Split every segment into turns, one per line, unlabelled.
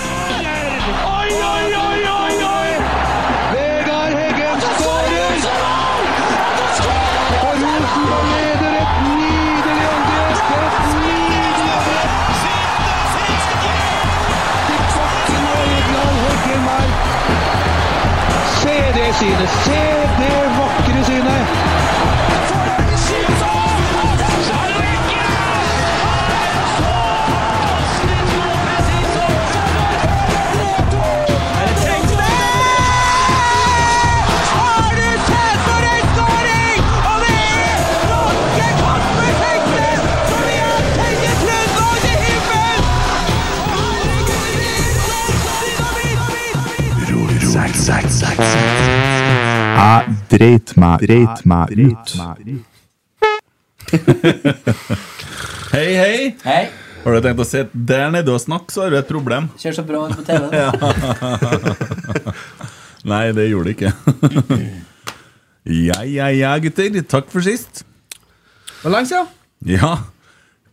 Oi, oi, oi, oi, oi! Vegard Heggen skårer! Og Rosenborg leder et nydelig angrep! Et nydelig angrep! Til Bakken og Egnald Heggemark. Se det synet! Se det vakre synet!
Jeg dreit meg, dreit meg ut.
Hei, hei!
Hei,
Har du tenkt å sitte der nede og snakke, så har du et problem.
kjør så bra ut på TV.
Nei, det gjorde det ikke. ja, ja, ja, gutter. Takk for sist.
Hvor lenge siden?
Ja.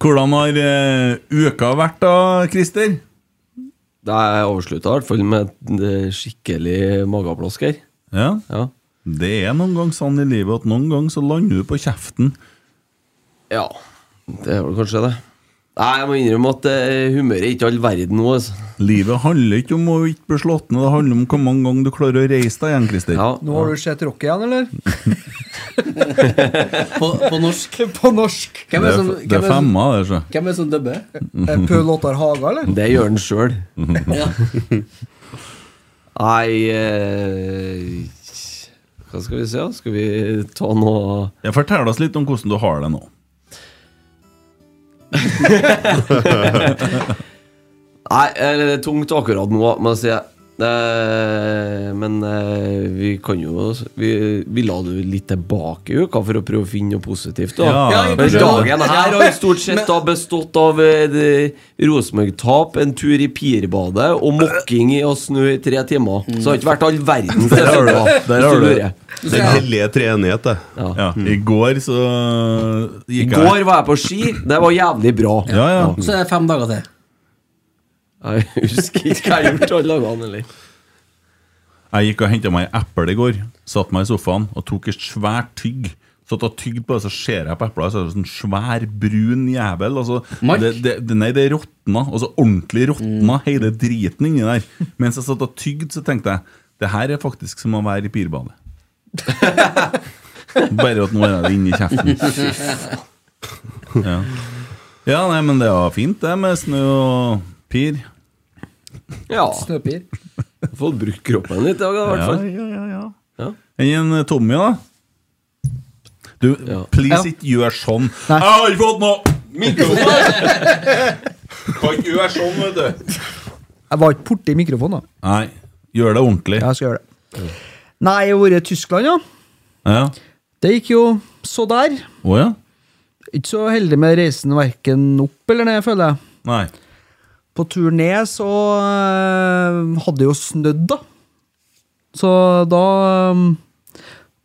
Hvordan har eh, uka vært da, Christer?
Da er jeg overslutta, i hvert fall med eh, skikkelig mageplask her.
Ja.
Ja.
Det er noen ganger sånn i livet at noen ganger så lander du på kjeften.
ja, det er vel kanskje det. Nei, Jeg må innrømme at eh, humøret er ikke all verden nå. Altså.
Livet handler ikke om å ikke bli slått ned, det handler om hvor mange ganger du klarer å reise deg igjen, Christer.
Ja,
Nå har du sett Rock igjen, eller?
På, på norsk.
På norsk.
Hvem
Det
er
er,
som,
f- det
hvem
er
er som,
femma, det, altså. så.
hvem er som dubber?
Eh, Paul Ottar Haga, eller?
Det gjør han sjøl.
Ja.
Nei eh, Hva skal vi se? da? Skal vi ta noe
Ja, Fortell oss litt om hvordan du har det nå.
Nei, eh, det er tungt akkurat nå, må jeg si. Eh, men eh, vi kan jo Vi, vi la det jo litt tilbake i uka for å prøve å finne noe positivt. Da.
Ja, Ja,
men
kanskje.
dagen her har stort sett da bestått av eh, det- Rosenborg-tap, en tur i Pirbadet og mokking i og snø i tre timer. Så det har ikke vært all verdens
Der har du
resultat,
det. Der
hvis
har du det.
lurer.
Den hellige treenighet, det.
Ja.
Ja, I går så
I
gikk jeg
går var jeg på ski. Det var jævlig bra.
Ja, ja.
Så er det fem dager til.
Jeg husker ikke hva jeg har gjort alle dagene, eller.
Jeg gikk og hentet meg en eple i går. Satt meg i sofaen og tok et svært tygg. Satt og tygde på det, så ser jeg på eplet, så er det sånn svær, brun jævel. Altså,
Mark?
det, det, det- nei, det råtna. Altså ordentlig råtna, hele driten inni der. Mens jeg satt og tygde, så tenkte jeg det her er faktisk som å være i pirbadet. Bare at nå er det inni kjeften. Ja. ja, nei, men det var fint, det med snø og pir.
Ja.
Snøpir.
Fått brukt kroppen litt i dag, da, i hvert
Ja,
fall.
ja, ja, ja.
Ja.
Enn en eh, Tommy, da? Du,
Ja.
please
Ja.
ikke gjør sånn. Jeg har ikke fått noe mikrofon! kan ikke gjøre sånn, vet du.
Jeg var ikke borti mikrofonen, da.
Nei, gjør det ordentlig. Ja.
Jeg skal gjøre det. Nei, jeg har vært i Tyskland, ja.
Å ja.
Det gikk jo så der. Ikke så heldig med reisen verken opp eller ned, føler jeg.
Nei.
På tur ned så eh, hadde det jo snødd, da. Så da eh,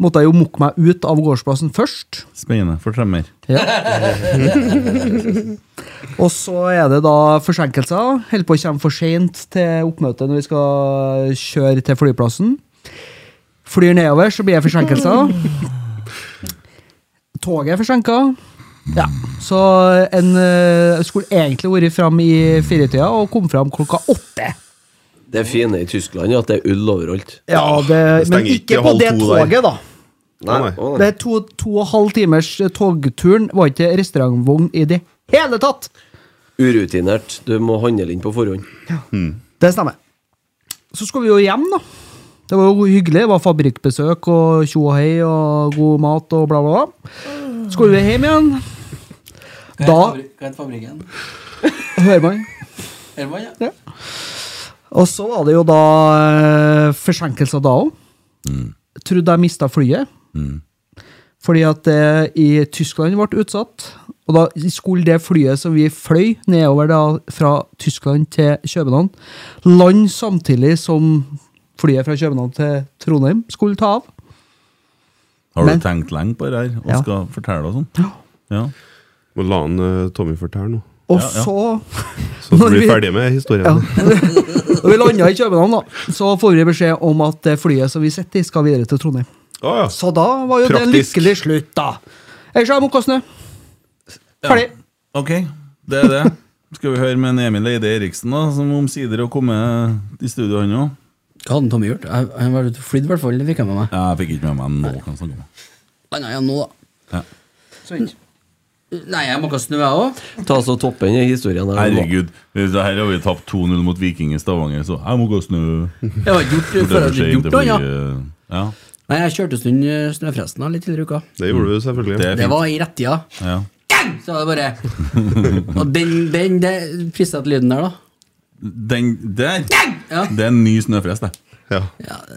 måtte jeg jo mukke meg ut av gårdsplassen først.
Spennende. Fortell mer.
Og så er det da forsinkelser. Holder på å komme for seint til oppmøtet når vi skal kjøre til flyplassen. Flyr nedover, så blir det forsinkelser. Toget er forsinka. Ja. Så en eh, skulle egentlig vært fram i firetida og kom fram klokka åtte.
Det fine i Tyskland er at det er ull overalt.
Ja,
det
det,
stenger
Men ikke
ikke
på
halv
det
to der.
toget, da.
Nei, nei.
Å,
Det er to, to og halv timers togturen var ikke restaurantvogn i det hele tatt!
Urutinert. Du må handle inn på forhånd.
Det stemmer. Så skulle vi jo hjem, da. Det var jo hyggelig. Det var fabrikkbesøk og tjo og hei og god mat og bla, bla, bla. Så Skulle vi hjem igjen.
Hva
Da
heter fabri- hva heter fabrikken?
hører man.
Elva, ja.
Og så var det jo da eh, forsinkelser da òg. Trodde jeg mista flyet. Fordi at det i Tyskland ble utsatt. Og da skulle det flyet som vi fløy nedover da, fra Tyskland til København, lande samtidig som flyet fra København til Trondheim skulle ta av.
Har
Men-
du tenkt lenge på det her og
Ja.
skal fortelle oss om? Ja.
Må la han eh, Tommy fortelle nå.
Og
Ja, ja.
så
Så du
Når
blir
vi-
ferdig med historien.
Ja. Og vi landa i København, da. Så får vi beskjed om at det flyet som vi sitter i, skal videre til Trondheim.
Å, ja.
Så da var jo det en
Praktisk.
lykkelig slutt, da. Ellers er jeg mokka snø. Ferdig.
Ok, det er det. Skal vi høre med en Emil Eide Eriksen, da, som omsider har kommet i studio, han òg?
Hva hadde Tommy gjort? Jeg- Han var ute og flydde, i hvert fall. Det fikk jeg med meg.
Ja, jeg fikk ikke med meg nå. Kan jeg snakke om.
Landa igjen nå, da.
Ja.
Sånn. Nei, jeg måka snø, jeg òg.
Ta så toppen i historien. Der,
Herregud, det her har vi tapt 2-0 mot Viking i Stavanger, så jeg må gå og snu.
Jeg har ikke gjort,
For
for
det
jeg
er
har
for
ikke
sent,
gjort
det
noe,
blir,
ja.
eh, ja.
Nei, jeg kjørte en stund eh, snøfresten da, litt tidligere i uka.
Det gjorde du selvfølgelig.
Det er
Det
fint.
var i rettida.
Ja.
Gang! Så var det bare Og den, den, den prissatte lyden der, da.
Den der,
Ja.
det er en ny snøfrest, det.
Ja.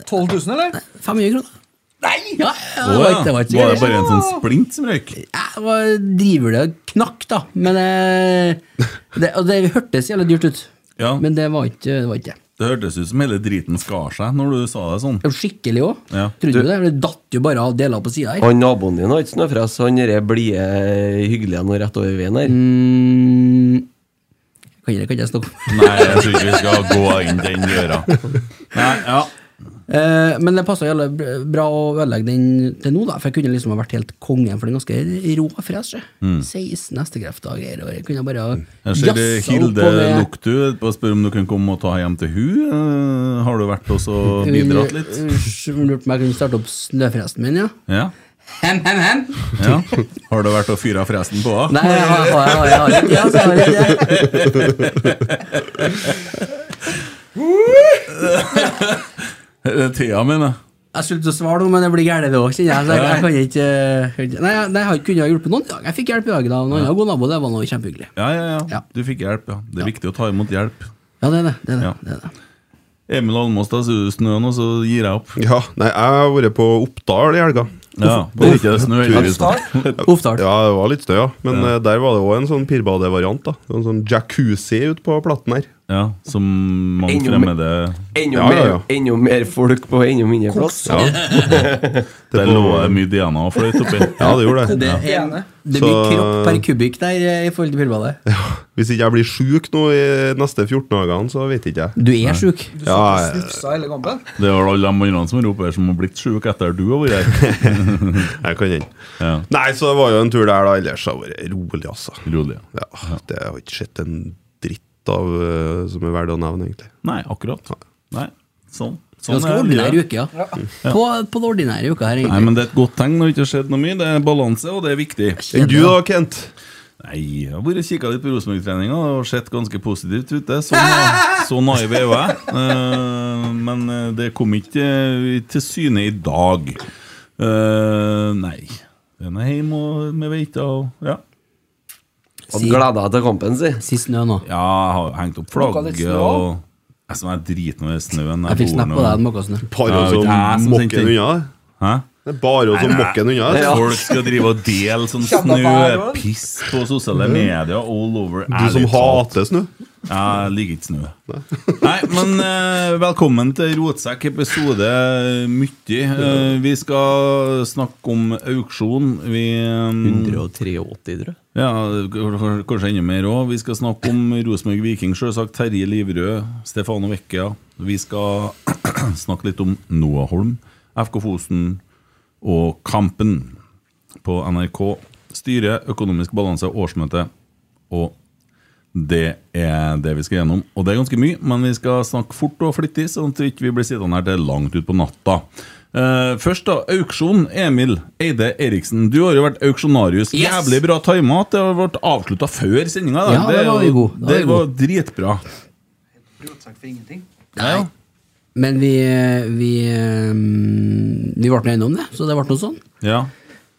12 000, eller?
500 kroner. Nei! Ja, ja, det
Å,
var
ja.
ikke, det var ikke
Var det bare en sånn splint som røyk?
Ja, det var driver det knakk, da. Men eh, det, og det hørtes jævlig dyrt ut.
Ja.
Men det var ikke det. Var ikke. det.
Det hørtes ut som hele driten skar seg når du sa det sånn.
Det var Skikkelig òg.
Ja.
Trodde du det? Det datt jo bare av deler på sida her.
Han naboen din har ikke snøfres. Han derre blide, hyggelige og rett over veien her.
Mm, kan ikke kan ikke jeg snakke om.
Nei, jeg tror ikke vi skal gå inn den døra. Nei, ja.
Eh, men det passa jævlig br- bra å ødelegge den til nå, da. For jeg kunne liksom ha vært helt kongen, for den er ganske rå fres. Mm. 16 hestekrefter og jeg kunne bare
Jeg ser det,
jassa
Hilde
oppover-
Luktu på å spørre om du kunne komme og ta hjem til hun Eh, Har du vært også og bidratt litt?
Hun lurte på om jeg kunne starte opp snøfresten min, ja.
Ja?
Hem, hem, hem.
ja. Har du vært og fyra fresen på henne?
Nei, jeg har, jeg har, jeg har ikke det, altså, jeg har ikke det.
Det er Thea mener
Jeg skulle til å svare noe, men det blir gærent det òg, kjenner jeg. Så jeg, jeg kan ikke eh, kan ikke- Nei, jeg, nei, jeg har ikke kunnet hjulpet noen i dag. Jeg fikk hjelp i dag av en annen god nabo, det var noe kjempehyggelig.
ja, ja, ja.
Ja.
Du fikk hjelp, ja. Det er viktig å ta imot hjelp.
Ja, det er det. det, er det,
Ja.
det, er det.
Emil Almås, da ser du snøen, og så gir jeg opp.
ja. Nei, jeg har vært på Oppdal i helga.
Ja, det er ikke det snø heldigvis. da.
Oppdal.
Ja, det var litt støy, ja. Men eh, der var det òg en sånn pirbadevariant. da. Det var En sånn jacuzzi ute på platten her.
Ja, som mange
Ennå mer-
fremmede
Enda,
Ja, ja, ja.
Mer, enda mer folk på enda mindre plass.
Ja.
Der lå det mye Diana og fløyt oppi.
ja, det gjorde det.
Det, er, det blir
Så-
kropp per kubikk der eh, i forhold til pillbadet.
Hvis ikke jeg blir sjuk nå i neste 14 dagene, så vet ikke jeg.
Du er sjuk.
Ja, jeg,
Snufsa hele kampen.
Det var alle de andre som roper her som har blitt sjuke etter du har vært her.
jeg kan den.
Ja.
Nei, så det var jo en tur der, da. Ellers har det vært rolig, altså.
Rolig. ja.
Ja, Det har ikke skjedd en dritt av eh, som er verdt å nevne, egentlig.
Nei, akkurat. Nei, sånn. sånn
Ganske
er
ordinær
livet.
uke, ja. På, på den ordinære uka her,
Nei,
egentlig.
men det er et godt tegn når det ikke har skjedd noe mye. Det er balanse, og det er viktig.
Enn du da, Kent?
Nei, jeg har vært kikka litt på Rosenborg-treninga og sett ganske positivt ut. det. Så, na- så naiv er jo jeg. Eh, men eh, det kom ikke eh, til syne i dag. Eh, nei. Den er hjemme og med veita og Ja,
Hadde gleda deg til kampen, si.
Si snø nå.
ja jeg har hengt opp flagget
snø
og Jeg som er driten over snøen.
Jeg fikk
bor
snap
nå-
på deg, Måkåsene.
Bare
Ja,
oss som
det er jeg som
mokker
tenkte.
den unna. det.
Hæ?
Det er bare oss som
Nei,
mokker den unna. det.
At Folk skal drive og dele sånn
Kjenner jeg bare,
snøpiss på
Mhm.
sosiale medier all over.
Du som
Ærlig talt.
hater snø.
Jeg liker ikke snø. Nei, men eh, velkommen til Rotsekk episode mye. Eh, vi skal snakke om auksjon. Vi eh,
183, tror jeg.
ja, k- kanskje enda mer òg. Vi skal snakke om Rosenborg Viking, selvsagt. Terje Livrød, Stefano Vecchia. Vi skal snakke litt om Noah Holm, FK Fosen og Kampen på NRK. Styre, økonomisk balanse, årsmøte. Og det er det vi skal gjennom. Og det er ganske mye, men vi skal snakke fort og flittig, sånn at vi ikke blir sittende her til langt utpå natta. Eh, først, da. Auksjon. Emil Eide Eriksen, du har jo vært auksjonarius.
Yes!
Jævlig bra tima. Det har vært avslutta før sendinga. da.
Ja,
er
det var
jo-
vi god. Da var
Det
vi
var
god.
dritbra.
Nei. Men vi, vi, ehm, vi ble nå enige om det, så det ble noe sånn.
Ja.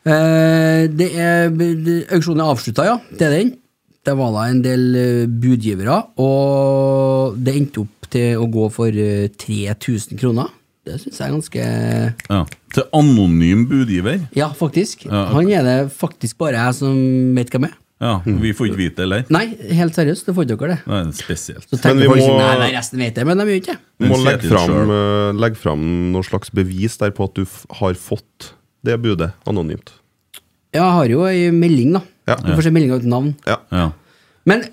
Eh, Det er, det- auksjonen er avslutta, ja. Det er den. Det var da en del eh, budgivere, og det endte opp til å gå for eh, 3000 kroner. Det syns jeg er ganske
ja. Til anonym budgiver.
Ja, faktisk.
Ja, ok.
Han er det faktisk bare jeg som vet hvem er.
Ja, Vi får ikke vite det, eller?
Nei, helt seriøst, det får ikke dere det.
Det er spesielt.
Så
Men vi
tenker folk
må-
sånn, nei, nei, resten vet det, men de gjør ikke det.
Du må
Den
legge
sier til
fram,
selv.
eh, legge fram noe slags bevis der på at du f har fått det budet anonymt.
Ja, jeg har jo ei melding, da.
Ja.
Du får se meldinga uten navn.
Ja.
Ja.
Men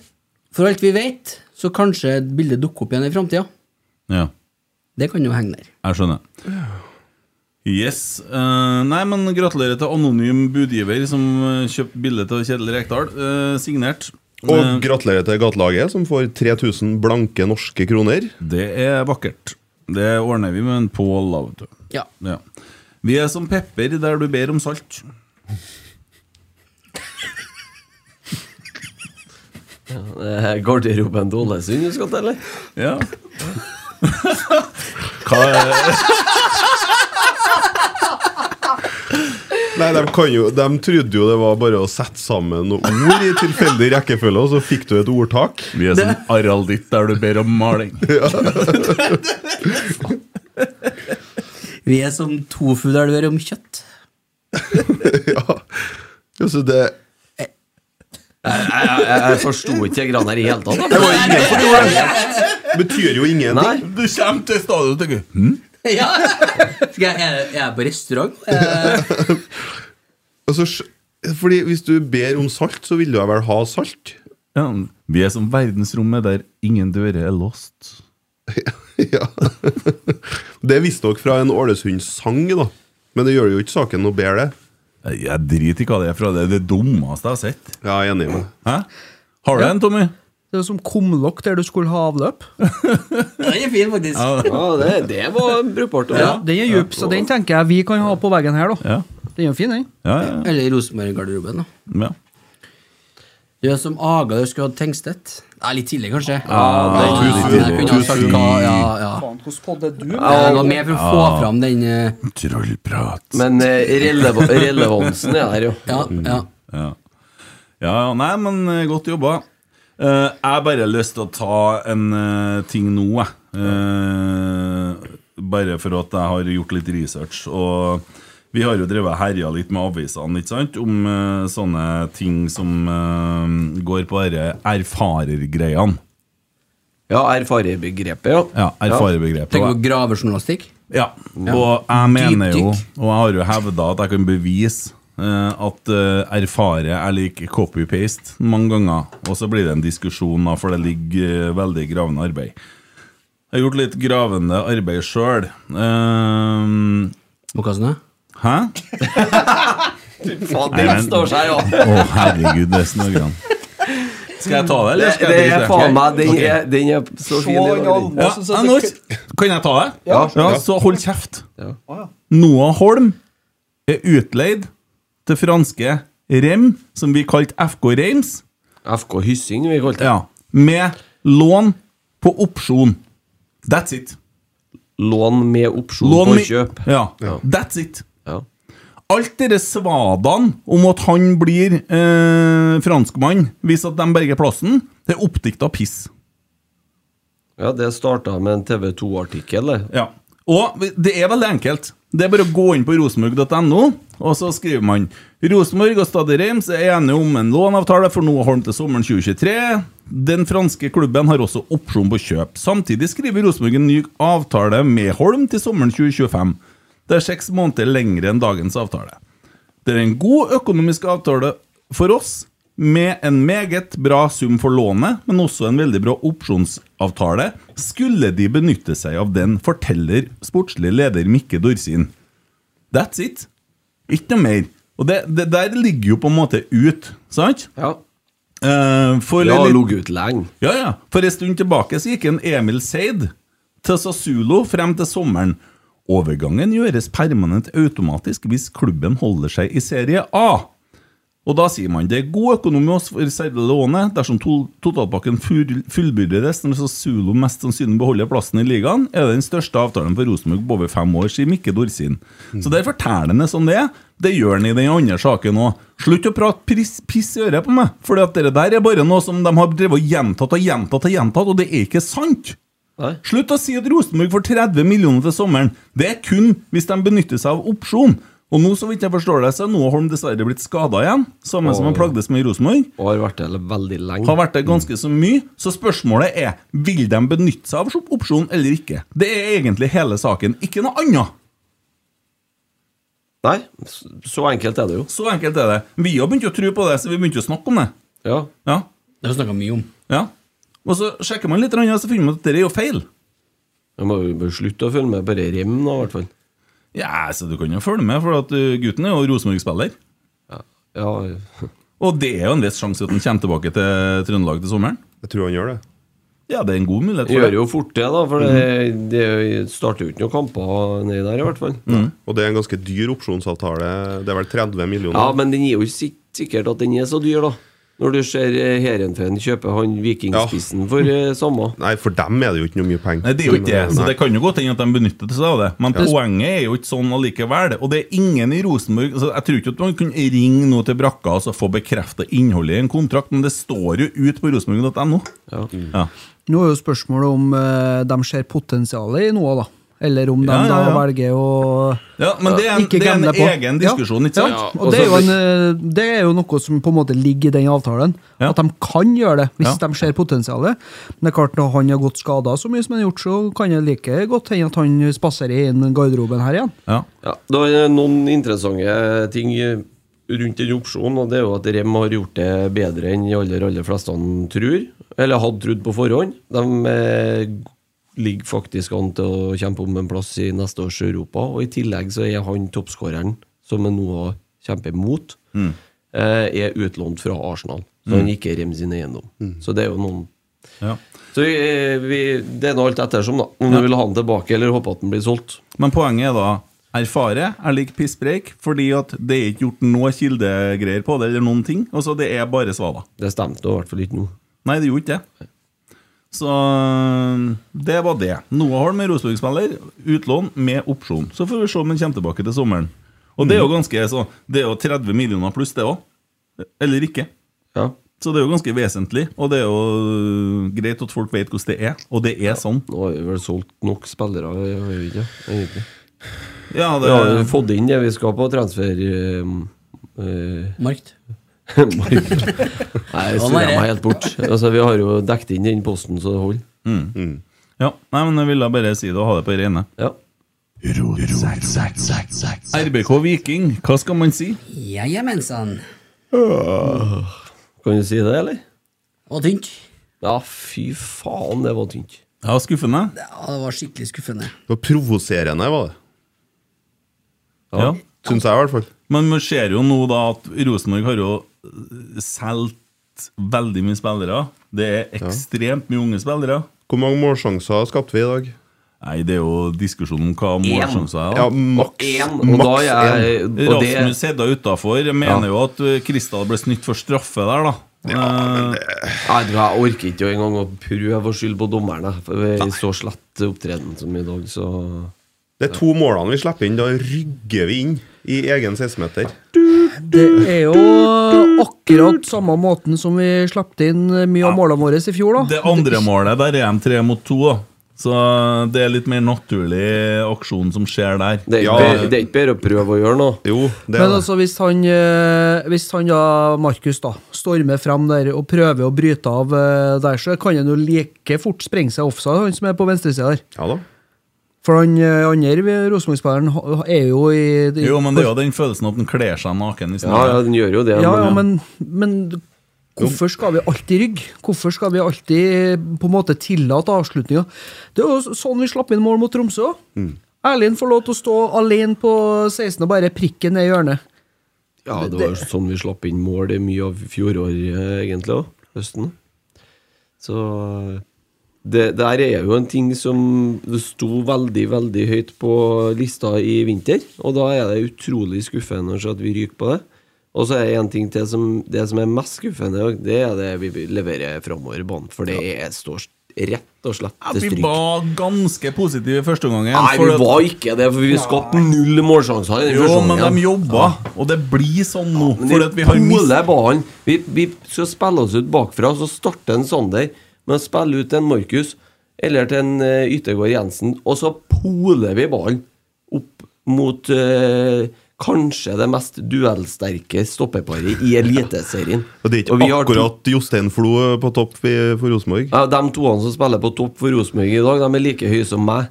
For alt vi vet, så kanskje bildet dukker opp igjen i framtida.
Ja.
Det kan jo henge der.
Jeg skjønner. Yes. eh, nei, men gratulerer til anonym budgiver som eh, kjøpte bilde av Kjetil Rekdal. eh, signert. Eh,
Og gratulerer til gatelaget, som får 3000 blanke norske kroner.
det er vakkert. Det ordner vi med en Pål, da, vet du.
Ja.
Ja. Vi er som pepper der du ber om salt.
Eh, Garderoben til Ålesund, du skal til, eller?
Ja. Hva er
Nei, de, kan jo, de trodde jo det var bare å sette sammen noen ord i tilfeldig rekkefølge, og så fikk du et ordtak.
Vi er som aralditt der du ber om maling.
Vi er som tofu der du er om kjøtt.
Ja. Altså, det
Jeg, jeg, jeg forsto ikke de greiene her i hele tatt. da.
betyr jo
Nei.
ingenting.
Du kommer til stadion og tenker hm?
Ja! Skal jeg, er jeg er på restaurant? Eh,
Altså, sj- fordi hvis du ber om salt, så vil du vel ha salt?
ja, Vi er som verdensrommet der ingen dører er låst.
Ja. Det visste dere fra en Ålesund-sang, da. Men det gjør jo ikke saken noe bedre.
Jeg jeg driter i hva det er fra. Det er det dummeste jeg har sett.
Ja, Jeg er enig med deg.
Hæ? Har du en, Tommy?
Det er jo som kumlokk der du skulle ha avløp.
Den er fin, faktisk.
Ja, det, det var brukbart. da.
Ja, Den er djup, så den tenker jeg vi kan ha på veggen her, da.
Ja.
Den er jo fin, den.
Ja, ja,
Eller Rosenborg-garderoben. da.
ja.
Du er som Aga der skulle hatt Tengstedt. Ja, litt tidlig, kanskje.
det er
Ja, jeg kunne ha sagt hva, ja, ja.
Faen, hvordan podde du?
Ja, Det var mer for å få fram den eh,
Trollprat.
Men eh, releva relevansen er der, jo.
Ja, ja.
Ja. ja, ja, nei, men eh, godt jobba. Eh, jeg har bare lyst til å ta en eh, ting nå, jeg. Eh, bare for at jeg har gjort litt research. Og vi har jo drevet og herja litt med avisene ikke sant? om eh, sånne ting som eh, går på disse erfarergreiene.
Ja, erfarebegrepet, ja.
Ja, erfarerbegrepet.
Tenk på gravejournalistikk.
Ja, og jeg mener jo,
Dypdykk.
og jeg har jo hevda at jeg kan bevise eh, at eh, erfare er lik copy-paste mange ganger. Og så blir det en diskusjon, da, for det ligger eh, veldig gravende arbeid. Jeg har gjort litt gravende arbeid sjøl.
Må kaste ned.
hæ?
Faen, det står seg, ja.
Å, herregud, det snørrer han. Skal jeg ta det,
Det,
eller skal
det
jeg
er
drite
faen meg Den
Ok.
er, den er så fin. i dag, den.
Ja, jeg når- kan jeg ta det?
Ja.
Så hold kjeft.
Ja.
Noah Holm er utleid til franske Rem, som vi kalte FK Reims,
FK Hyssing, vi kalte det.
ja, med lån på opsjon. That's it.
Lån med opsjon
Lån
på
med-
kjøp.
Ja,
Ja.
that's it.
Ja.
Alt dere svadene om at han blir eh, franskmann hvis at de berger plassen, det er oppdikta piss.
ja, det starta med en TV 2-artikkel. det.
Ja. Og det er veldig enkelt. Det er bare å gå inn på rosenborg.no, og så skriver man Rosenborg og Stade Reims er enige om en låneavtale for Noah Holm til sommeren 2023. Den franske klubben har også opsjon på kjøp. Samtidig skriver Rosenborg en ny avtale med Holm til sommeren 2025. Det er seks måneder lengre enn dagens avtale. Det er en god økonomisk avtale for oss, med en meget bra sum for lånet, men også en veldig bra opsjonsavtale. Skulle de benytte seg av den, forteller sportslig leder Mikke Dorsin. That's it. Ikke noe mer. Og det, det der ligger jo på en måte ut, sant?
Ja.
Eh, for
Det har
litt-
ligget ute lenge.
ja, ja. For en stund tilbake så gikk en Emil Seid til Sassulo frem til sommeren. Overgangen gjøres permanent automatisk hvis klubben holder seg i serie A. Og da sier man det er god økonomi hos for selve lånet dersom to totalpakken full fullbyrdes når Sassulo mest sannsynlig beholder plassen i ligaen, er det den største avtalen for Rosenborg på over fem år, sier Mikke Dorsin. Så der forteller han det som det er. Det gjør han i den andre saken òg. Slutt å prate piss, piss i øret på meg, for det der er bare noe som de har drevet og gjentatt og gjentatt og gjentatt, og det er ikke sant.
Nei.
Slutt å si at Rosenborg får 30 millioner til sommeren. Det er kun hvis de benytter seg av opsjon. Og nå, så vidt jeg forstår det, så er Noah Holm dessverre blitt skada igjen. Samme som han plagdes med i Rosenborg.
Og har vært der veldig lenge.
Har vært det ganske så mye. Så spørsmålet er vil de benytte seg av opsjon eller ikke. Det er egentlig hele saken. Ikke noe annet.
Nei, s- så enkelt er det jo.
Så enkelt er det. Vi har begynt å tro på det, så vi begynte å snakke om det.
Ja.
Ja.
Det har vi snakka mye om.
ja. Og så sjekker man litt, og så finner man at dette er jo feil.
Jeg må jo bare slutte å følge med på rem, da, i hvert fall.
Ja, så du kan jo følge med, for at ø, gutten er jo Rosenborg-spiller.
Ja,
Og det er jo en viss sjanse at han kommer tilbake til Trøndelag til sommeren.
Jeg tror han gjør det.
Ja, det er en god mulighet for
Gjør jo fort det, da, for det,
Mhm.
det starter jo ikke noen kamper nedi der, i hvert fall.
Og det er en ganske dyr opsjonsavtale. Det er vel 30 millioner.
Ja, men den er jo ikke sik- sikkert at den er så dyr, da. Når du ser eh, Heerenveen kjøpe han vikingspissen for eh, samme.
Nei, for dem er det jo ikke noe mye penger.
Nei, det er jo ikke det, så
Nei.
det kan jo godt hende at de benytter seg av det. Men poenget er jo ikke sånn allikevel. Og det er ingen i Rosenborg altså, Jeg tror ikke at man kunne ringe nå til brakka og så få bekreftet innholdet i en kontrakt, men det står jo ut på rosenborg.no.
Ja.
Ja.
Nå er jo spørsmålet om eh, de ser potensialet i noe, da. Eller om de
Ja, ja,
da
ja.
velger å
ja, men det er en,
ikke
det er en
gamble på.
egen diskusjon,
ja.
ikke sant?
Ja.
Og
Og det er, jo
så-
en, eh, det er jo noe som på en måte ligger i den avtalen.
Ja.
At de kan gjøre det, hvis
Ja.
de ser potensialet. Men det er klart, når han har gått skada så mye som han har gjort, så kan det like godt hende at han spaserer inn garderoben her igjen.
Ja.
Ja, det er noen interessante ting rundt den opsjonen, og det er jo at Rem har gjort det bedre enn de aller, aller fleste han tror, eller hadde trodd på forhånd. De eh, ligger faktisk an til å kjempe om en plass i neste års Europa, og i tillegg så er han toppskåreren som er noe å kjempe mot, eh, er utlånt fra Arsenal, så han ikke er Rem sin eiendom. Så det er jo noen
Ja.
så vi, vi, Det er nå alt ettersom, da. Om du vil ha han tilbake, eller håpe at han blir solgt.
Men poenget er da erfare, er lik pisspreik, fordi at det er ikke gjort noe kildegreier på det, eller noen ting. Altså, det er bare svaler.
Det stemte i hvert fall ikke nå.
Nei, det gjorde ikke det. Så øh, det var det. Noah Holm er Rosenborg-spiller. Utlån med opsjon. Så får vi se om han kommer tilbake til sommeren. Og det er jo ganske så, Det er jo 30 millioner pluss, det òg. Eller ikke.
Ja.
Så det er jo ganske vesentlig, og det er jo øh, greit at folk vet hvordan det er. Og det er sånn.
Nå har vi vel solgt nok spillere, jeg har jo ikke, egentlig.
Ja,
Vi
det
har jo fått inn det vi skal på transfer... eh, eh,
Markt.
mark. Nei, jeg snur meg helt bort. Altså, vi har jo dekket inn den posten, så det holder.
ja. Nei, men jeg ville bare si det og ha det på det rene.
Ja.
RBK Viking, hva skal man si?
Ja, sånn. jamensan.
Kan du si det, eller?
Og tynt.
Ja, fy faen, det var tynt.
Ja, skuffende?
Ja, det var skikkelig skuffende.
Det var provoserende, var det.
Ja.
Syns jeg, i hvert fall.
Men man ser jo nå da at Rosenborg har jo eh, solgt veldig mye spillere. Det er ekstremt mye unge spillere.
Hvor mange målsjanser skapte vi i dag?
Nei, det er jo diskusjon om hva målsjanser er.
Ja,
da.
maks
Én, og da
maks
er jeg
én.
og det,
Rasmus Hedda utafor mener jo at uh, Kristal ble snytt for straffe der, da. Eh,
Jeg tror jeg orker ikke engang å prøve å skylde på dommerne. For vi er i så slett opptreden som i dag, så
Det er to målene vi slipper inn. Da rygger vi inn i egen 16-meter.
Det er jo akkurat samme måten som vi slapp inn mye av målene våre i fjor, da.
det andre målet, der er de tre mot to, da. Så eh, det er litt mer naturlig aksjon som skjer der.
det er,
Ja.
ikke- det er ikke bedre å prøve å gjøre noe.
Jo, det er
Men
det.
altså, hvis han, eh, hvis han da, Markus, da, stormer frem der og prøver å bryte av eh, der, så kan han jo like fort sprenge seg offside, han som er på venstresida der.
Ja da.
For han eh, andre ved Rosenborg-spilleren ha- er jo i i-
Jo, men det er jo den følelsen at den kler seg naken i
Ja, ja,
snøen.
den gjør jo det.
Ja, ja, men, men hvorfor skal vi alltid rygge? Hvorfor skal vi alltid eh, på en måte tillate avslutninger? Det er jo sånn vi slapp inn mål mot Tromsø. Erlend får lov til å stå alene på 16 og bare prikke ned i hjørnet.
Ja, det var jo sånn vi slapp inn mål i mye av fjoråret, eh, egentlig, også, høsten. Så det der er jo en ting som det sto veldig, veldig høyt på lista i vinter, og da er det utrolig skuffende så at vi ryker på det. Og så er det en ting til som det som er mest skuffende, og det er det vi leverer framover i banen, for det er, står rett og slett
Ja,
til
vi
stryk.
var ganske positive i første omgang.
Nei, vi var ikke det, for vi skapte null målsjanser. i den første
Jo, men
omgangen.
de jobber, og det blir sånn nå.
Men
fordi at vi har
poler
mist
ballen. Vi, vi skal spille oss ut bakfra, så starter en Sander med å spille ut til en Markus eller til en eh, Yttergård Jensen, og så poler vi ballen opp mot eh, kanskje det mest duellsterke stoppeparet i Eliteserien.
Og det er
Og
ikke
vi har to-
akkurat Jostein Flo på topp i- for Rosenborg.
Ja, de toene som spiller på topp for Rosenborg i dag, de er like høye som meg.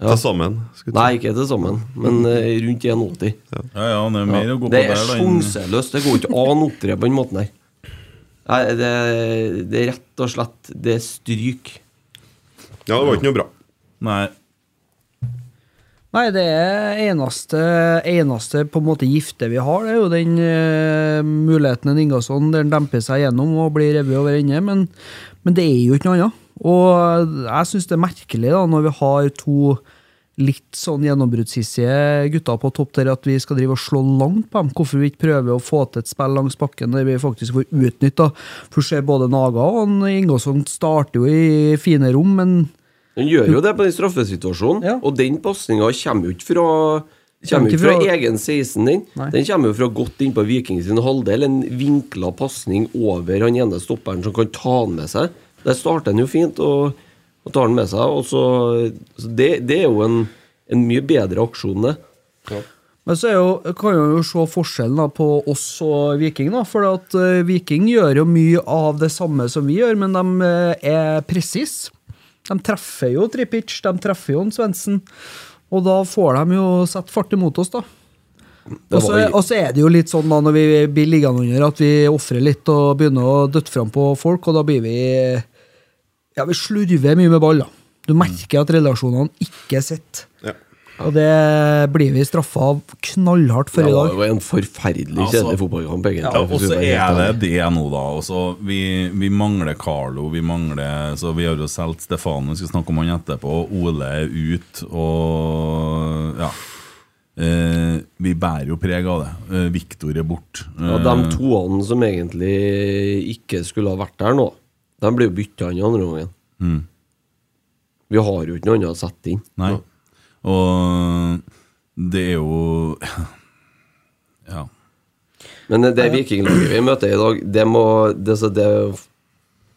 Til sammen. skulle jeg
Nei, ikke til sammen, men eh, rundt 1,80.
Ja, ja, det er mer å gå på
Det
der,
er sånn
da. enn-
sjanseløst. Det går ikke an å opptre på den måten her. Nei, det, det er rett og slett Det er stryk.
Ja, det var ikke noe bra.
Nei.
Nei, det er eneste, eneste på en måte gifte vi har. Det er jo den eh, muligheten en Ingasson der den demper seg gjennom og blir revet over ende, men, men det er jo ikke noe annet. Og jeg syns det er merkelig, da, når vi har to litt sånn gjennombruddshissige gutter på topp der, at vi skal drive og slå langt på dem. Hvorfor vi ikke prøver å få til et spill langs bakken der vi faktisk får utnytta. For du ser både Naga og han Ingasson starter jo i fine rom, men
Han gjør jo det på den straffesituasjonen,
Ja.
og den pasninga kommer jo ikke fra
Kommer
Kommer
ikke
ikke fra
fra-
egen 16 din.
Nei.
Den kommer jo fra godt innpå Viking sin halvdel. En vinkla pasning over han ene stopperen som kan ta han med seg. Der starter han jo fint og, og tar han med seg. Og så, så det, det er jo en, en mye bedre aksjon, det.
Men så er jo, kan man jo se forskjellen da, på oss og Viking. da, For at eh, Viking gjør jo mye av det samme som vi gjør, men de eh, er presise. De treffer jo Tripic, de treffer jo en Svendsen. Og da får de jo satt fart imot oss, da.
Det
Og så
var-
og så er det jo litt sånn da når vi blir liggende under, at vi ofrer litt og begynner å døtte fram på folk, og da blir vi Ja, vi slurver mye med ball, da. Du merker at relasjonene ikke sitter.
Mm. Ja.
Og det blir vi straffa av knallhardt for
Det
i
var
dag.
jo en forferdelig
Altså-
kjedelig fotballkamp, egentlig.
Ja, og
for å
så
være helt
er det
ærlig.
det nå, da. Og så vi, vi mangler Carlo. Vi mangler så Vi har jo solgt Stefano, vi skal snakke om han etterpå. Ole er ut, og ja. Eh, vi bærer jo preg av det. Eh, Viktor er Eh, borte.
Ja, de toene som egentlig ikke skulle ha vært der nå, de blir jo bytta inn i andre gangen.
Mm.
Vi har jo ikke noe annet å sette inn.
Nei. Og det er jo Ja.
Men det vikinglaget vi møter i dag, det må Det, så det,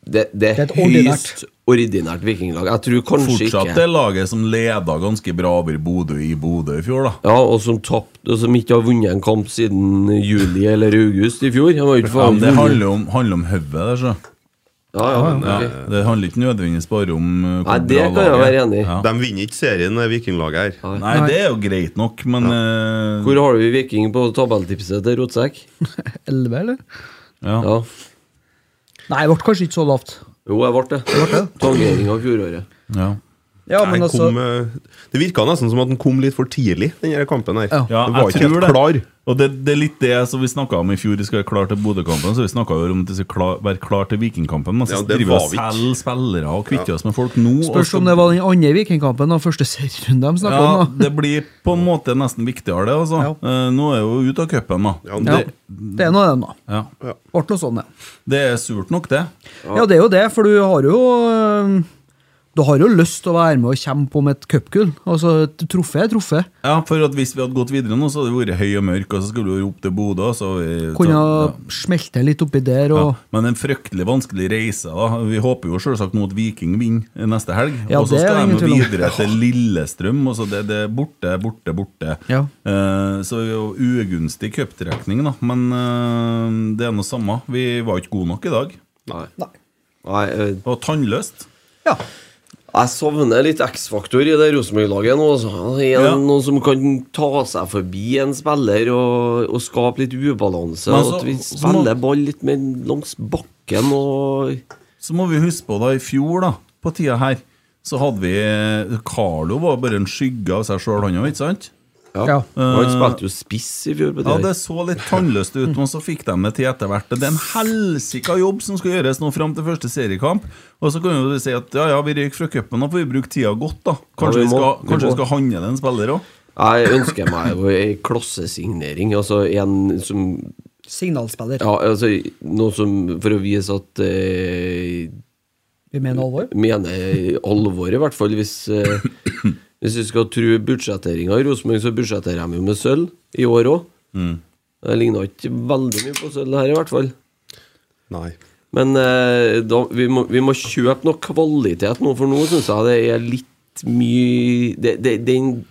det, det
Det er
er
et
høyst ordinært vikinglag. Jeg tror kanskje
Fortsatt
ikke
det laget som leda ganske bra over Bodø i Bodø i fjor, da.
ja, og som tapte, og som ikke har vunnet en kamp siden juli eller august i fjor. Han var jo ikke
Ja, men det
vunnet.
handler om, handler om hodet der, så.
ja, ja, men,
Ja,
ok.
det handler ikke nødvendigvis bare om uh, hvor
Nei, det
bra
kan jeg
laget er.
være enig i.
Ja.
De vinner ikke serien, det vikinglaget her.
Nei, det er jo greit nok, men eh,
Hvor har vi Viking på tabelltipset til Rotsekk?
11, eller?
ja.
Ja.
Nei, det ble kanskje ikke så lavt.
Jo, jeg ble det. Tangering av fjoråret.
Ja.
Ja, men
Nei,
altså,
kom, eh, det virka nesten som at den kom litt for tidlig, den her kampen her.
Ja.
Ja,
det
jeg
var ikke
tror
helt
det.
klar.
Og det, det er litt det som vi snakka om i fjor, vi skal være klar til Bodø-kampen. Så vi snakka jo om at vi skal klar, være klar til Vikingkampen, men så
Ja, det
driver vi
var
og
vi ikke.
selger spillere og kvitter oss med folk nå. og
spørs
så-
om det var den andre Vikingkampen og første serierunde de snakka
ja,
om. da.
det blir på en måte nesten viktigere, det. altså
Ja.
Eh, Nå er jo ute av cupen, da.
Ja,
Ja,
det,
det er noe av dem, da.
Ja.
Ble noe sånn, ja.
Det er surt nok, det.
Ja, det er jo det, for du har jo øh, Du har jo lyst til å være med og kjempe om et cupgull. Altså, et trofé er trofé.
Ja, for at Hvis vi hadde gått videre nå, så hadde det vært høy og mørk, og så skulle vi opp til Bodø. og Så vi,
Kunne
så-
smelte litt oppi der
ja.
og
ja. Men en fryktelig vanskelig reise. da Vi håper jo selvsagt nå at Viking vinner neste helg.
Ja,
og så
det er
skal
ingen
de
tvil om.
videre til Lillestrøm. Og så det, det er borte, borte, borte.
Ja.
Eh, så det er jo ugunstig cuptrekning, da. Men eh, det er nå samme. Vi var ikke gode nok i dag.
Nei. Nei, eh,
Og tannløst.
Ja.
Jeg savner litt X-faktor i det Rosenborg-laget nå. altså. Er det
Ja.
Noen som kan ta seg forbi en spiller og, og skape litt ubalanse.
Men
og
så-
at vi
så må-
spiller ball litt mer langs bakken og
Så må vi huske på da i fjor, da, på tida her, så hadde vi Carlo var bare en skygge av seg sjøl, han òg, ikke sant?
Ja.
Og Han spilte jo spiss i fjor. på
Eh, Ja,
det
det så litt tannløst ut, men så fikk de det til etter hvert. Det er en helsika jobb som skal gjøres nå fram til første seriekamp. Og så kan jo du si at ja, ja, vi røyk fra cupen, da får vi bruke tida godt, da.
Ja,
Kanskje
vi
vi
må.
skal,
Vi
kanskje
må.
vi skal handle en spiller òg?
Jeg ønsker meg jo ei klassesignering. Altså en som
Signalspiller.
Ja, altså noe som For å vise at eh,
Vi mener alvor.
mener alvor, i hvert fall. Hvis, eh, hvis vi skal tro budsjetteringa i Rosenborg, så budsjetterer de jo med sølv i år òg. Det ligner ikke veldig mye på sølv her, i hvert fall.
nei.
Men eh, da, vi, må, vi må kjøpe noe kvalitet nå, for nå syns jeg det er litt mye det, det, Den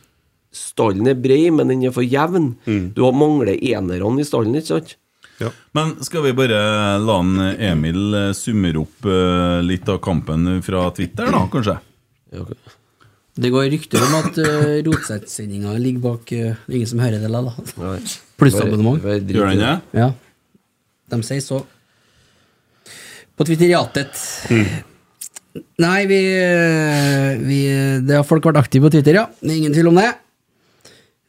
stallen er bred, men den er for jevn. Du har mangler enerne i stallen, ikke sant?
Ja.
Men skal vi bare la han Emil eh, summere opp eh, litt av kampen fra Twitter, da, kanskje?
Ja, ok.
Det går rykter om at uh, Rotsett-sendinga ligger bak eh, det er Ingen som hører det, da. da.
Nei.
Plussabonnement.
Bare- bare drit i
Gjør han det?
Ja. De sier så. På Twitteriatet. Nei, vi, eh, vi Det har folk vært aktive på Twitter, ja. Det er ingen tvil om det.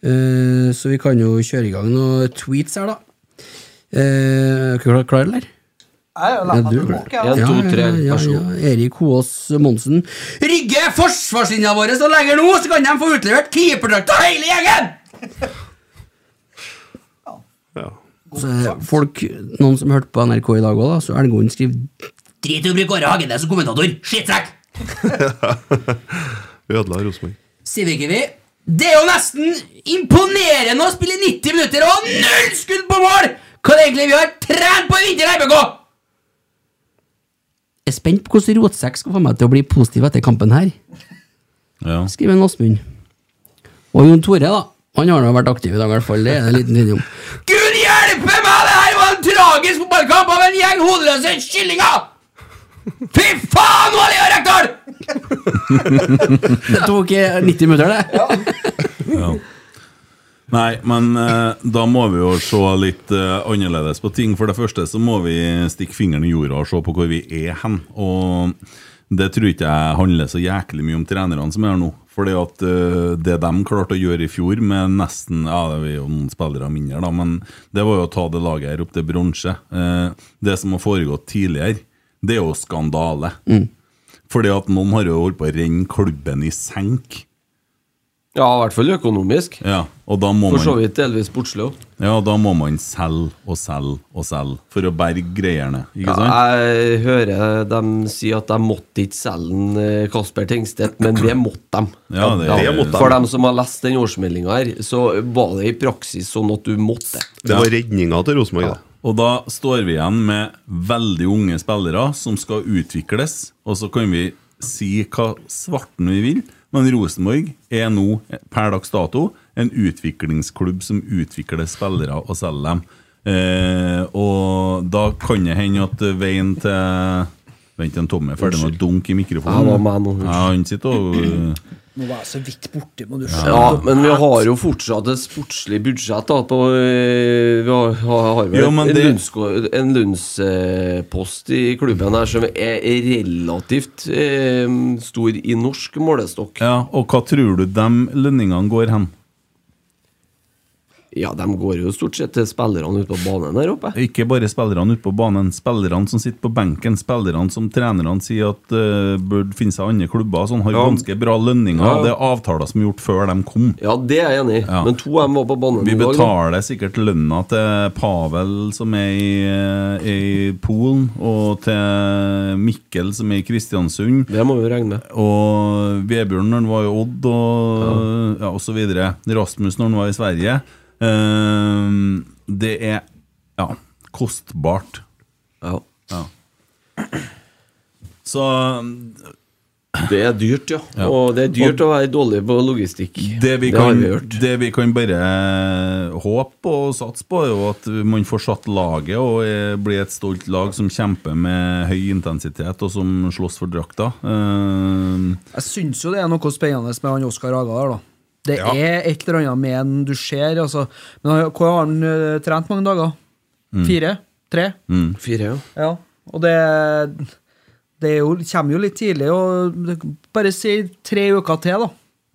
Eh, så vi kan jo kjøre i gang noen tweets her, da. Eh, Er dere klar, eller? Ja, du er klar.
En, to, tre, vær så god.
Erik Hoås Monsen. Rygge forsvarslinja vår og lenger nå, så kan de få utlevert keeperdrakta hele gjengen!
Ja.
Så er Altså, folk, noen som hørte på NRK i dag òg, da, så Elgåen skriver Drit i å bruke Åre Hagenes som kommentator! Skittsekk!
Ødela Rosenborg.
Sivikivi. Det er jo nesten imponerende å spille 90 minutter og ha null skudd på mål! Hva er det egentlig vi har trent på i vinter, RBK? Jeg er spent på hvordan Rotsekk skal få meg til å bli positiv etter kampen her,
Ja.
skriver en Åsmund. Og Jon Tore, da. Han har nå vært aktiv i dag, i hvert fall. Det er det en liten video om. Gud hjelpe meg! Det her var en tragisk fotballkamp av en gjeng hodeløse kyllinger! Fy faen, Valea Rekdal! det tok eh, 90 minutter, det.
Nei, men eh, da må vi jo se litt eh, annerledes på ting. For det første så må vi stikke fingeren i jorda og se på hvor vi er hen. Og det tror ikke jeg handler så jæklig mye om trenerne som er her nå. Fordi at eh, det de klarte å gjøre i fjor med nesten Ja, det er jo noen spillere mindre, da, men det var jo å ta det laget her opp til bronse. Eh, det som har foregått tidligere, det er jo skandale.
Mm.
Fordi at noen har jo holdt på å renne klubben i senk.
Ja, i hvert fall økonomisk.
Ja, og da må
For så
man
vidt delvis sportslig òg.
Ja, da må man selge og selge og selge for å berge greiene. Ikke sant?
Jeg hører dem si at de måtte ikke selge en, eh, Kasper Tengstedt, men det måtte de.
Ja, det- det måtte de.
For dem som har lest den årsmeldinga her, så var det i praksis sånn at du måtte.
Det var redninga til Rosenborg. da.
Og da står vi igjen med veldig unge spillere som skal utvikles, og så kan vi si hva svarten vi vil, men Rosenborg er nå per dags dato en utviklingsklubb som utvikler spillere og selger dem. Eh, og da kan det hende at veien til Vent, en Tommy er ferdig med å dunke i mikrofonen.
Ja, det var meg nå, unnskyld.
Ja, han sitter og
Nå var jeg så vidt borte, må du skjønne.
Ja, men vi har jo fortsatt et sportslig budsjett. da på, eh, Vi har, har har vel
Jo, men
en
det-
lønnsko- en lønnspost i klubben her som er relativt eh, stor i norsk målestokk.
Ja, og hva tror du de lønningene går hen?
Ja, de går jo stort sett til spillerne ute på banen der oppe.
Ikke bare spillerne ute på banen, spillerne som sitter på benken, spillerne som trenerne sier at eh, burde finne seg andre klubber, sånn har
Ja.
ganske bra lønninger.
Ja.
Det er avtaler som er gjort før de kom.
Ja, det er jeg enig i,
Ja.
men to av dem var på banen
Vi
i dag. da.
betaler sikkert lønna til Pavel som er i, eh, i Polen, og til Mikkel som er i Kristiansund.
Det må vi jo regne med.
Og Vebjørn når han var i Odd, og, ja. og så videre. Rasmus når han var i Sverige. Ehm, det er ja, kostbart.
Ja.
Så
Det er dyrt, ja.
Ja.
Og det er dyrt å være dårlig på logistikk.
det vi,
har
kan,
vi hørt.
det vi kan bare håpe og satse på, er jo at man får satt laget og eh, blir et stolt lag som kjemper med høy intensitet og som slåss for drakta. Ehm,
Jeg syns jo det er noe spennende med han Oskar Haga der, da. Det er et eller annet med han du ser, altså. Men han- hvor har han eh, trent mange dager?
Mm.
Fire? Tre?
Fire, ja.
Ja. Og det Det er jo, kommer jo litt tidlig, og det- bare si tre uker til, da.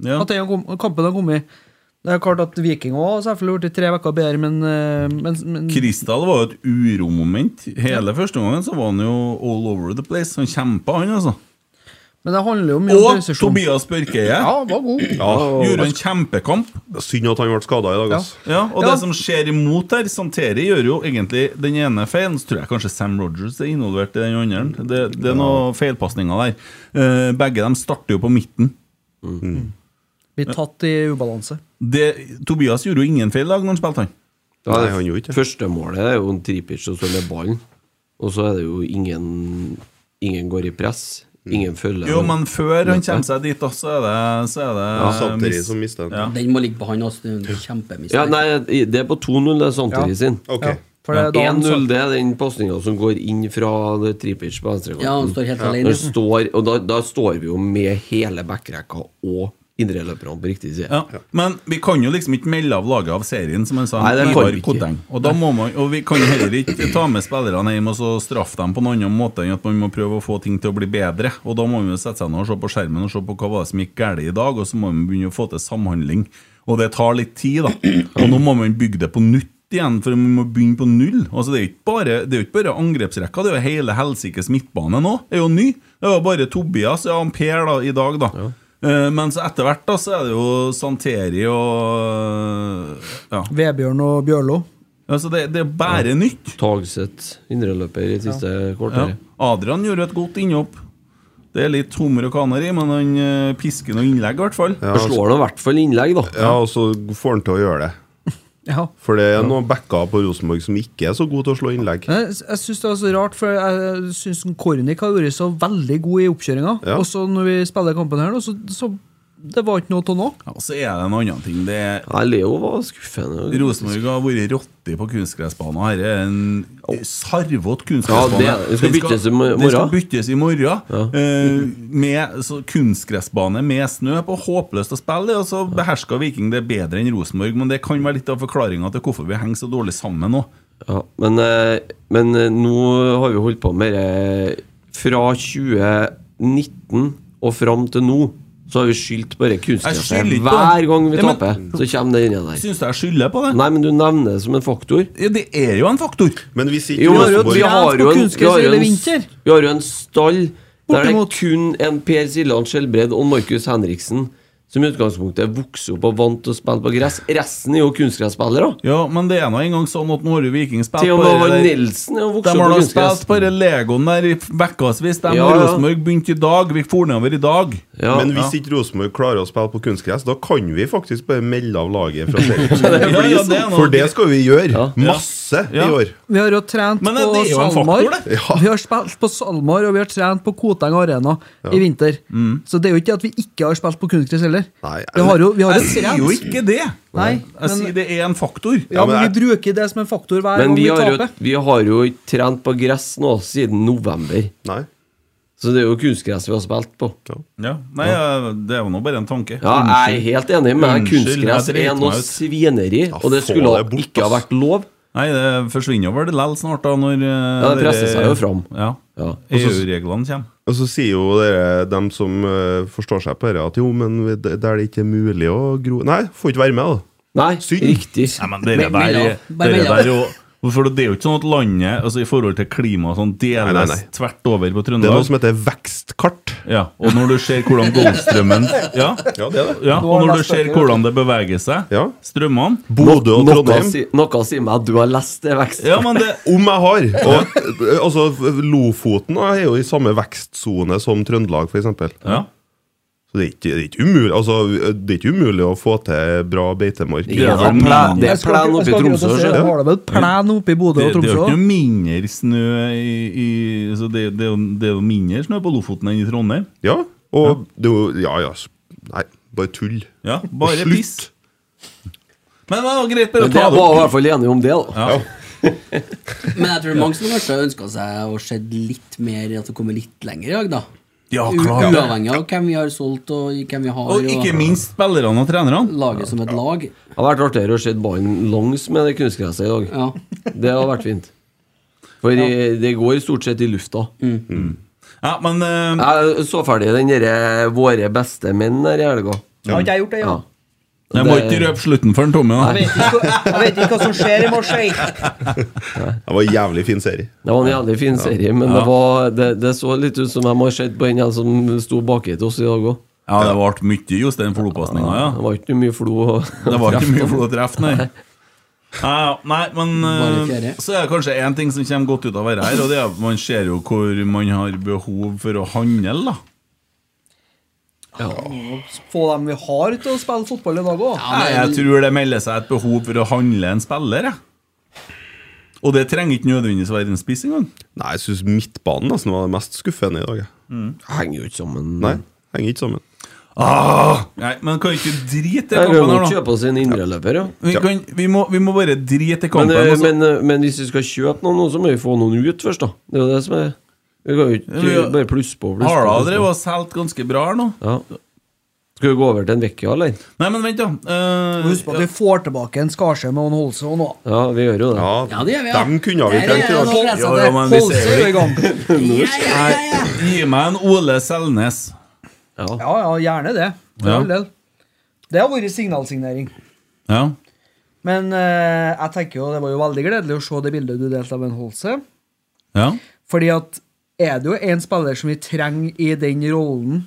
Ja.
At den kom- kampen har kommet. Det er klart at Viking òg selvfølgelig blitt tre uker bedre, men, eh, men, men
Kristal var jo et uromoment. Hele første gangen så var han jo all over the place. Han kjempa, han, altså.
Men det handler jo mye om
Og
presisjon.
Tobias Børkeie
var god.
gjorde en kjempekamp.
Synd at han ble skada i dag. ass.
Ja, og
Ja.
det som skjer imot her Santeri gjør jo egentlig den ene feilen. Så tror jeg kanskje Sam Rogers er involvert i den andre. Det, det er noen feilpasninger der. Eh, begge dem starter jo på midten.
Blir tatt i ubalanse.
Det, Tobias gjorde jo ingen feil i dag når han spilte, han.
Nei, han gjorde ikke det.
Første målet er jo en tripic som står med ballen. Og så er det jo ingen Ingen går i press.
Mm.
Ingen
Mm.
følger.
Jo, men før han kommer seg dit, da, så er det, så er det
Santeri
miss.
som mistet den.
Ja.
Den må ligge på han også. det er en Kjempemistake.
ja, nei, det er på 2-0, det er Santeri
Ja.
sin.
Ok.
Ja, for det er da han
1-0
sa-
det er den pasninga som går inn fra det tripic på
Ja,
venstrekanten.
han står helt
Den
alene.
står- Og da, da står vi jo med hele backrekka og indreløperne på riktig side.
Ja. Men vi kan jo liksom ikke melde av laget av serien, som han sa.
Nei, det kan
Ivar
vi ikke.
Kodeng. Og, da må man, og vi kan jo heller ikke ta med spillerne hjem og så straffe dem på noen annen måte enn at man må prøve å få ting til å bli bedre. Og da må man jo sette seg ned og se på skjermen og se på hva var det som gikk galt i dag, og så må man begynne å få til samhandling. Og det tar litt tid, da. Og nå må man bygge det på nytt igjen, for man må begynne på null. Altså Det er jo ikke bare, det er jo ikke bare angrepsrekka, det er jo hele helsikes midtbane nå. Det er jo ny. Det var bare Tobias og Per da, i dag, da. Eh, Men så etter hvert da, så er det jo Santeri og Ja,
Vebjørn og Bjørlo.
altså det, det er bare nytt.
Tagseth, indreløper i siste
Ja.
kvarter.
Adrian gjorde et godt innhopp. Det er litt hummer og kaner i, men han eh, pisker noe innlegg, i hvert fall.
Ja. Slår nå i hvert fall innlegg, da.
Ja, og så får han til å gjøre det.
Ja.
For det er noen backer på Rosenborg som ikke er så gode til å slå innlegg.
Jeg, jeg syns det er så rart, for jeg syns Kornik har vært så veldig god i oppkjøringa.
Ja.
Og så når vi spiller kampen her, nå, så, så det var ikke noe av noe.
Ja, og så er det en annen ting. Det er
Nei, Leo var skuffende.
Rosenborg har vært rotte på kunstgressbanen. Her er en sarvete kunstgressbane.
Ja, det er- det skal
Den
byttes i mor-
den skal
morgen.
byttes i morgen. Eh, med så kunstgressbane med snø på. Håpløst å spille. det, Og så behersker Viking det bedre enn Rosenborg. Men det kan være litt av forklaringa til hvorfor vi henger så dårlig sammen nå.
Ja, men, eh, men eh, nå har vi holdt på med det fra 2019 og fram til nå. Så har vi skyldt bare
Jeg
kunstgresset.
skylder ikke på
Hver
det.
gang vi
Ja, men-
taper, så kommer det inni der.
Syns du jeg skylder på det?
Nei, men du nevner det som en faktor.
Ja, det er jo en faktor.
Men hvis ikke
Jo, men
Rosenborg
vi har jo
på
en,
kunstgress
vi har jo
hele
en,
vinter.
vi har jo en stall der det er
Bortimot.
kun en Per Siljan Skjelbred og Markus Henriksen som i utgangspunktet vokser opp og vant til å spille på gress. Resten er jo kunstgresspillere.
Ja, men det er nå engang sånn at nå har jo Viking spilt
Til og
på
med han
det der-
Nilsen er jo
De
vokst opp
har
på
da
kunstgress.
spilt på den legoen der i ukevis. De
Ja,
og
ja.
Rosenborg begynte i dag. Vi for nedover i dag.
Ja.
Men hvis ikke Rosenborg klarer å spille på kunstgress, da kan vi faktisk bare melde av laget fra serien.
Ja, ja, det er noe-
For det skal vi gjøre.
Ja.
Masse i
Ja.
år.
Vi har jo trent
Men
eh,
det
på
er jo en
SalMar.
faktor, det.
Ja.
Vi har spilt på SalMar, og vi har trent på Koteng Arena i vinter.
Mm.
Så det er jo ikke at vi ikke har spilt på kunstgress heller.
Nei,
vi har jo, vi har
Jeg
jo
sier
trent.
jo ikke det.
Nei,
Jeg
men,
sier det er en faktor.
ja, men
men
vi bruker det som en faktor hver
Men
gang
vi
vi
har, jo,
taper.
vi har jo ikke trent på gress nå siden november.
Nei.
Så det er jo kunstgress vi har spilt på.
Ja, nei, jeg- Det var nå bare en tanke.
Ja, jeg er helt enig med deg.
Unnskyld,
Kunstgress
jeg driter
er
meg
noe
ut.
svineri, og det
få
skulle
det bort,
ikke ha
ass.
vært lov.
Nei, det forsvinner vel likevel snart, da, når eh,
Ja, det presser seg jo fram.
Ja.
Ja.
EU-reglene kommer.
Og så sier jo dere, dem som eh, forstår seg på dette, at jo, men vi- der det ikke er mulig å gro Nei, får ikke være med, da.
Nei,
Synd.
riktig.
Nei, men dere
Men- men
der,
ja, bare
dere
men ja.
der jo for det er jo ikke sånn at landet altså i forhold til klima og sånn, deles
Nei, nei, nei.
tvert over på
Det er noe
Trøndelag.
som heter vekstkart.
Ja, og når du ser hvordan Golfstrømmen ja,
Ja, det er det.
ja, Og når du
lest
ser
dere,
hvordan det beveger seg,
Ja.
strømmene
Bodø og
Noe
Trondheim.
si- Noe sier meg at du har lest det vekst.
Ja, men det
Om jeg har! Og, eh, altså, Lofoten da, er jo i samme vekstsone som Trøndelag, f.eks. Så
ja.
det er, ikke, det, er ikke umulig, altså, det er ikke umulig å få til bra beitemark.
Det er vel
Ja,
plen-
men-
det
Jeg
er
skal ikke-
plen
jeg
oppe i
skal ikke
Tromsø.
akkurat si det.
skjønner du.
Har det vel plen oppe i Bodø og
Det, det er jo
Tromsø
ikke
òg?
noe mindre snø i, i så det, det, er jo- det er jo mindre snø på Lofoten enn i Trondheim.
Ja, og det er jo Ja, ja. s- Nei, bare tull.
Ja, bare
Slutt.
piss. Men det var greit, bare å
Men
ta
jeg
det
var i
opp.
hvert fall enig om det, da.
Men jeg tror mange som kanskje ønska seg å se litt mer, at det kommer litt lenger i dag, da.
Ja,
U-
klart det.
Uavhengig av hvem vi har solgt, og hvem vi har.
Og ikke minst spillerne og trenerne.
laget som et lag.
Det har vært artigere å se ballen langs med det kunstgresset i dag.
Ja.
Det har vært fint. For i- det går stort sett i lufta.
Mm.
Ja, men eh,
Jeg så ferdig den derre 'Våre beste menn' der i helga.
Har ikke jeg gjort det, ja?
Ja.
jeg må ikke røpe slutten for en Tommy.
Jeg
da.
vet ikke hva- jeg vet ikke hva som skjer i Marseille.
Det var en jævlig fin serie.
Det var en jævlig fin serie, men det, var, det, det så litt ut som de har sett på den her som sto baki til oss i dag òg.
Ja, det ble mye Jostein Flo-pasninger, ja.
Det var ikke mye flo. og-
Det var ikke mye flott treff, nei. Ja, ja, nei, men
Bare
eh,
fjerde.
så er det kanskje én ting som kommer godt ut av å være her, og det er at man ser jo hvor man har behov for å handle, da.
Få dem vi har til å spille fotball i dag òg.
Nei, jeg tror det melder seg et behov for å handle en spiller, jeg. Og det trenger ikke nødvendigvis være en spiss engang.
Nei, jeg syns midtbanen nesten var det mest skuffende i dag. jeg.
Henger jo ikke sammen.
Nei,
Mm.
henger ikke sammen.
Nei, men kan vi ikke drite i
Nei, Vi
kampen
må
her, da?
kjøpe oss en indreløper, ja.
Vi, kan, vi, må, vi må bare drite i
Men,
kampen. Altså,
eh,
og så-
men, eh, men hvis vi skal kjøpe noen, nå, så må vi få noen ut først, da. Det er jo det som er Vi kan jo
Ja,
ikke
men-
bare pluss på. Pluss på,
Harla
pluss
drev
på.
og solgte ganske bra her nå.
Ja. Skal vi gå over til en Vecchia, eller?
Nei, men vent, da. Eh,
Husk på at vi får tilbake en Skarsheim og en Holse og noe.
Ja, vi gjør jo det.
Ja,
Ja, det gjør vi, ja.
Dem kunne vi
Der
trengt i
er
dag.
noe press
Ja,
at
ja,
det-
men vi
Holse
ser
er
jo
i gang.
Ja, ja, ja, ja.
Gi meg en Ole Selnes.
Ja.
Ja, ja, gjerne det. For
Ja.
all del. Det har vært signalsignering.
Ja.
Men eh, jeg tenker jo det var jo veldig gledelig å se det bildet du delte av en Holse.
ja.
Fordi at er det jo en spiller som vi trenger i den rollen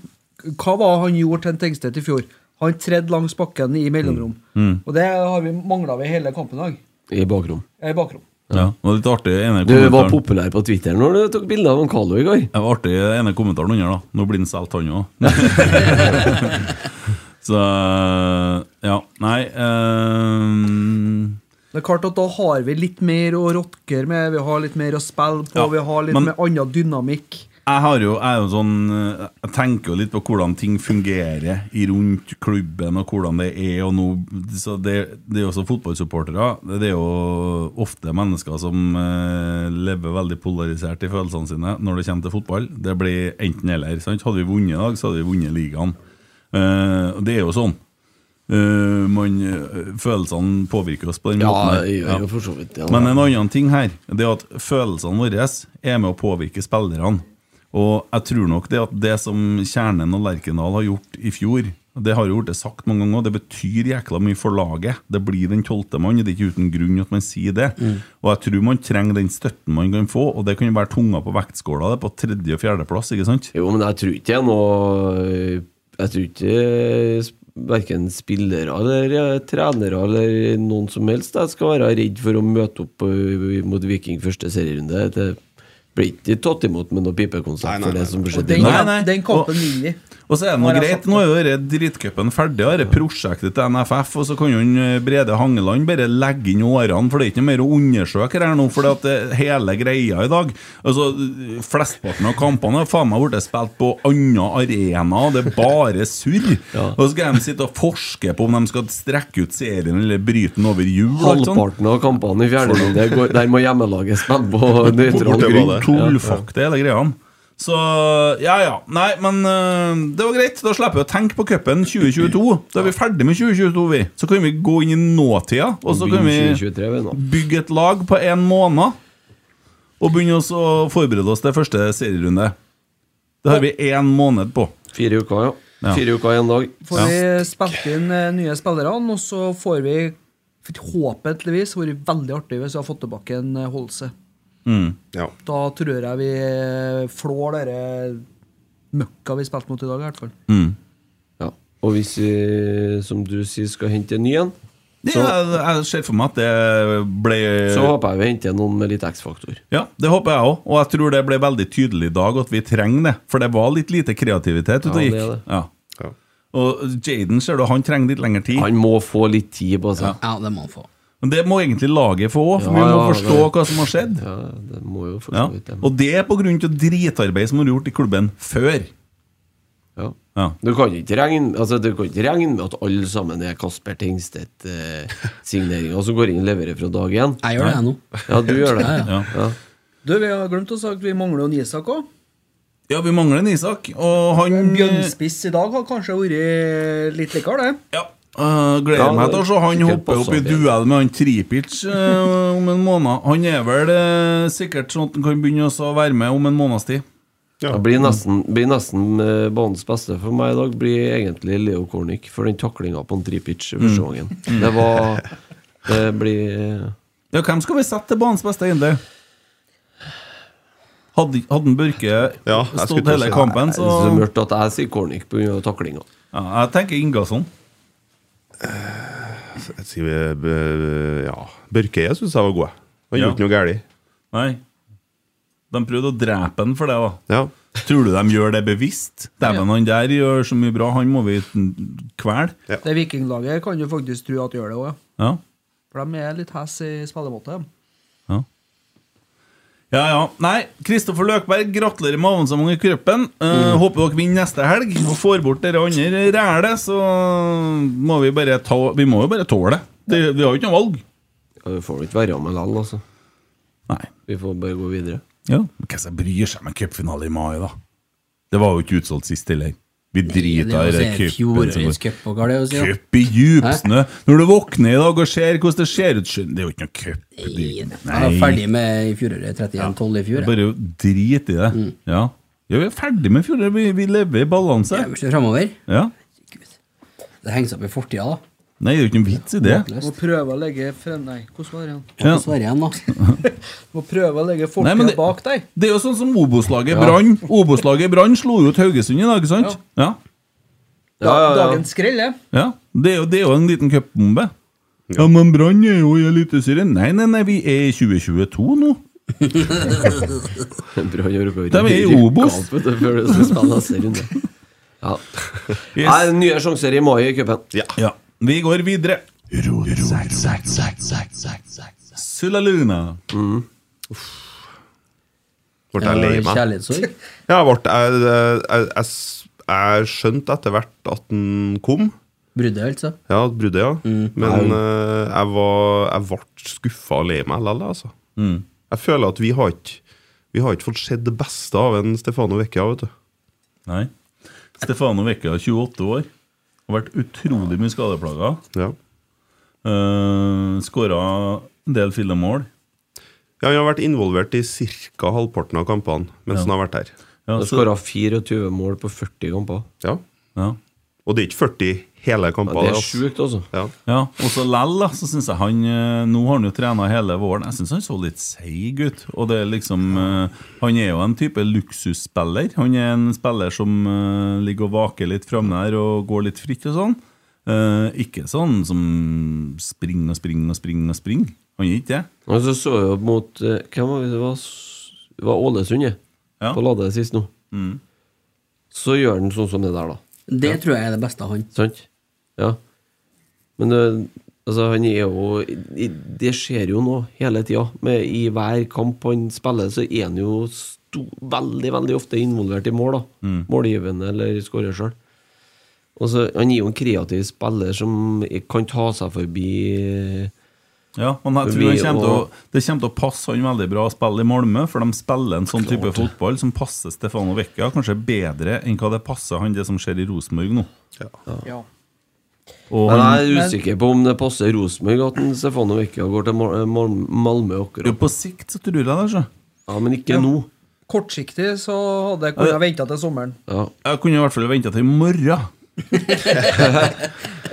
Hva var han gjorde til en Tengstedt i fjor? Han tredde langs bakken i mellomrom.
Mm.
Og det har vi mangla ved hele kampen i dag.
I bakrom.
Eh, bakrom.
ja. Det var litt artig ene
Du var
kommentaren.
populær på Twitter når du tok bilde av en Carlo i går.
Det var artig ene kommentaren under, da. Nå blir han solgt, han òg. Så Ja. Nei eh,
Det er klart at Da har vi litt mer å rokke med, vi har litt mer å spille på,
Ja,
vi har litt
men-
mer annen dynamikk.
Jeg har jo, jeg er jo sånn eh, Jeg tenker jo litt på hvordan ting fungerer i rundt klubben, og hvordan det er. Og nå, så det, det er jo også fotballsupportere. Det er jo ofte mennesker som eh, lever veldig polarisert i følelsene sine når det kommer til fotball. Det blir enten-eller. sant? Hadde vi vunnet i dag, så hadde vi vunnet ligaen. Eh, og det er jo sånn. Eh, man, følelsene påvirker oss på den
Ja,
måten. her.
jeg
Ja.
gjør jo for så vidt ja.
Men en annen ting her Det er at følelsene våre er med å påvirke spillerne Og jeg tror nok det at det som Kjernen og Lerkendal har gjort i fjor Det har jo vært det sagt mange ganger Det betyr jækla mye for laget Det blir den tolte mann Det er ikke uten grunn at man sier det Og jeg tror man trenger den støtten man kan få Og det kan jo være tunga på vektskåla Det er på tredje og fjerde plass, ikke sant?
Jo, men jeg tror ikke jeg nå eh, Jeg tror ikke verken spillere eller eh, trenere eller noen som helst jeg skal være redd for å møte opp eh, mot Viking første serierunde. Det blir ikke tatt imot med noe pipekonsert for det som
Og
skjedde i
den,
Nei,
dag.
nei.
den
Og-
kampen vinner vi.
Og så er det
Nå
noe
har jeg
greit,
sagt
nå er jo dette drittcupen ferdig, og dette prosjektet til NFF, og så kan jo en, eh, Brede Hangeland bare legge inn årene, for det er ikke noe mer å undersøke her nå, for det at det- hele greia i dag Altså, eh, Flesteparten av kampene har faen meg blitt spilt på andre arenaer, og det er bare surr. Og så skal de sitte og forske på om de skal strekke ut serien eller bryte den over jul. og alt sånt.
Halvparten av kampene i fjerde runde går- der må hjemmelaget spille på nøytral grunn.
Bortebane.
Tullfakta, hele greia. Så ja, ja. Nei, men øh, det var greit. Da slipper vi å tenke på cupen 2022. Da er vi ferdig med 2022, vi. Så kan vi gå inn i nåtida, og så kan vi
2023 vi nå.
bygge et lag på en måned. Og begynne oss å forberede oss til første serierunde. Det har vi én måned på.
Fire uker, ja.
Ja.
Fire uker i en dag.
Får vi spilt inn eh, nye spillere, og så får vi forhåpentligvis vært veldig artig hvis vi har fått tilbake en eh, Holse.
Ja.
Da tror jeg vi eh, flår dere møkka vi spilte mot i dag, i hvert fall.
Ja. Og hvis vi, som du sier, skal hente en ny en,
Det,
Så-
jeg, jeg ser for meg at det ble
så
Eh.
håper jeg vi henter noen med litt X-faktor.
Ja, det håper jeg òg, og jeg tror det ble veldig tydelig i dag at vi trenger det. For det var litt lite kreativitet ute og
Ja, det
gikk.
er det.
Ja.
Ja.
Og Jaden ser du, han trenger litt lengre tid.
Han må få litt tid på seg.
Ja, det må han få.
Men det må egentlig laget få òg, for
Ja,
vi må
ja,
forstå
det-
hva som har skjedd.
Ja, det må jo for
Ja.
så vidt det.
Og det er på grunn av dritarbeid som har vært gjort i klubben før.
Ja.
Ja.
Du kan ikke regne altså, du kan ikke regne med at alle sammen er Kasper Tingstedt-signeringer som går inn og leverer fra dag én.
Jeg gjør det, jeg nå.
Ja, du gjør det.
Ja.
Ja.
Du, vi har glemt å sagt vi mangler jo en Isak òg.
ja, vi mangler en Isak, og han
Bjørnspiss i dag har kanskje vært litt likere, det.
Ja. øh, gleder
Ja,
meg til å se han
sikkert
hoppe opp i
passer bedre.
duell med han Tripic øh, om en måned. Han er vel øh, sikkert sånn at han kan begynne også å være med om en måneds tid.
Det blir nesten, blir nesten eh, banens beste for meg i dag, blir egentlig Leo Kornic for den taklinga på en Tripic første
Mm.
gangen. Det var Det blir
Ja, hvem skal vi sette til banens beste, egentlig? Hadde, hadde en Børke
Ja, jeg skulle
stått
til å
hele
si det.
kampen, så
så, så mørkt at jeg sier Kornic pga. taklinga.
ja, Jeg tenker Ingasson.
Jeg sier vi, eh, ja. Børkeie syns jeg var god. Han
Ja.
gjorde ikke noe galt.
Nei. De prøvde å drepe han for det, da.
Ja.
Tror du de gjør det bevisst? Dæven, han der gjør så mye bra, han må vi kvele.
Det vikinglaget kan du faktisk tro at gjør det òg,
Ja.
for de er litt hes i spillemåte. de.
ja. Ja, ja. Nei, Kristoffer Løkberg, gratulerer med avansement i cupen. Eh,
Mm.
Håper dere vinner neste helg og får bort dere andre rælet, så må vi bare ta Vi må jo bare tåle det. det. Vi har jo ikke noe valg.
Ja, Vi får ikke være med likevel, altså.
Nei.
Vi får bare gå videre.
Ja. Men hvem som bryr seg med cupfinale i mai, da? Det var jo ikke utsolgt sist heller. Vi driter i det cupen.
Fjorårets cup, og hva er det å si? da?
Cup i djupsnø! Når du våkner i dag og ser hvordan det ser ut skjønner- Det er jo ikke noe cup.
Jeg
Det-
var ferdig med i fjoråret 31-12 i fjor. jeg.
Bare drit i det. Ja. ja, vi er ferdig med fjoråret. Vi, vi lever i balanse.
Jeg vil se fremover.
Ja.
Det henger seg opp i fortida, da.
Nei, det er jo ikke noen vits i det.
Må prøve å legge frem, nei, hvordan var det igjen?
Ja.
Hva svarer igjen, da?
Må prøve å legge
Nei,
fortida
men det-
bak deg.
Det er jo sånn som Obos-laget Brann. Obos-laget Brann slo jo ut Haugesund i dag, ikke sant? Ja.
Da,
Ja, ja, ja.
Dagens skrell, ja.
ja. Det, er jo, det er jo en liten cupbombe. Ja. men Brann er jo i Eliteserien. Nei, nei, nei, vi er i 2022 nå.
Brann har oppover.
De er i Obos.
Gapet, det føles som spillet neste runde. Ja. Nei, nye sjanser i mai i cupen.
Ja. Vi går videre. Sulaluna.
Ble jeg lei meg?
Kjærlighetssorg.
Ja, jeg, ble, jeg, eh, jeg, jeg, jeg skjønte etter hvert at den kom.
Bruddet, altså.
Ja, bruddet, ja.
Mm.
Men eh, jeg, var, jeg ble skuffa og lei meg likevel, altså.
Mm.
Jeg føler at vi har ikke Vi har ikke fått sett det beste av en Stefano Vecchia, vet du.
Nei. Stefano Vecchia, 28 år. Har vært utrolig mye skadeplaga.
Ja.
Uh, Skåra en del fillemål.
Ja, han har vært involvert i ca. halvparten av kampene mens han har vært her.
Ja,
Han
så,
skåra 24 mål på 40 kamper.
Ja.
ja.
Og det er ikke 40 hele
Ja,
kamper.
det er
altså.
sjukt, altså.
Ja.
Ja, og så lell, da, så syns jeg han eh, Nå har han jo trena hele våren. Jeg syns han så litt seig ut. Og det er liksom eh, Han er jo en type luksusspiller. Han er en spiller som eh, ligger og vaker litt framme der og går litt fritt og sånn. Eh, ikke sånn som springer og springer og springer og springer. Han er ikke det.
Og så så jeg opp mot eh, Hvem var det? Det var, S- det var Ålesund, ja.
Ja.
På Lade sist nå. Så gjør han sånn som det der, da.
Det tror jeg er det beste av han.
Sant? Ja. Men eh, altså, han er jo i- i- Det skjer jo nå hele tida. Med- I hver kamp han spiller, så er han jo sto, veldig, veldig ofte involvert i mål. da Målgivende eller skårer sjøl. Og så, Han er jo en kreativ spiller som kan ta seg forbi eh,
Ja, men jeg
For
tror
vi
han kommer til å,
og-
Det kommer til å passe han veldig bra å spille i Malmö, for de spiller en sånn type fotball som passer Stefano Vecchia kanskje bedre enn hva det passer han det som skjer i Rosenborg nå.
Ja.
Og
Men
han,
jeg er usikker på om det passer Rosenborg at en Stefano Vecchia går til Mal- eh, Mal- Malmö
Jo,
akkurat.
på sikt så tror jeg det. altså. Så.
Ja, men ikke nå.
Kortsiktig så hadde jeg kunnet vente til sommeren.
Ja.
Jeg kunne i hvert fall venta til i morgen.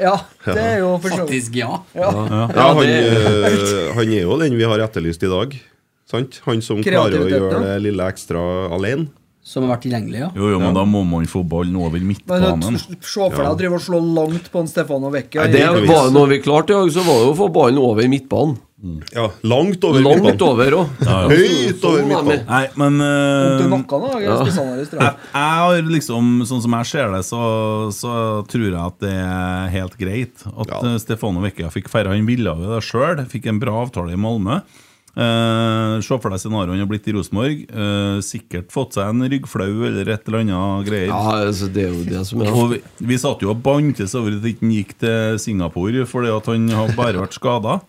Ja, det er jo for så vidt.
Faktisk, ja.
Ja, han,
det-
eh, han er jo den vi har etterlyst i dag. Sant? Han som klarer å
Kreativiteten,
gjøre
ja.
det lille ekstra alene.
Som har vært tilgjengelig, ja.
Jo, jo, men da må man få ballen over
Men å
midtbanen.
t- se for deg å drive og slå langt på en Stefano Vecchia
Nei,
Det
er ikke noe
var
vits.
noe vi klarte i dag, så var det jo å få ballen over midtbanen.
Ja, langt over
Langt
midtbanen.
over òg.
Høyt over midtbanen.
Nei, men eh,
Til nakken, da. Ja.
jeg, jeg har liksom, sånn som jeg ser det, så, så tror jeg at det er helt greit at
Ja.
eh, Stefano Vecchia fikk færre. Han ville jo det sjøl, fikk en bra avtale i Malmö. Eh, Se for deg scenarioet han har blitt i Rosenborg. Eh, sikkert fått seg en ryggflau eller et eller annet greier.
Ja, altså, det er jo det som er
Og vi, vi satt jo og bantes over at han gikk til Singapore fordi at han har bare vært skada.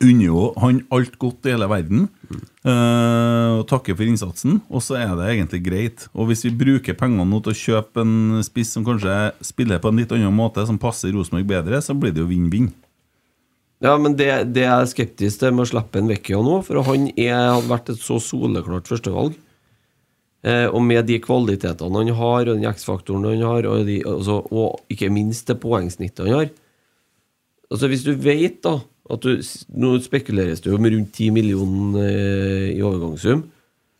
Unner jo han alt godt i hele verden. eh, og takker for innsatsen. Og så er det egentlig greit. Og hvis vi bruker pengene nå til å kjøpe en spiss som kanskje spiller på en litt annen måte, som passer Rosenborg bedre, så blir det jo vinn-vinn.
Ja, men det, det er jeg skeptisk til med å slippe en Vecchia nå, for han er, har vært et så soleklart førstevalg. Eh, og med de kvalitetene han har, og den X-faktoren han har, og, de, altså, og ikke minst det poengsnittet han har Altså Hvis du vet da at du, Nå spekuleres det jo om rundt 10 millioner eh, i overgangssum.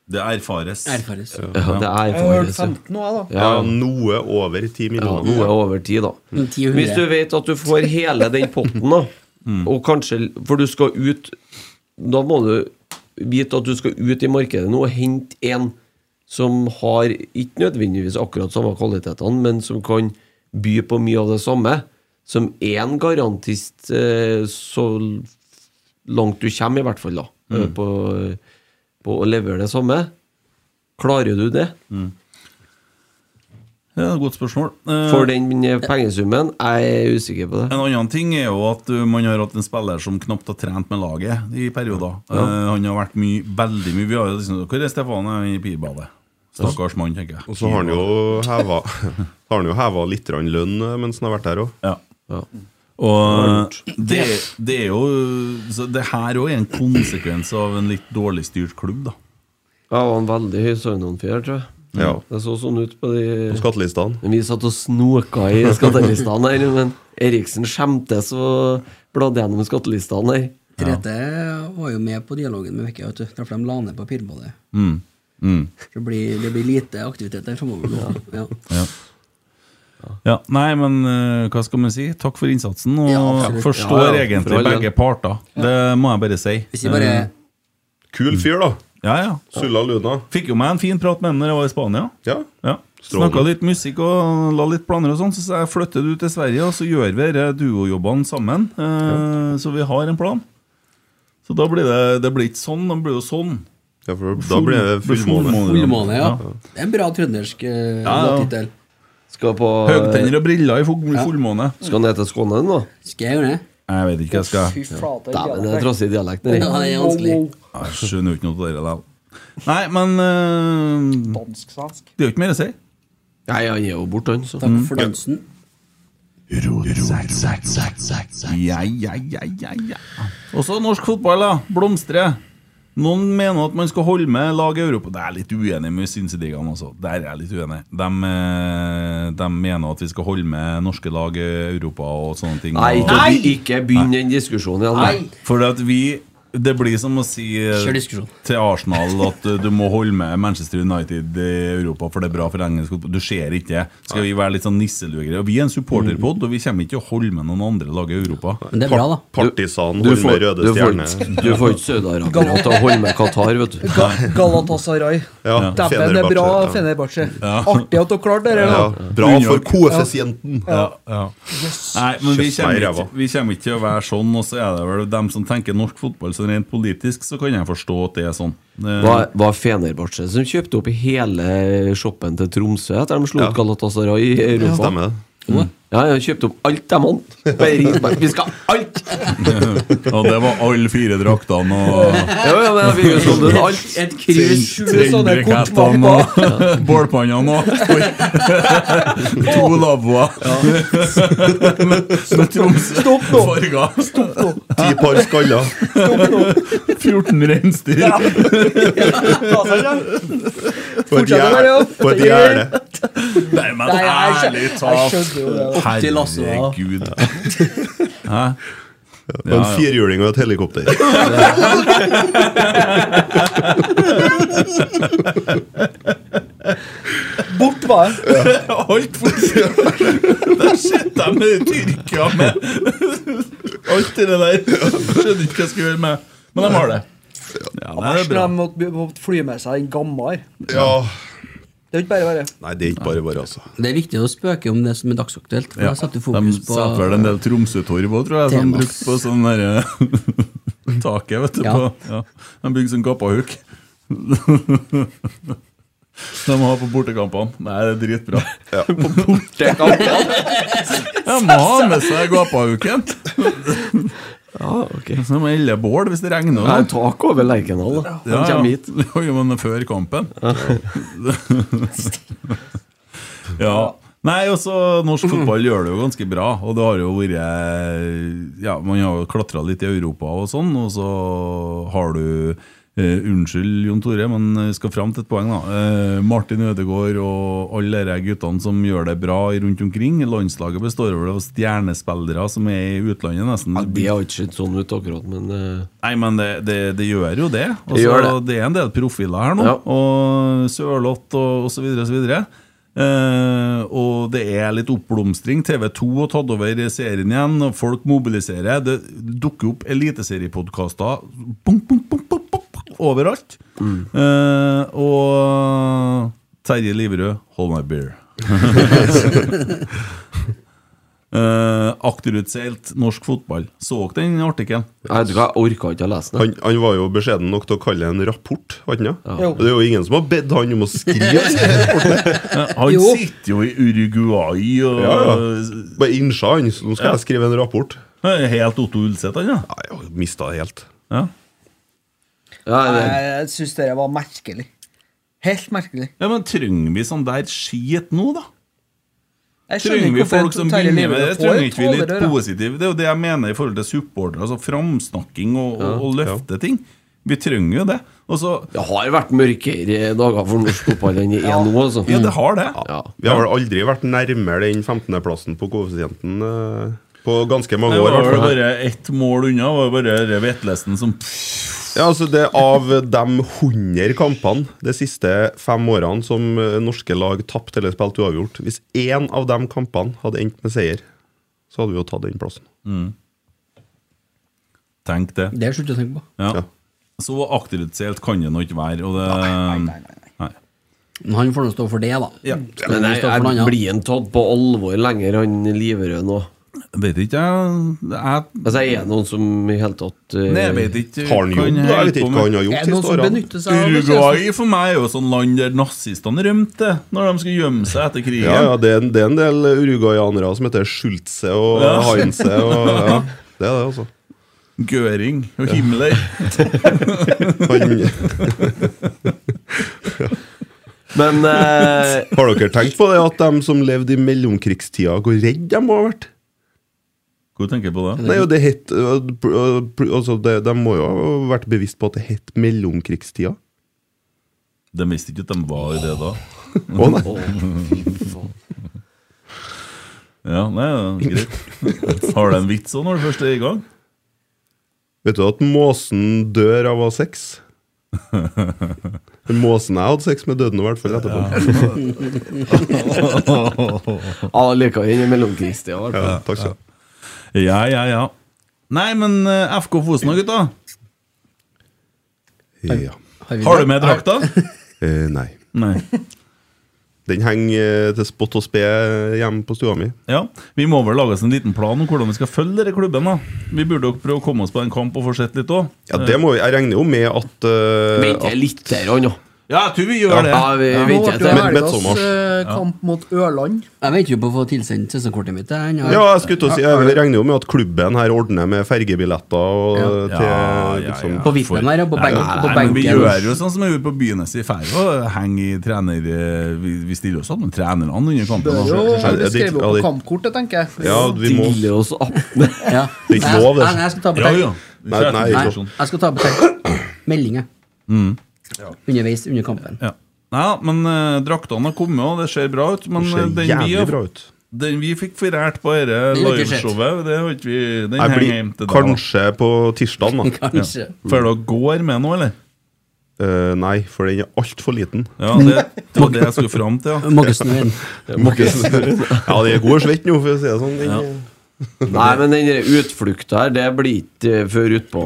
Det erfares.
Erfares.
Ja, det er
Jeg har hørt 15
faktisk
nå, jeg, da.
Ja, noe over 10
ja,
millioner.
noe over 10, da.
Men 10 og
Hvis du
100.
vet at du får hele den potten, da, og kanskje For du skal ut Da må du vite at du skal ut i markedet nå og hente en som har ikke nødvendigvis akkurat samme kvalitetene, men som kan by på mye av det samme. Som er en garantist eh, så langt du kommer, i hvert fall, da. eh, På, på å levere det samme. Klarer du det?
Ja, godt spørsmål. Eh,
For den pengesummen? Jeg er usikker på det.
En annen ting er jo at uh, man har hatt en spiller som knapt har trent med laget eh, i perioder. Eh, han har vært mye, veldig mye Vi har jo liksom Hvor er Stefan Han er i pirbadet? Stakkars mann, tenker jeg.
Og så har han jo heva, har han jo heva litt grann lønn eh, mens han har vært der òg.
Ja. Og det, det er jo så Det her òg er en konsekvens av en litt dårlig styrt klubb, da.
Jeg var en veldig høy søvnanfjær, tror jeg.
Ja.
Det så sånn ut på de
På skattelistene.
Men Vi satt og snoka i skattelistene her, men Eriksen skjemtes og bladde gjennom skattelistene her.
Trete var jo med på dialogen med Vekke. vet du. Traff dem la ned på Pirbadet.
Mm. Mm.
Så det blir, det blir lite aktivitet der framover nå. Ja.
Ja, nei, men eh, hva skal man si? Takk for innsatsen, og
Ja, absolutt.
forstår
Ja, ja, for
egentlig
all del.
begge parter. Det må jeg bare si.
Hvis vi bare
Eh,
Kul fyr, da.
Ja, ja.
Sulla Luna.
Fikk jo meg en fin prat med ham når jeg var i Spania.
Ja.
Ja.
Strålende.
Snakka litt musikk og la litt planer og sånn, så sa jeg flytter du til Sverige, og så gjør vi disse duojobbene sammen. eh, Så vi har en plan. Så da blir det, det blir ikke sånn, det blir jo sånn.
ja for da blir det fullmåne.
Fullmåne, ja. Det er en bra trøndersk eh,
Ja, ja.
låttittel.
Skal på
Høgtenner og briller i full- fullmåne.
Skal ned til Skåne nå?
Skal jeg gjøre det?
Jeg vet ikke hva jeg skal
Fy flate.
Dæven, det
dialekt.
er trassig dialekt.
Ja,
nedi.
det er vanskelig.
Jeg skjønner jo ikke noe av det der. Nei, men eh,
Dansk-svensk.
det er jo ikke mer å si.
Nei, han er jo borte, han. Så.
Takk
Mm.
for dansen.
Ja, ja, ja, ja, ja. Også norsk fotball, da. Blomstrer. Noen mener at man skal holde med lag i Europa. Det er jeg litt uenig med Synseligaen også. Der er jeg litt uenig. De, eh, de mener at vi skal holde med norske lag i Europa og sånne ting.
Nei,
og,
ikke, ikke begynn den diskusjonen igjen. Nei.
For at vi Det blir som å si eh,
Kjør diskusjon.
til Arsenal at eh, du må holde med Manchester United i Europa, for det er bra for engelsk fotball. Du ser ikke det. Skal vi være litt sånn nisselugere? Og Vi er en supporterpod, og vi kommer ikke til å holde med noen andre lag i Europa.
Men det er bra, da.
Partisan
Du
holder med
får,
røde
du får,
stjerne.
ikke- du får ikke Saudi-Arabia til å holde med Qatar, vet du.
Ga Galatasaray.
Ja,
Dæven, det er bra
Fenerbahçe, ja.
Fenerbahçe. Artig at dere klarte det.
Ja,
da.
bra for koeffisienten!
Nei, men vi
Kjeft meg i
kommer,
ræva.
ikke, vi kommer ikke til å være sånn, og så er det vel dem som tenker norsk fotball sånn rent politisk, så kan jeg forstå at det er sånn. Det,
Var, var Fenerbahçe som kjøpte opp hele shoppen til Tromsø etter de slo ut Galatasaray i Europa?
Stemmer det.
Ja, ja, kjøpte opp alt de hadde. Bare ring meg. Vi skal ha alt!
og det var alle fire draktene og
Ja, ja, men vi er jo sånn, det er alt.
Et krus.
Sju sånne
trekkhettene og bålpannene og Oi. To lavvoer med
Stopp nå!
Tromsø-farger.
Ti par skaller.
14 reinsdyr.
På et
Fortsetter med det,
gjerde.
ja.
På et gjerde.
Nei, men
Nei, jeg skjø-
ærlig
jeg
talt.
skjønner jo det.
Opp til lasset, da.
Herregud. Hæ?
På en
Ja, ja.
firhjuling og et helikopter.
Bort var jeg.
Alt for Der sitter jeg med Tyrkia med alt det der. Skjønner ikke hva jeg skal gjøre med Men de har det. Ja, det er
Når
bra.
de måtte, måtte fly med seg den gamle her.
Ja.
Det er jo ikke bare bare.
Nei, det er ikke bare bare, altså.
Det er viktig å spøke om det som er dagsaktuelt. For
Ja.
da setter du
De
fokus på
setter vel en del Tromsø-torv òg, tror jeg, som
Temas.
brukte på sånn derre Taket, vet du.
Ja.
På, ja. De bygde sånn kappahuk. De har på bortekampene. Nei, det er dritbra. De må ha med seg gapahuken.
Ja, ok.
Så de må elde bål hvis det regner. og
Det er
sånt.
tak over Lerkendal, da. Han
Ja, ja.
kommer hit.
Jo, jo, men før kampen. ja. Nei, også norsk fotball gjør det jo ganske bra. Og det har jo vært Ja, man har jo klatra litt i Europa og sånn, og så har du eh, Unnskyld, Jon Tore, men jeg skal fram til et poeng, da. Eh, Martin Ødegaard og alle de guttene som gjør det bra rundt omkring. Landslaget består vel av stjernespillere som er i utlandet, nesten.
Ja, det har ikke sett sånn ut akkurat, men eh,
Nei, men det, det, det gjør jo det. Altså,
gjør
det.
det.
er en del profiler her nå,
Ja.
og Sørloth og, og så videre og så videre. Eh, og det er litt oppblomstring. TV2 har tatt over serien igjen, og folk mobiliserer. Det dukker opp eliteseriepodkaster bunk, bunk, bunk, bunk, bunk, bunk, overalt.
Mm.
Eh, og Terje Liverød, hold my beer. Eh, akterutseilt norsk fotball. Så dere den artikkelen?
jeg vet ikke hva, jeg orka ikke å lese den.
Han, han var jo beskjeden nok til å kalle det en rapport. Var han, ja?
Jo.
Det er jo ingen som har bedt han om å skrive det.
Han
Jo.
sitter jo i Uruguay og
Ja, Bare innsa han, så nå skal jeg skrive en rapport.
Han er Helt Otto Ulseth, han, ja.
Nei, jeg har mista det helt.
ja.
Ja, det,
Jeg syns det var merkelig.
Helt merkelig.
Ja, men trenger vi sånn der skit nå, da?
Jeg skjønner
Trenger vi
ikke hvorfor
folk som
Terje
begynner med
Liverød
det?
får
Trenger ikke vi litt
tålerør, da.
positive? Det er jo det jeg mener i forhold til supportere. Altså framsnakking og, og, og løfte ting. Vi trenger jo det. Og så
Det har vært mørkere dager for norsk fotball enn det er nå, altså.
Ja, det har det.
Ja.
Vi har vel aldri vært nærmere den 15.-plassen på koeffisienten eh, på ganske mange
Det
år. i
var
hvert
vel
fall.
bare ett mål unna. Det var bare det Vetlesen som
Ja, altså det er Av de 100 kampene de siste fem årene som eh, norske lag tapte eller spilte uavgjort Hvis én av de kampene hadde endt med seier, så hadde vi jo tatt den plassen.
Tenk det.
Det er slutt å tenke på.
Ja.
Ja.
Så akkurat kan det nå ikke være. Og det, Nei.
Men han får nå stå for det, da.
Ja.
Skal
Men
han
jeg,
stå for noe
jeg
annet?
blir han tatt på alvor lenger, han Liverød nå?
Vet ikke jeg Jeg,
Altså, er det noen som i hele tatt eh,
nei, jeg vet ikke
Har han
hva han
gjort det? Jeg vet
holder på med.
ikke hva han har
Er
gjort
det noen
siste
som
årene.
benytter seg av det?
Uruguay for meg er jo sånn land der nazistene rømte når de skulle gjemme seg etter krigen.
Ja, ja, det er, en- det er en del uruguayanere som heter Schulze og
Ja.
Heinze. Og, ja. Det er det, altså.
Göring og Himmler.
Han,
Men eh,
har dere tenkt på det at de som levde i mellomkrigstida, hvor redd de må ha vært?
Hva tenker jeg på da?
Nei, og det het, øh, pr- øh, pr- altså det, De må jo ha vært bevisst på at det het mellomkrigstida.
De visste ikke at de var i det da.
Å nei,
Ja, nei, ja, greit Har du en vits òg når du først er i gang?
Vet du at måsen dør av å ha sex? Måsen jeg hadde sex med, døde nå i hvert fall etterpå.
Ja, jeg liker den i mellomkrigstida. i hvert fall.
Ja, takk skal du ha.
Ja, ja, ja. Nei, men eh, FK Fosen og gutta.
Ja.
Har vi
Har
det?
du med drakta?
Eh, nei.
Nei.
Den henger eh, til spott og spe hjemme på stua mi.
Ja, Vi må vel lage oss en liten plan om hvordan vi skal følge denne klubben. da Vi burde jo prøve å komme oss på en kamp og få sett litt òg.
Ja, det må vi, Jeg regner jo med at eh,
Vent jeg litt der òg, nå.
Ja, jeg tror vi gjør det.
Ja, vi
Nå
vet
ble
jeg
det
til.
Men- men
helgas
Thomas.
eh, kamp mot Ørland.
Jeg venter jo på å få tilsendt sesongkortet mitt. jeg. Jeg
Ja,
har-
jeg skulle til å si Jeg regner jo med at klubben her ordner med fergebilletter og eh, til
Ja, ja,
liksom
ja.
På Vitnem her, ja, på, benk, på
Nei, men vi gjør
benken.
jo sånn som vi gjorde på Bynes i Færøy. og Henger i trener eh, Vi, vi stiller oss sammen med trenerne under kampen.
Bør jo
da.
Ja, det-
bli skrevet
ja,
opp
det-
på kampkortet, tenker jeg.
Ja, vi må
Stille oss appene.
Ja.
Det er ikke lov, det.
Nei, nei, jeg skal ta på
Ja,
tenk.
ja.
Nei, nei,
Nei,
sånn.
jeg skal ta på tenk. Melding, jeg. Underveis under kampen.
Mm. Ja. Nei, men eh, draktene har kommet, og det ser bra ut. Men
ser
eh, den vi,
jævlig
har,
bra ut.
den vi fikk forrært på dette
Det har ikke skjedd.
liveshowet, det har ikke vi Den
Jeg
henger
blir
hjem til deg. da.
kanskje på tirsdag, da.
Kanskje.
Føler dere går med nå, eller?
Eh, nei, for den er altfor liten.
Ja, det, det var det jeg skulle fram til. Ja.
Magnussen og en.
Ja, det er god og svett nå, for å si det sånn. Den,
Nei, men den der utflukta her, det blir ikke eh, før utpå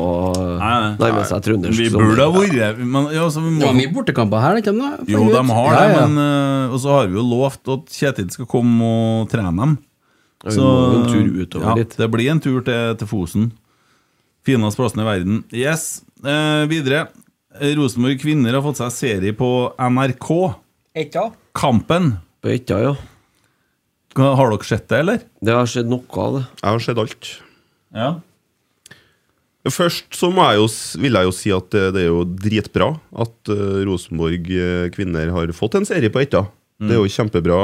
Nei, nei.
nærmer seg trøndersk.
Vi
sommer.
burde ha vært men, ja, så vi
Det
må,
var mye bortekamper her, ikke sant?
Jo, de har det,
ja, ja.
men eh, Og så har vi jo lovt at Kjetil skal komme og trene dem.
Ja, vi må jo en tur utover litt.
Det blir en tur til, til Fosen. Fineste plassen i verden. Yes. Eh, videre. Rosenborg kvinner har fått seg serie på NRK.
Ikke da?
Kampen.
På Etja, ja.
Har dere sett det, eller?
Det har skjedd noe av det.
Jeg har sett alt.
Ja.
Først så må jeg jo, s- vil jeg jo si at det, det er jo dritbra at eh, Rosenborg eh, kvinner har fått en serie på Etta. Det er jo kjempebra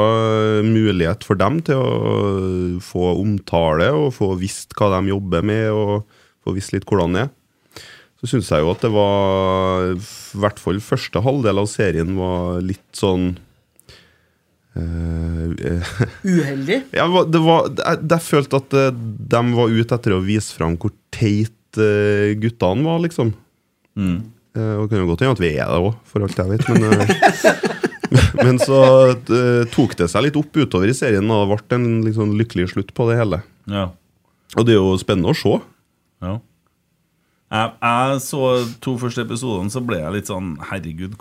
eh, mulighet for dem til å eh, få omtale og få visst hva de jobber med, og få visst litt hvordan det er. Så syns jeg jo at det var I hvert fall første halvdel av serien var litt sånn eh,
Uheldig.
ja, det var, det var, jeg, jeg følte at eh, de var ute etter å vise fram hvor teit eh, guttene var, liksom. Eh, og det kan jo godt hende at vi er det òg, for alt jeg vet. Men, eh, men så eh, tok det seg litt opp utover i serien, og det ble en litt sånn lykkelig slutt på det hele.
ja.
Og det er jo spennende å se.
Ja. Jeg, jeg så to første episodene, så ble jeg litt sånn Herregud,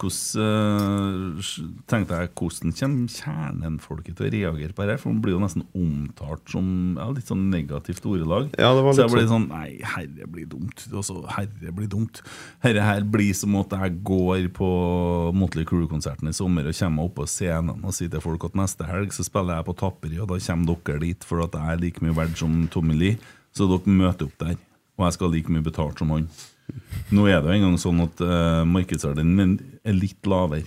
hvordan eh, Tenkte jeg, hvordan kommer kjernenfolket til å reagere på dette? For man blir jo nesten omtalt som ja, litt sånn negativt ordelag.
Ja, det var
så
litt
jeg ble sånn Nei, herre blir dumt. Og så herre blir dumt. Herre her blir som at jeg går på Motley Crew-konserten i sommer og kommer opp på scenen og sier til folk at neste helg så spiller jeg på Tapperi, og da kommer dere dit for at jeg er like mye verdt som Tommy Lee, så dere møter opp der. Og jeg skal ha like mye betalt som eh, han. Nå er det jo engang sånn at uh, markedsverdien min er litt lavere.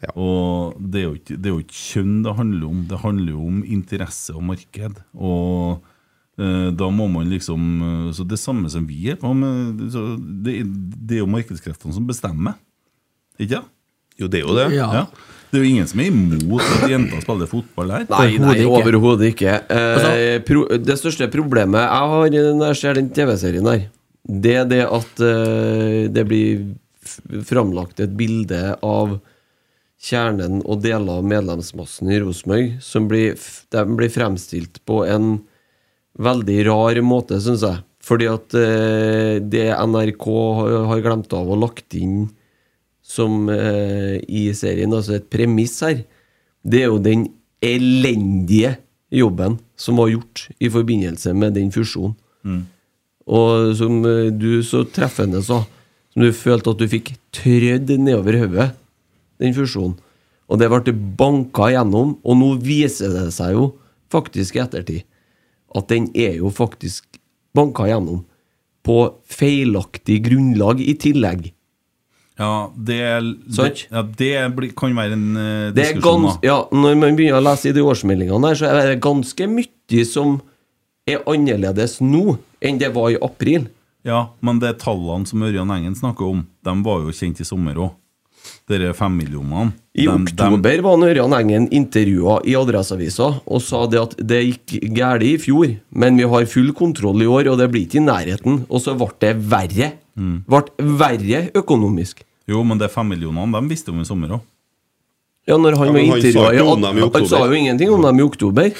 Ja.
Og det er, jo ikke, det er jo ikke kjønn det handler om, det handler jo om interesse og marked. Og eh, da må man liksom eh, Så det er samme som vi er på med så det, det er jo markedskreftene som bestemmer, ikke sant?
Jo, det er jo det.
Ja.
Det er jo ingen som er imot at jenter spiller fotball her.
Nei,
Overhodet
nei,
ikke. Altså-
overhodet ikke. Eh, pro det største problemet jeg har eh, når jeg ser den TV-serien der, det er det at eh, det blir f- framlagt et bilde av kjernen og deler av medlemsmassen i Rosenborg som blir, f- de blir fremstilt på en veldig rar måte, syns jeg. Fordi at eh, det NRK har, har glemt av og lagt inn som eh, i serien, altså et premiss her, det er jo den elendige jobben som var gjort i forbindelse med den fusjonen. Og som eh, du så treffende sa, som du følte at du fikk trødd nedover hodet, den fusjonen. Og det ble banka gjennom, og nå viser det seg jo faktisk i ettertid at den er jo faktisk banka gjennom på feilaktig grunnlag i tillegg.
Ja, det, det,
Sant?
ja, det blir, kan være en eh,
Det er
diskusjon,
gans,
da.
ja, når man begynner å lese i de årsmeldingene, her, så er det ganske mye som er annerledes nå enn det var i april.
Ja, men det er tallene som Ørjan Engen snakker om, de var jo kjent i sommer òg. Dere femmillionene.
I
Dem- dem-
oktober var Ørjan Engen intervjua i Adresseavisa og sa det at det gikk galt i fjor, men vi har full kontroll i år, og det blir ikke i nærheten. Og så ble det verre.
Mm.
Ble verre økonomisk.
Jo, men det er femmillionene, de visste om i sommer òg.
Ja, når han,
Ja,
var
men han sa
intervjua
ikke om dem i
i- Han sa
oktober.
jo ingenting om dem i oktober.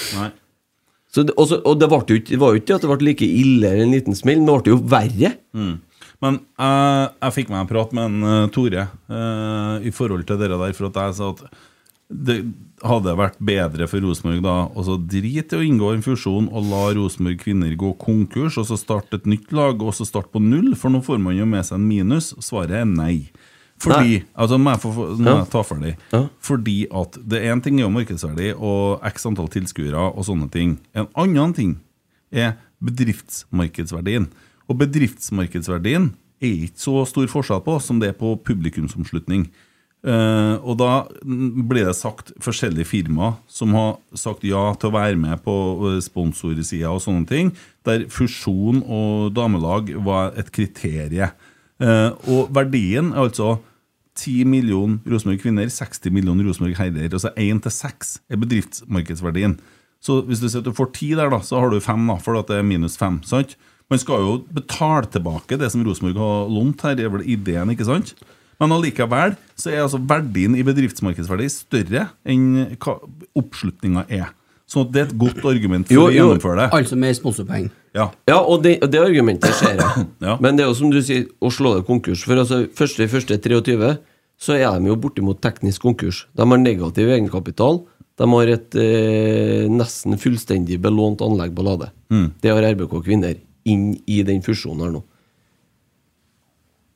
Så det, og så- og det, ble jo ikke, det var jo ikke at det ble like ille eller en liten smell, men det ble jo verre.
Mm. Men eh, jeg fikk meg en prat med en eh, Tore eh, i forhold til dere der, for at jeg sa at det hadde vært bedre for Rosenborg da og så drit i å inngå en fusjon og la Rosenborg kvinner gå konkurs, og så starte et nytt lag, og så starte på null, for nå får man jo med seg en minus. Svaret er nei. Fordi altså må jeg få, få- nå må
Ja.
jeg ta ferdig.
Ja.
Fordi at det er en ting er jo markedsverdi og x antall tilskuere og sånne ting. En annen ting er bedriftsmarkedsverdien. Og bedriftsmarkedsverdien er ikke så stor forskjell på som det er på publikumsomslutning. Eh, og da blir det sagt forskjellige firmaer som har sagt ja til å være med på eh, sponsorsida og sånne ting, der fusjon og damelag var et kriterie. Eh, og verdien er altså 10 millioner Rosenborg kvinner, 60 millioner Rosenborg herrer. Altså 1 til 6 er bedriftsmarkedsverdien. Så hvis du sier at du får 10 der, da, så har du 5, da, for at det er minus 5. sant? Man skal jo betale tilbake det som Rosenborg har lånt her, er vel ideen, ikke sant? Men allikevel så er altså verdien i bedriftsmarkedsverdi større enn hva oppslutninga er. Så det er et godt argument for
Jo,
å
jo.
gjennomføre det.
Altså med sponsorpenger.
Ja.
Ja, og det, og det argumentet ser jeg.
Ja.
Men det er jo som du sier, å slå det konkurs. For altså, første, første 23 så er de jo bortimot teknisk konkurs. De har negativ egenkapital. De har et eh, nesten fullstendig belånt anlegg på Lade. Det har RBK Kvinner inn i den fusjonen her nå.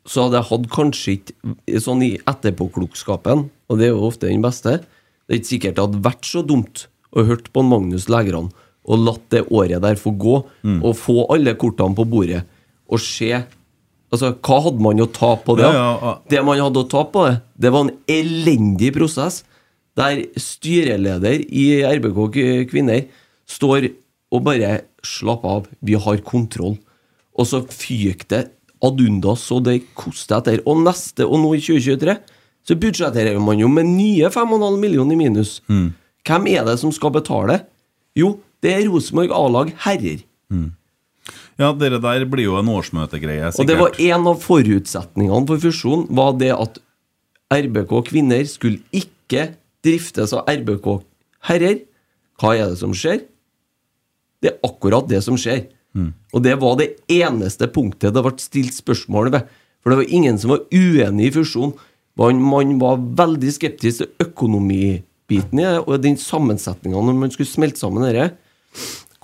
Så hadde jeg hatt kanskje ikke sånn i etterpåklokskapen, og det er jo ofte den beste Det er ikke sikkert det hadde vært så dumt å hørt på en Magnus Lægran og latt det året der få gå,
Mm.
og få alle kortene på bordet, og se Altså, hva hadde man å tape på det?
Ja, ja, ja.
Det man hadde å tape på det, det var en elendig prosess, der styreleder i RBK K- Kvinner står og bare Slapp av, vi har kontroll. Og så fyk det ad undas, og det koster etter. Og neste, og nå i 2023, så budsjetterer man jo med nye 5,5 millioner i minus. Hvem er det som skal betale? Jo, det er Rosenborg A-lag herrer.
ja, dere der blir jo en årsmøtegreie, sikkert.
Og det var en av forutsetningene for fusjonen, var det at RBK kvinner skulle ikke driftes av RBK herrer. Hva er det som skjer? Det er akkurat det som skjer. Og det var det eneste punktet det ble stilt spørsmål ved. For det var ingen som var uenig i fusjonen. Man, man var veldig skeptisk til økonomibiten i det, og den sammensetninga når man skulle smelte sammen dette.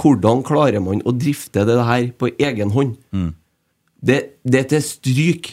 Hvordan klarer man å drifte det her på egen hånd? Det, det er til stryk.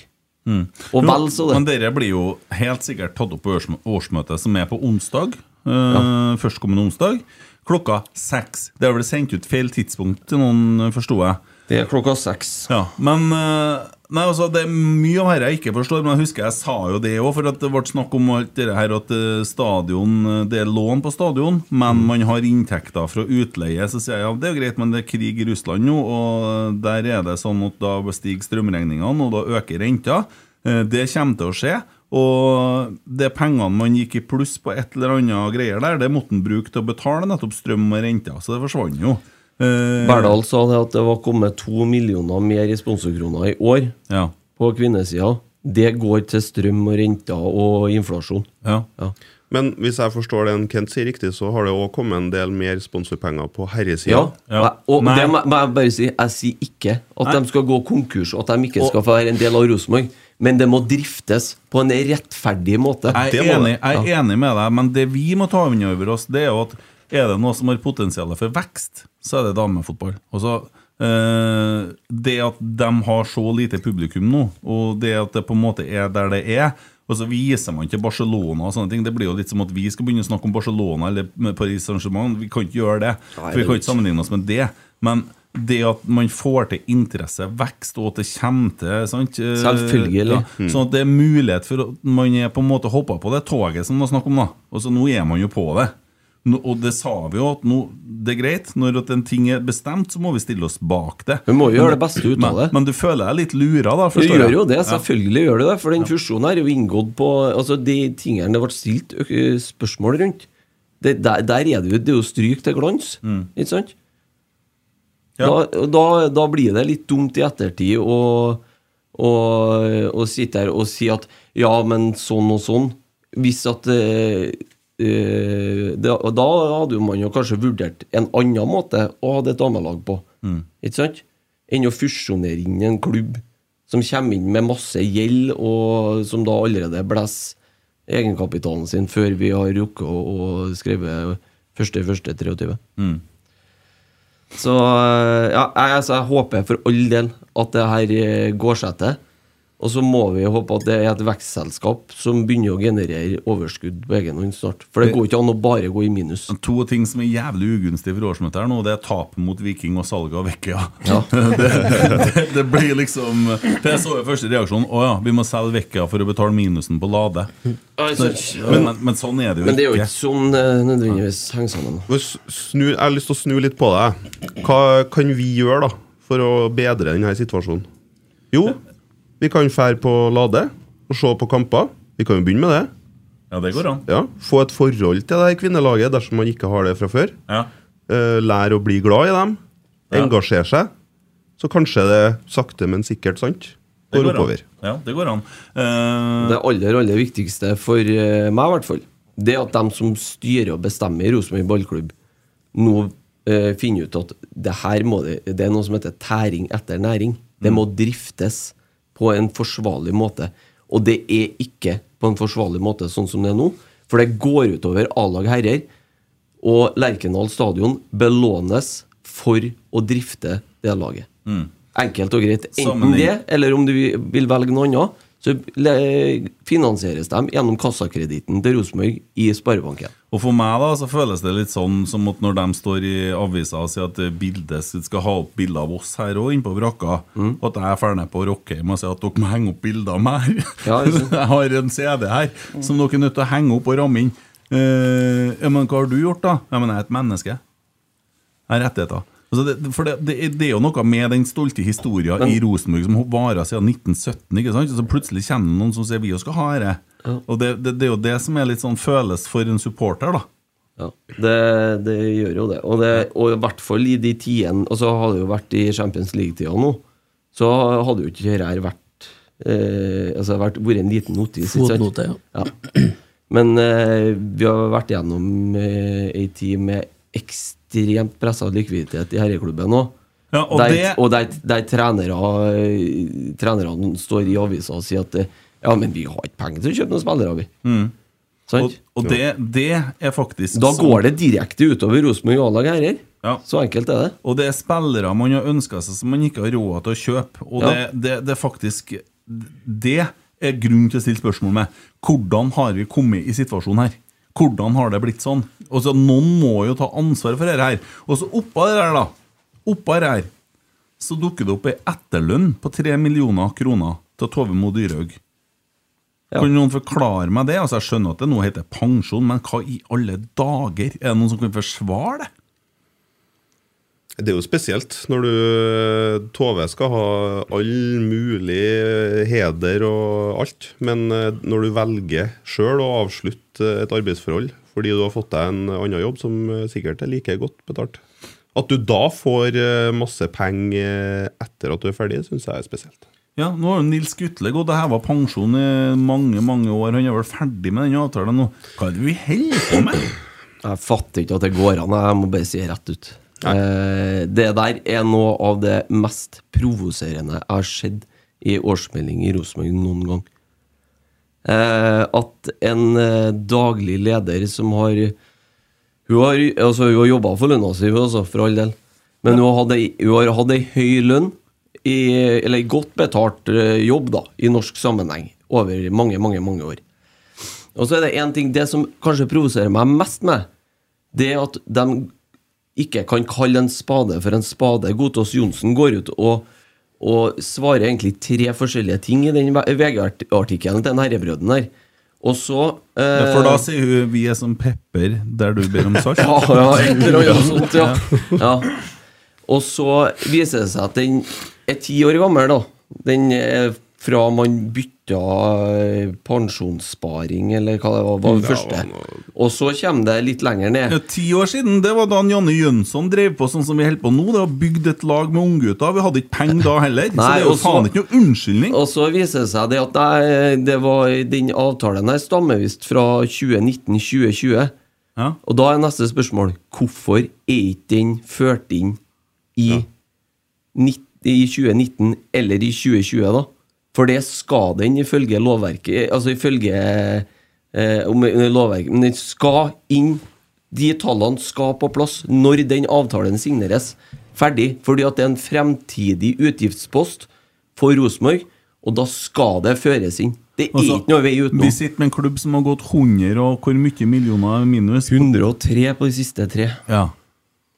Og
Jo,
vel så det.
Men dere blir jo helt sikkert tatt opp på årsmø- årsmøtet som er på onsdag. eh, Førstkommende onsdag. Klokka seks. Det er vel sendt ut feil tidspunkt til noen, eh, forsto jeg.
Det er klokka seks.
Ja, Men eh, Nei, altså, det er Mye av dette jeg ikke forstår, men jeg husker jeg sa jo det òg. For at det ble snakk om alt det her at eh, stadion, eh, det er lån på stadion, men man har inntekter fra utleie. Så sier jeg ja, det er jo greit, men det er krig i Russland nå, og eh, der er det sånn at da stiger strømregningene, og da øker renta. Eh, Det kommer til å skje. Og det pengene man gikk i pluss på et eller annet greier der, det måtte man bruke til å betale nettopp strøm og renter. Så det forsvant jo. Eh,
Berdal sa det at det var kommet to millioner mer i sponsorkroner i år
Ja,
på kvinnesida. Det går til strøm og renter og inflasjon.
ja.
Ja.
Men hvis jeg forstår det en Kent sier riktig, så har det òg kommet en del mer sponsorpenger på herresida.
Ja.
Ja.
Og
Nei.
det må må jeg bare si, jeg sier ikke at de skal gå konkurs, og at de ikke skal få være en del av Rosenborg, men det må driftes på en rettferdig måte.
Jeg
Det
er,
må
enig,
det.
jeg er enig med deg, men det vi må ta inn over oss, det er jo at er det noe som har potensial for vekst, så er det damefotball. Og så, eh, det at de har så lite publikum nå, og det at det på en måte er der det er og så viser man til Barcelona og sånne ting. Det blir jo litt som at vi skal begynne å snakke om Barcelona eller Paris Saint-Germain. Vi kan ikke gjøre det. for vi kan ikke sammenligne oss med det. Men det at man får til interesse, vekst, og at det kommer til sant? eh,
Selvfølgelig.
Ja, Sånn at det er mulighet for at man er på en måte hoppa på det toget som det var snakk om, da. Og så nå er man jo på det. Nå, og det sa vi jo, at nå, det er greit. Når at en ting er bestemt, så må vi stille oss bak det.
Vi må jo
Men-
gjøre det beste ut
men,
av det.
Men du føler deg litt lura, da?
Du
Forstår
gjør
jeg.
jo det, selvfølgelig gjør du det. For den fusjonen her er jo inngått på Altså, de tingene det ble stilt ø- spørsmål rundt det, der, der er det jo Det er jo stryk til glans,
Mm.
ikke sant?
Ja.
Da, da, da blir det litt dumt i ettertid å, å, å sitte her og si at ja, men sånn og sånn. Hvis at eh, eh, det, og Da hadde jo man jo kanskje vurdert en annen måte å ha det et damelag på. Ikke sant? Enn å fusjonere inn en klubb som kommer inn med masse gjeld, og som da allerede blåser egenkapitalen sin før vi har rukket å å skrive 1.1.23. Så eh, ja, jeg, altså, jeg håper for all del at det her eh, går seg til. Og så må vi håpe at det er et vekstselskap som begynner å generere overskudd på egen hånd snart. For det går ikke an å bare gå i minus.
To ting som er jævlig ugunstig for årsmøtet her nå, det er tap mot Viking og salget av Vekkøya. det, det, det blir liksom For jeg så jo første reaksjon Å ja, vi må selge Vekkøya for å betale minusen på Lade. Men, men, men sånn er det jo
Men det er jo
ikke.
ikke sånn eh, nødvendigvis henger sammen. da.
Nå s- Snu, jeg har lyst til å snu litt på deg. Hva kan vi gjøre da, for å bedre denne situasjonen? Jo, vi kan fære på Lade og se på kamper. Vi kan jo begynne med det.
Ja, det går an.
Ja, Få et forhold til det her kvinnelaget dersom man ikke har det fra før.
Ja.
Eh, Lære å bli glad i dem.
Ja.
Engasjere seg. Så kanskje det sakte, men sikkert sant
Det
går
går an.
oppover.
Ja, det går an. Eh,
Det aller, aller viktigste for eh, meg, i hvert fall, det er at de som styrer og bestemmer i Rosenborg ballklubb, nå eh, finner ut at det her må det, det er noe som heter tæring etter næring. Det må driftes på en forsvarlig måte. Og det er ikke på en forsvarlig måte sånn som det er nå, for det går utover A-lag herrer. Og Lerkendal stadion belånes for å drifte det laget. Enkelt og greit. Enten
Sammenheng.
det, eller om du vil velge noe annet, så le- finansieres de gjennom kassakreditten til Rosenborg i Sparebanken.
Og for meg da, så føles det litt sånn som at når de står i avisa og sier at det bildes, skal ha opp bilder av oss her òg, inne på brakka,
Mm.
og at jeg er ferdig på Rockheim og sier at dere må henge opp bilder av meg her.
Ja, ikke sant.
jeg har en CD her som dere er nødt til å henge opp og ramme inn. Eh, ja, men hva har du gjort, da? Ja, men jeg er et menneske. Jeg har rettigheter. Altså det, for det, det, er- det er jo noe med den stolte historien i Rosenborg som varer siden 1917. ikke sant? Så plutselig kommer det noen som sier vi jo skal ha dette. Og det, det, det er jo det som er litt sånn føles for en supporter, da.
Ja, det, det gjør jo det. Og, det. og i hvert fall i de tidene Og så har det jo vært i Champions League-tida nå, så hadde jo ikke dette her vært eh, Altså det har vært, vært en liten notis. ikke sant?
Fotnote, ja.
Ja. Men eh, vi har vært gjennom eh, ei tid med ekstremt pressa likviditet i herreklubben òg.
Ja, og
der,
det-
og der, der trenere, eh, trenerne står i avisa og sier at eh, ja, men vi har ikke penger til å kjøpe noen spillere, vi.
Mm. Og,
Sant?
og det, det er faktisk
Da
sånn.
går det direkte utover Rosenborg og A-lag herrer.
Ja.
Så enkelt er det.
Og det er spillere man har ønska seg som man ikke har råd til å kjøpe. Og
Ja.
det, det, det er faktisk Det er grunn til å stille spørsmål med. Hvordan har vi kommet i situasjonen her? Hvordan har det blitt sånn? Og så Noen må jo ta ansvar for dette her. Og så oppå det der, da. Oppå det her. så dukker det opp ei etterlønn på 3 millioner kroner til Tove Mo Dyrhaug.
Ja.
Kan noen forklare meg det? Altså, Jeg skjønner at det nå heter pensjon, men hva i alle dager? Er det noen som kan forsvare det?
Det er jo spesielt når du Tove skal ha all mulig heder og alt, men eh, når du velger sjøl å avslutte et arbeidsforhold fordi du har fått deg en annen jobb som eh, sikkert er like godt betalt At du da får eh, masse penger etter at du er ferdig, syns jeg er spesielt.
Ja, nå har jo Nils Gutle gått og heva pensjon i mange mange år. Han er vel ferdig med den avtalen nå. Hva er det vi holder på med?
Eh. Jeg fatter ikke at det går an. Jeg må bare si det rett ut. Eh, det der er noe av det mest provoserende jeg har sett i årsmelding i Rosenborg noen gang. Eh, at en eh, daglig leder som har Hun har, altså, hun har jobba for lønna si, hun, altså, for all del. Men hun, har hatt ei- hun har hatt ei høy lønn, i, eller ei godt betalt eh, jobb, da, i norsk sammenheng, over mange, mange, mange år. Og så er det en ting Det som kanskje provoserer meg mest med, det er at de ikke kan kalle en spade for en spade. Godtaas Johnsen går ut og, og svarer egentlig tre forskjellige ting i den VG-artikkelen til den herrebrøden her. Og så eh,
For da sier hun 'vi er som pepper der du ber om salt'.
ja, ja, et eller annet
sånn.
sånt, ja. ja. Og så viser det seg at den er ti år gammel, da. Den er fra man bytta eh, pensjonssparing, eller hva det var, var det første. Og så kommer det litt lenger ned.
Ja, ti år siden, det var da han Janne Jønsson drev på sånn som vi holder på nå. Det var bygd et lag med unggutter. Vi hadde ikke penger da heller. så
Nei,
det er jo
og så-
faen ikke noe unnskyldning.
Og så viser det seg det at nei, det var, den avtalen her stammer visst fra 2019-2020.
Ja.
Og da er neste spørsmål Hvorfor er ikke den ført inn i, 19, i 2019 eller i 2020 da? For det skal den ifølge lovverket Altså ifølge eh, om, eh, lovverket Men den skal inn De tallene skal på plass Når den avtalen signeres Ferdig, fordi at det er en fremtidig utgiftspost For Rosenborg Og da skal det føres inn Det er
Altså,
ikke noe vei
Vi
utenom
sitter med en klubb som har gått 100 og hvor mye millioner er minus.
103 på de siste tre
Ja.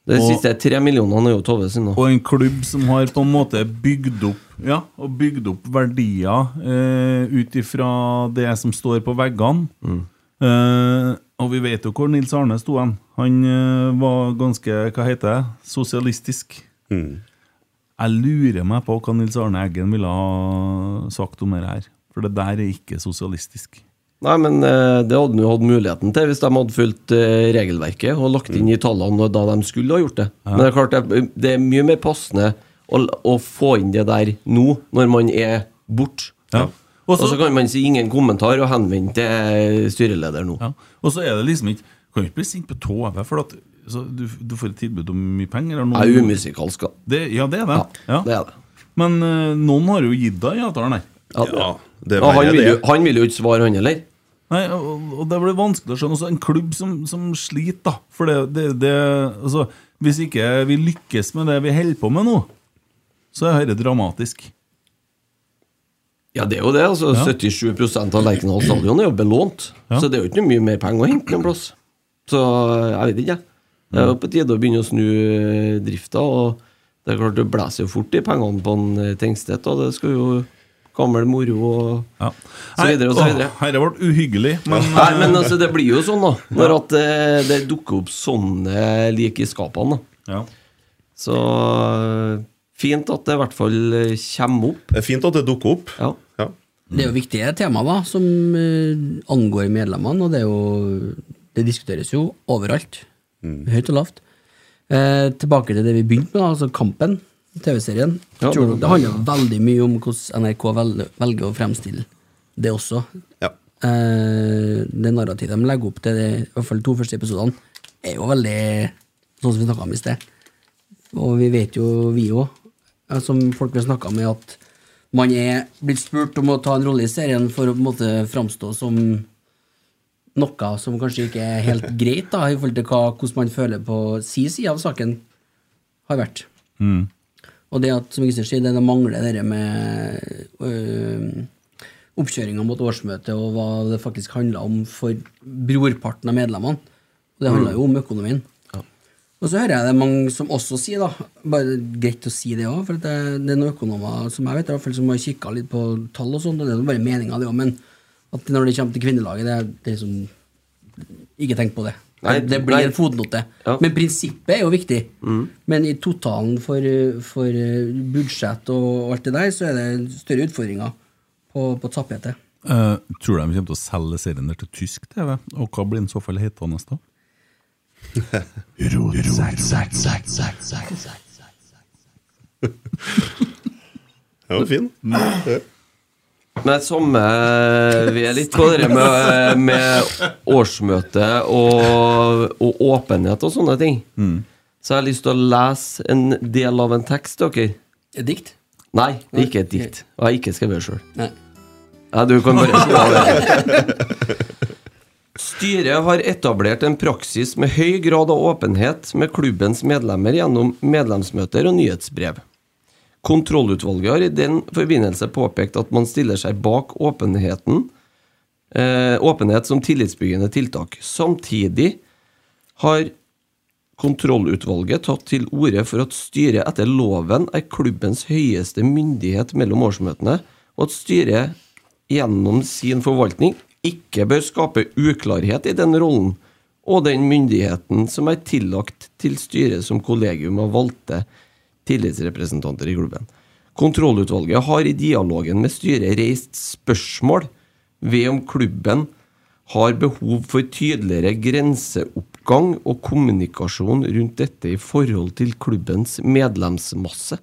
De
Og-
siste tre millionene er jo Tove sin da
Og en klubb som har på en måte bygd opp Ja, og bygd opp verdier eh, ut ifra det som står på veggene.
Mm.
Eh, og vi vet jo hvor Nils Arne sto hen. Han eh, var ganske, hva heter det, sosialistisk.
Mm.
Jeg lurer meg på hva Nils Arne Eggen ville ha sagt om det her. For det der er ikke sosialistisk.
Nei, men eh, det hadde de jo hatt muligheten til hvis de hadde fulgt eh, regelverket og lagt inn i tallene da de skulle ha gjort det. Men det er klart, det, det er mye mer passende å, å få inn det der nå, når man er borte.
Ja.
Og
Også-
så kan man si ingen kommentar og henvende til eh, styreleder nå.
Ja. Og så er det liksom ikke Kan jo ikke bli sint på Tove, for at, så du, du får et tilbud om mye penger. eller noen-
Jeg er umusikalsk, da.
Det, ja, det er det.
Ja,
Ja.
det er det.
Men eh, noen har jo gitt deg i avtalen her.
Ja, det-
det er
Ja, han,
verre
vil jo,
det.
han vil jo ikke svare, han heller.
Nei, og, og det blir vanskelig å skjønne. Også en klubb som, som sliter, da. For det, det, det altså, Hvis ikke vi lykkes med det vi holder på med nå, så er dette dramatisk.
Ja, det er jo det. altså 77 av Lerkendal stadion er jo belånt.
Ja.
Så det er jo ikke noe mye mer penger å hente noen plass. Så jeg vet ikke, jeg. Det
Mm.
er jo på tide å begynne å snu eh, drifta. Og det er klart det blåser jo fort i pengene på en eh, Tengstedt, og det skal jo gammel moro og
Ja.
så videre og så videre.
Dette ble uhyggelig, men
Nei, men altså, det blir jo sånn, da. Når at eh, det dukker opp sånne lik i skapene, da.
eh, ja.
Så eh, fint at det i hvert fall eh, kommer opp.
Det er fint at det dukker opp.
Ja.
Ja.
Det er jo viktige tema da, som eh, angår medlemmene, og det, er jo, det diskuteres jo overalt.
Mm.
Høyt og lavt. Eh, tilbake til det vi begynte med, da, altså Kampen, TV-serien.
Ja,
Tror
det-
du- det handler jo veldig mye om hvordan NRK vel- velger å fremstille det også.
Ja.
Eh, det narrativet de legger opp til, det, i hvert fall de to første episodene, er jo veldig sånn som vi snakka om i sted. Og vi vet jo, vi òg, som folk vi har snakka med, at man er blitt spurt om å ta en rolle i serien for å på en måte framstå som noe som kanskje ikke er helt greit, da, i forhold til hva, hvordan man føler på si side av saken har vært. Og det at, som Kristian sier, det, det mangler det der med øh, oppkjøringa mot årsmøtet og hva det
Mm.
faktisk handla om for brorparten av medlemmene. Og det handla jo om økonomien. Og så hører jeg det er mange som også sier, da, bare greit å si det òg, for at det, det er noen økonomer som jeg vet, i hvert fall som har kikka litt på tall og sånn, og det er jo bare meninga, det òg, men at når det kommer til kvinnelaget, det er, det er liksom Ikke tenk på det.
Nei,
det blir
nei.
en fotnote.
Ja.
Men prinsippet er jo viktig. Men i totalen for, for eh, budsjett og alt det der, så er det større utfordringer på, på tapetet.
Eh, tror du de kommer til å selge serien der til tysk TV? Og hva blir den i så fall hetende da?
Den var fin. Ja.
Men det samme eh, Vi er litt på det der med, eh, med årsmøte og, og åpenhet og sånne ting. Så jeg har lyst til å lese en del av en tekst, dere.
Et dikt?
Nei, det er ikke et dikt. Og jeg har ikke skrevet det sjøl.
Nei.
Ja, du kan bare Styret har etablert en praksis med høy grad av åpenhet med klubbens medlemmer gjennom medlemsmøter og nyhetsbrev. Kontrollutvalget har i den forbindelse påpekt at man stiller seg bak åpenheten, eh, åpenhet som tillitsbyggende tiltak. Samtidig har kontrollutvalget tatt til orde for at styret etter loven er klubbens høyeste myndighet mellom årsmøtene, og at styret gjennom sin forvaltning ikke bør skape uklarhet i den rollen og den myndigheten som er tillagt til styret som kollegium av valgte tillitsrepresentanter i klubben. Kontrollutvalget har i dialogen med styret reist spørsmål ved om klubben har behov for tydeligere grenseoppgang og kommunikasjon rundt dette i forhold til klubbens medlemsmasse.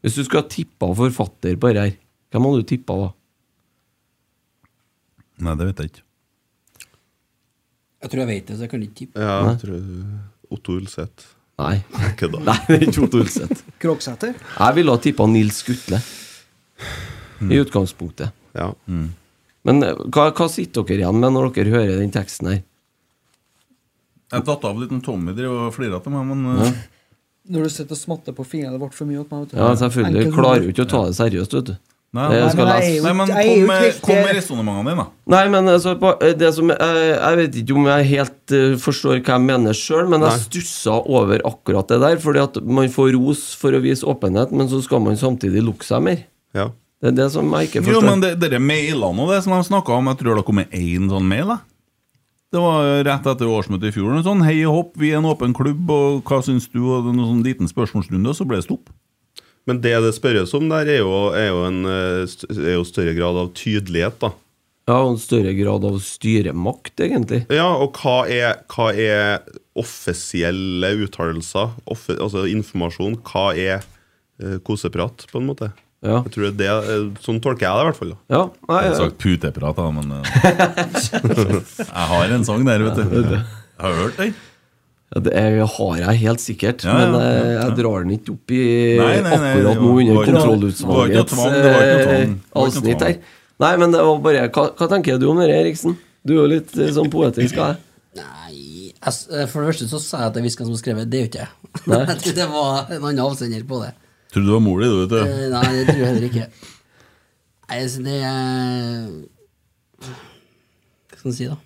Hvis du skulle ha tippa forfatter bare her, hvem hadde du tippa da?
Nei, det vet jeg ikke.
Jeg tror jeg vet det, så jeg kan ikke tippe.
Ja, jeg tror Otto Ulseth.
Nei,
Kødda.
Nei det er ikke Otto Ulseth.
Kroksæter.
Jeg ville ha tippa Nils Skutle. I utgangspunktet.
Ja.
Men eh, hva, hva sitter dere igjen med når dere hører den teksten her?
Jeg tatt av litt når Tommy drev og flira til meg, men eh,
Når du sitter og smatter på fingrene, det ble for mye åt meg. vet du.
Ja, selvfølgelig.
Enkelt-
Klarer jo ikke å ta det seriøst, vet du.
Nei,
Det jeg
nei,
skal
Nei,
lese.
men jeg er jo
nei,
ikke-
men
jeg er jo ikke
kom med,
helt-
kom med resonnementene dine, da.
Nei, men altså, på- det som, jeg, jeg vet ikke om jeg helt eh, forstår hva jeg mener sjøl, men jeg stussa over akkurat det der. Fordi at man får ros for å vise åpenhet, men så skal man samtidig lukke seg mer.
ja.
Det er det som jeg ikke
Jo,
forstår.
men det, dere mailene og det som de snakka om, jeg tror det kom med én sånn mail. da Det var rett etter årsmøtet i fjor. En sånn hei og hopp, vi er en åpen klubb, og hva syns du? Og det var noen sånn liten spørsmålsrunde, og så ble det stopp.
Men det det spørres om der, er jo, er jo en eh, st- er jo større grad av tydelighet, da.
Ja, og en større grad av styremakt, egentlig.
Ja, og hva er, hva er offisielle uttalelser, offe, altså informasjon? Hva er eh, koseprat, på en måte?
Ja.
Jeg tror det er det, eh, Sånn tolker jeg det, i hvert fall. da.
Ja, nei,
Jeg har
ja.
sagt puteprat, da, men eh, Jeg har en sang der, vet du. Jeg har hørt den.
det er, har jeg helt sikkert.
Ja, ja,
men eh,
ja, ja.
jeg drar den ikke opp i
Nei, nei, nei, det
akkurat nå
var- var ikke-
under
det var ikke
kontrollutvalgets
tvang, det var ikke
eh,
tvang. Det var ikke
avsnitt
tvang.
her. Nei, men det var bare Hva, hva tenker du om det, Eriksen? Du er jo litt eh, sånn poetisk av deg.
Nei jeg, s- For det første så sa jeg at det er Viskan som har skrevet, det er jo ikke jeg.
Nei.
Jeg tror det var en annen avsender på det.
Tror du det var mor di, du, vet du.
Eh, Nei, det tror jeg heller ikke. Nei, altså, det er Hva skal en si, da?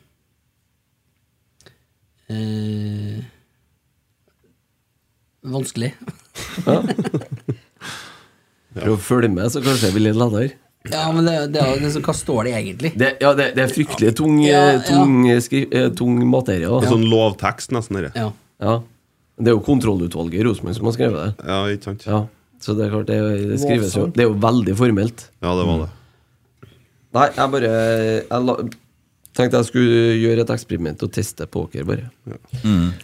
Eh, vanskelig.
Prøv å følge med, så kanskje jeg blir litt lettere.
Ja, men det, det, er jo liksom, hva står det egentlig?
Det, ja, det, det er fryktelig tung, eh,
Ja, ja.
tung, eh, skri, eh, tung materie.
Det
Da.
er sånn lovtekst, nesten. Dette.
Ja.
Ja. Det er jo kontrollutvalget i Rosenborg som har skrevet det.
Ja, ikke sant?
Ja. Så det er klart, det, det skrives jo Det er jo veldig formelt.
Ja, det var det.
Mm. Nei, jeg bare Jeg la, tenkte jeg skulle gjøre et eksperiment og teste på dere, bare.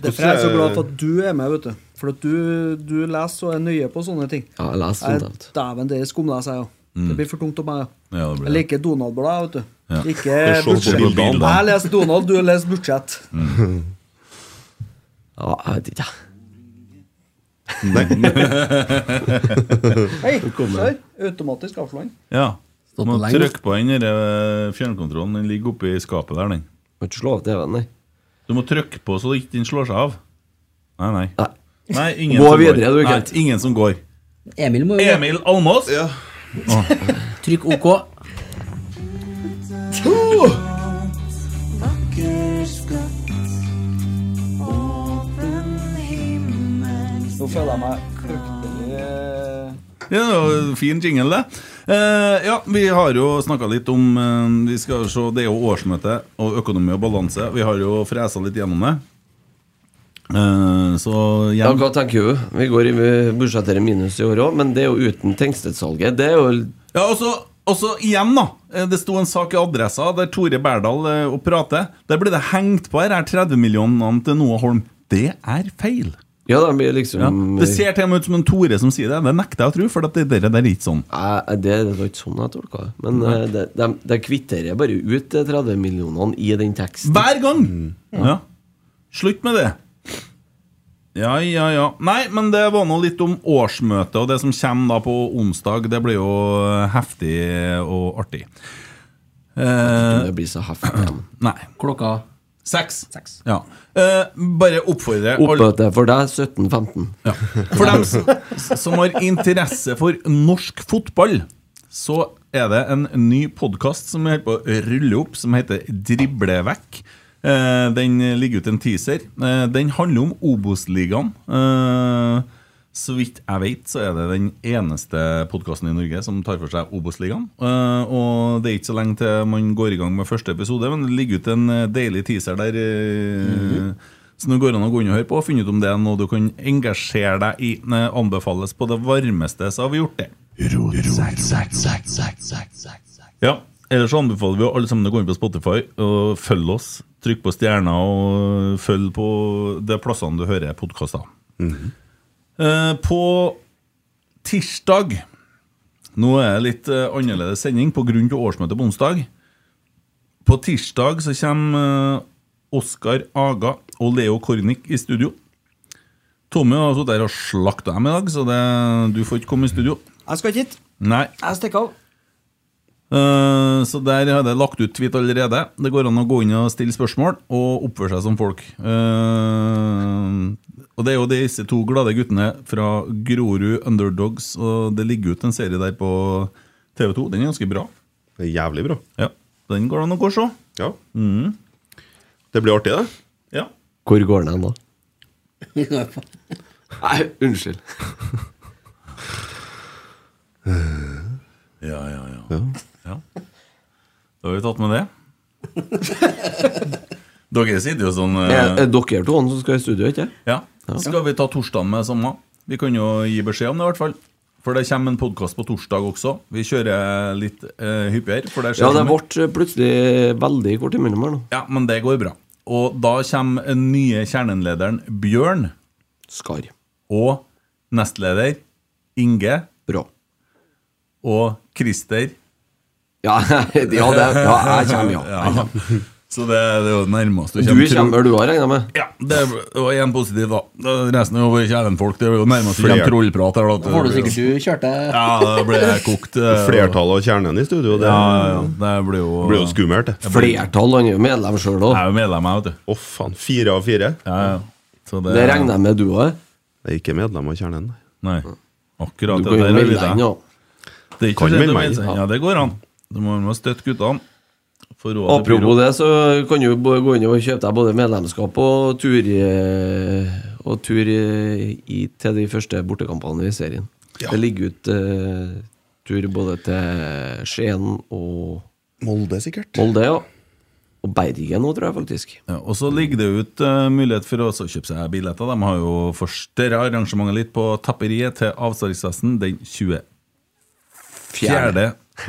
Derfor er jeg så glad for at du er med, vet du. For at du, du leser og er nøye på sånne ting.
Ja, jeg leser
Jeg-
sånt alt.
Dæven, det skumleser jeg jo.
Mm.
Det blir for tungt om meg,
Ja, det
Jeg
blir det.
liker Donald-blad, vet du.
Ja.
Ikke
er sånn
budsjett.
som blir
bildet.
Jeg leser Donald, du leser budsjett.
Ja, jeg vet ikke, jeg.
Hei, der. Automatisk avslag.
Ja.
Stått
Må
på lenge.
trykke på den der, eh, fjernkontrollen. Den ligger oppi skapet der, den.
Må ikke slå av TV-en, nei.
Du må trykke på så ikke den slår seg av. Nei, nei.
Nei.
nei ingen
Gå
som
videre,
går.
du,
Nei,
Kent.
ingen som går.
Emil må jo
Emil Almås!
trykke OK.
Bakerskap
Nå føler jeg meg fryktelig eh,
Ja, det var fin jingle, det. Eh, ja, vi har jo snakka litt om eh, vi skal se, Det er jo årsmøte og økonomi og balanse. Vi har jo fresa litt gjennom det. Eh, så
Ja,
igjen
hva tenker du? Vi går i budsjettere minus i år òg, men det er jo uten Tengstedt-salget. Det er jo
Ja, og så og så igjen, da. eh, Det sto en sak i Adressa der Tore Berdal eh, og prater. Der ble det hengt på her, her 30 millionene til Noah Holm. Det er feil.
Ja, det blir
Ja.
liksom
Det ser til og med ut som en Tore som sier det. Det nekter jeg å tro, for at det der der er ikke sånn.
Nei, det, det var ikke sånn jeg tolka det. Men eh, de, de, de kvitterer bare ut de 30 millionene i den teksten.
Hver gang! Ja. Slutt med det. Ja, ja, ja. Nei, men det var nå litt om årsmøtet, og det som kommer da på onsdag, det blir jo eh, heftig og artig. Eh,
Det blir så heftig. men.
nei.
Klokka
Seks. Ja. Eh, bare oppfordre alle-
Oppmøte for deg 17-15.
Ja. For dem s- s- som har interesse for norsk fotball, så er det en ny podkast som vi holder på å rulle opp, som heter Drible vekk. Eh, Den ligger ut en teaser. Eh, Den handler om Obos-ligaen. Eh, Så vidt jeg vet, så er det den eneste podkasten i Norge som tar for seg Obos-ligaen. Eh, Og det er ikke så lenge til man går i gang med første episode, men det ligger ut en eh, deilig teaser der. eh, så nå går det an å gå inn og høre på og finne ut om det er noe du kan engasjere deg i. Eh, Anbefales på det varmeste, så har vi gjort det. Ja, Ellers så anbefaler vi jo alle sammen å gå inn på Spotify og følge oss. Trykk på stjerna og følg på de plassene du hører podkaster. Eh, På tirsdag Nå er det litt eh, annerledes sending pga. årsmøtet på onsdag. På tirsdag så kommer eh, Oskar Aga og Leo Kornic i studio. Tommy har sittet her og slakta dem i dag, så det, du får ikke komme i studio.
Jeg skal ikke hit.
Nei.
Jeg stikker av.
Eh, så der har jeg lagt ut tweet allerede. Det går an å gå inn og stille spørsmål og oppføre seg som folk. Eh, og det er jo disse to glade guttene fra Grorud Underdogs, og det ligger ut en serie der på TV2. Den er ganske bra.
Det er jævlig bra.
Ja, Den går det an å gå og se.
Ja.
Mm.
Det blir artig, det.
Ja.
Hvor går den hen, da? Nei, unnskyld.
Ja, ja, ja. Ja. Da har vi tatt med det. Dere sitter jo sånn eh,
Er, er dere to som skal i studio, ikke
Ja. Skal vi ta torsdagen med samme? Vi kan jo gi beskjed om det, i hvert fall. For det kommer en podkast på torsdag også. Vi kjører litt eh, hyppigere. For det skjer
Ja,
så
det
mye.
ble plutselig veldig kort imellom her nå.
ja, men det går bra. Og da kommer den nye kjernenlederen Bjørn
Skar.
og nestleder Inge
Bra.
og Christer.
Ja, ja, det, ja jeg kommer, ja.
Ja. Så det, det er jo det nærmeste
Du kommer, du har regna med?
Ja, det var én positiv, da. Det- Resten er jo bare kjernenfolk. Det er jo nærmest
Flere.
trollprat her. Da.
Får du sikkert du kjørte
Ja, det ble kokt. eh,
Flertallet av kjernen i studio. Det
Ja, ja, det blir jo,
blir jo skummelt, det.
Flertall, han er jo medlem sjøl òg.
Jeg er jo medlem, jeg, vet du.
Å, faen. Fire av fire?
Ja, ja. Så
Det regner jeg med du òg.
Jeg er ikke medlem av kjernen. nei.
Nei. Akkurat det
Du kan jo
der er
melde
litt
deg inn, ja.
Det er ikke
Kan
så
melde
lett å
meg
melde seg.
inn.
Ja, det går an. Du må må støtte guttene. For råd til
Apropos
pyro.
det, så kan du bo- gå inn og kjøpe deg både medlemskap og tur, i- og tur i, i- til de første bortekampene i serien. Det ligger ut eh, tur både til Skien og
Molde, sikkert.
Molde, ja. Og Bergen òg, tror jeg faktisk.
Ja, og så ligger det ut eh, mulighet for å også kjøpe seg billetter. De har jo forstørra arrangementet litt på Tapperiet til avsalgsfesten den 24.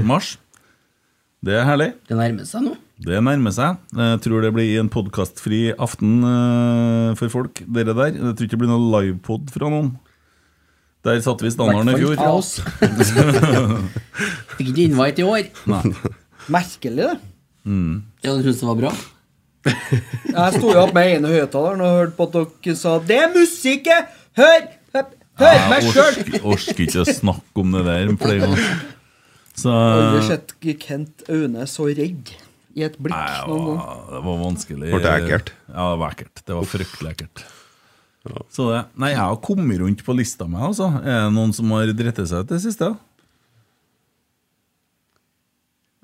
mars. Det er herlig.
Det nærmer seg nå.
Det nærmer seg. Jeg tror det blir en podkastfri aften eh, for folk, dere der. Jeg tror ikke det blir noen livepod fra noen. Der satte vi standarden i
Hvertfall
fjor.
fra oss. Fikk ikke invite i år.
Merkelig, det.
Ja, du syntes det var bra?
Jeg sto jo opp med ene høyttaleren og hørte på at dere sa 'Det er musikk! jeg! Hør! Hør, hør meg sjøl!'
Jeg orker, orker ikke å snakke om det der flere ganger. Så
Aldri
nei,
sett Kent Aune så redd i et blikk
det
noen gang.
var, det var vanskelig.
Ble det ekkelt?
Ja, det var ekkelt. Det var fryktelig ekkelt. Så det, nei, jeg har kommet rundt på lista mi, altså. Er det noen som har dritt seg ut det siste?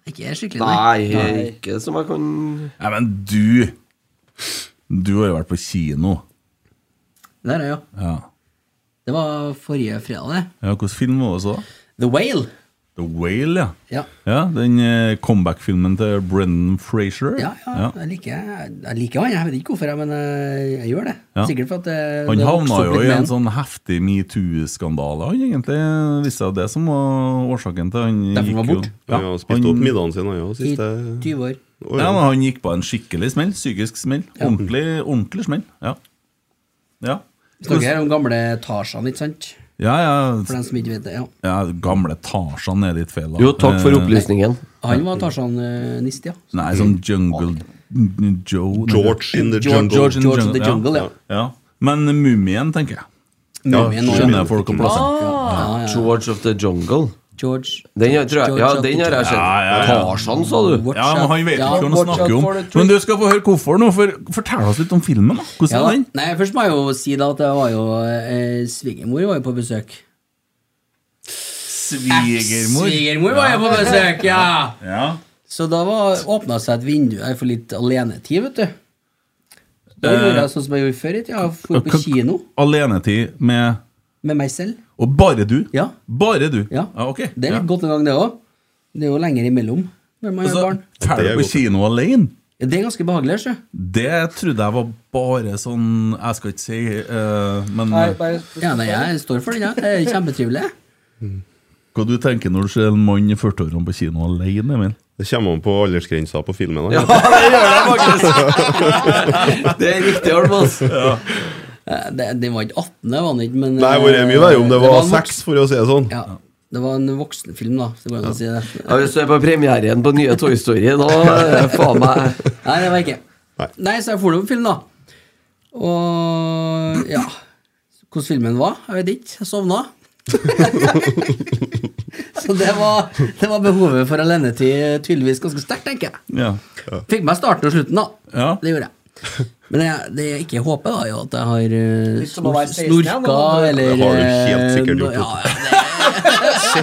Ikke skikkelig, nei.
Nei, ikke som jeg kan
Nei, men du Du har jo vært på kino.
Der er jeg, ja.
Ja.
Det var forrige fredag, det.
Ja, Hvilken film var det så?
The Whale.
The Whale, ja.
Ja.
ja den eh, comeback-filmen til Brendan Frazier.
Ja, ja, jeg liker, jeg liker han. Jeg vet ikke hvorfor, jeg, men eh, jeg gjør det.
Ja.
Sikkert for at eh,
Han
det har
havna
vokst opp
jo
litt
i
med
en
han.
sånn heftig metoo-skandale, han egentlig. Visste jeg det som var årsaken til han
Derfor var
gikk jo-
bort.
Ja,
Ja,
spiste opp
han,
middagen sin han, ja,
I
siste
20 år.
året.
ja, men han gikk på en skikkelig smell. Psykisk smell. Ordentlig, ordentlig smell. Ja. Ja.
Vi snakker her om gamle Tarzan, ikke sant?
Ja, ja,
For dem som ikke vet det. ja.
ja, gamle Tarzan er litt feil. da.
Jo, takk for
Eh,
opplysningen.
Han var Tarzan-nist, ja.
Nei, sånn Jungle Joe nei.
George in the
George,
jungle.
George,
in
George in the
ja.
Jungle, ja.
Ja. Men Mumien, tenker jeg.
Mumien og-
skjønner jeg folk har plass til.
Ja, ja.
George of the Jungle.
George
Den har, tror jeg,
George
ja,
of the
den har
Ja,
jeg kjent.
ja, ja.
Tarzan, sa du?
Watch
Ja, men han vet
out.
ikke hva han
watch out
snakker
for
om.
the tree.
Men du skal få høre hvorfor nå. For, fortell oss litt om filmen. da Hvordan
Ja,
er
da.
den?
Nei, først må jeg jo si da at det var jo eh, svigermor var jo på besøk.
Svigermor.
Svigermor var jo på besøk, ja!
Ja.
Så da var- åpna seg et vindu her for litt alenetid, vet du. Da
Eh,
gjorde jeg sånn som jeg gjorde før i tida. Jeg dro på kino
Alenetid med
med meg selv.
Og bare du?
Ja.
Bare du?
Ja.
ok.
Det er
Ja.
litt godt en gang, det òg. Det er jo lenger imellom når man
Altså,
har barn.
Drar
Det er
du på
godt.
kino alene?
Ja, Det er ganske behagelig, sjø.
Det trodde jeg var bare sånn Jeg skal ikke si eh, Men
Nei, bare
Ja, nei, jeg
Altså-
står for den, ja. Det er kjempetrivelig.
hva du tenker når du ser en mann i 40-årene på kino alene, Emil?
Det kommer an på aldersgrensa på filmen.
Ja,
Da.
det gjør jeg faktisk! Det er riktig, Almas.
Eh, Det, det var ikke 18, det var den ikke, men
Nei, hvor er det mye verre om det var seks, for å si det sånn.
Ja, det var en voksenfilm, da. Så går det an å si det.
Ja, hvis du er på premieren på nye Toy Story, da er det faen meg
Nei, det var ikke.
Nei.
Nei, så jeg får det på film, da. Og ja. Hvordan filmen var? Jeg vet ikke. Jeg sovna. så det var, det var behovet for alenetid tydeligvis ganske sterkt, tenker jeg.
Ja.
Fikk meg starten og slutten, da.
Ja.
Det gjorde jeg. Men jeg, det jeg ikke håper, da, er jo at jeg har eh,
Litt som å være 16 igjen,
snorka
da.
eller
Det har du helt sikkert gjort,
eh, Ja, ja, det,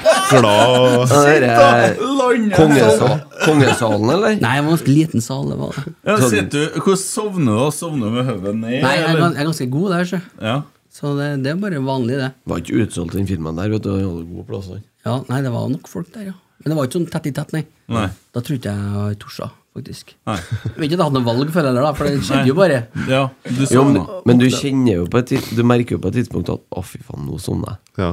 Ja,
Glad
det er sånn. kongesal, Kongesalen, eller?
nei, det var en ganske liten sal, det var det.
Ja, sitter du, Hvordan sovner du? da? Sovner du med hodet ned?
Nei, jeg er,
eller?
gans- jeg er ganske god der, sjø.
ja.
Så det, det er bare vanlig, det.
Var ikke utsolgt den filmen der, vet du. Den hadde gode plasser.
Ja, Nei, det var nok folk der, ja. Men det var ikke sånn tett i tett, nei.
Nei.
Da tror ikke jeg jeg torsa, faktisk.
Nei.
Jeg vet ikke om jeg hadde noe valg for det, da, for det skjedde jo bare.
Ja, du
Jo, men,
sovner.
men du kjenner jo på et tid, Du merker jo på et tidspunkt at Å, fy faen, nå sovner jeg.
ja.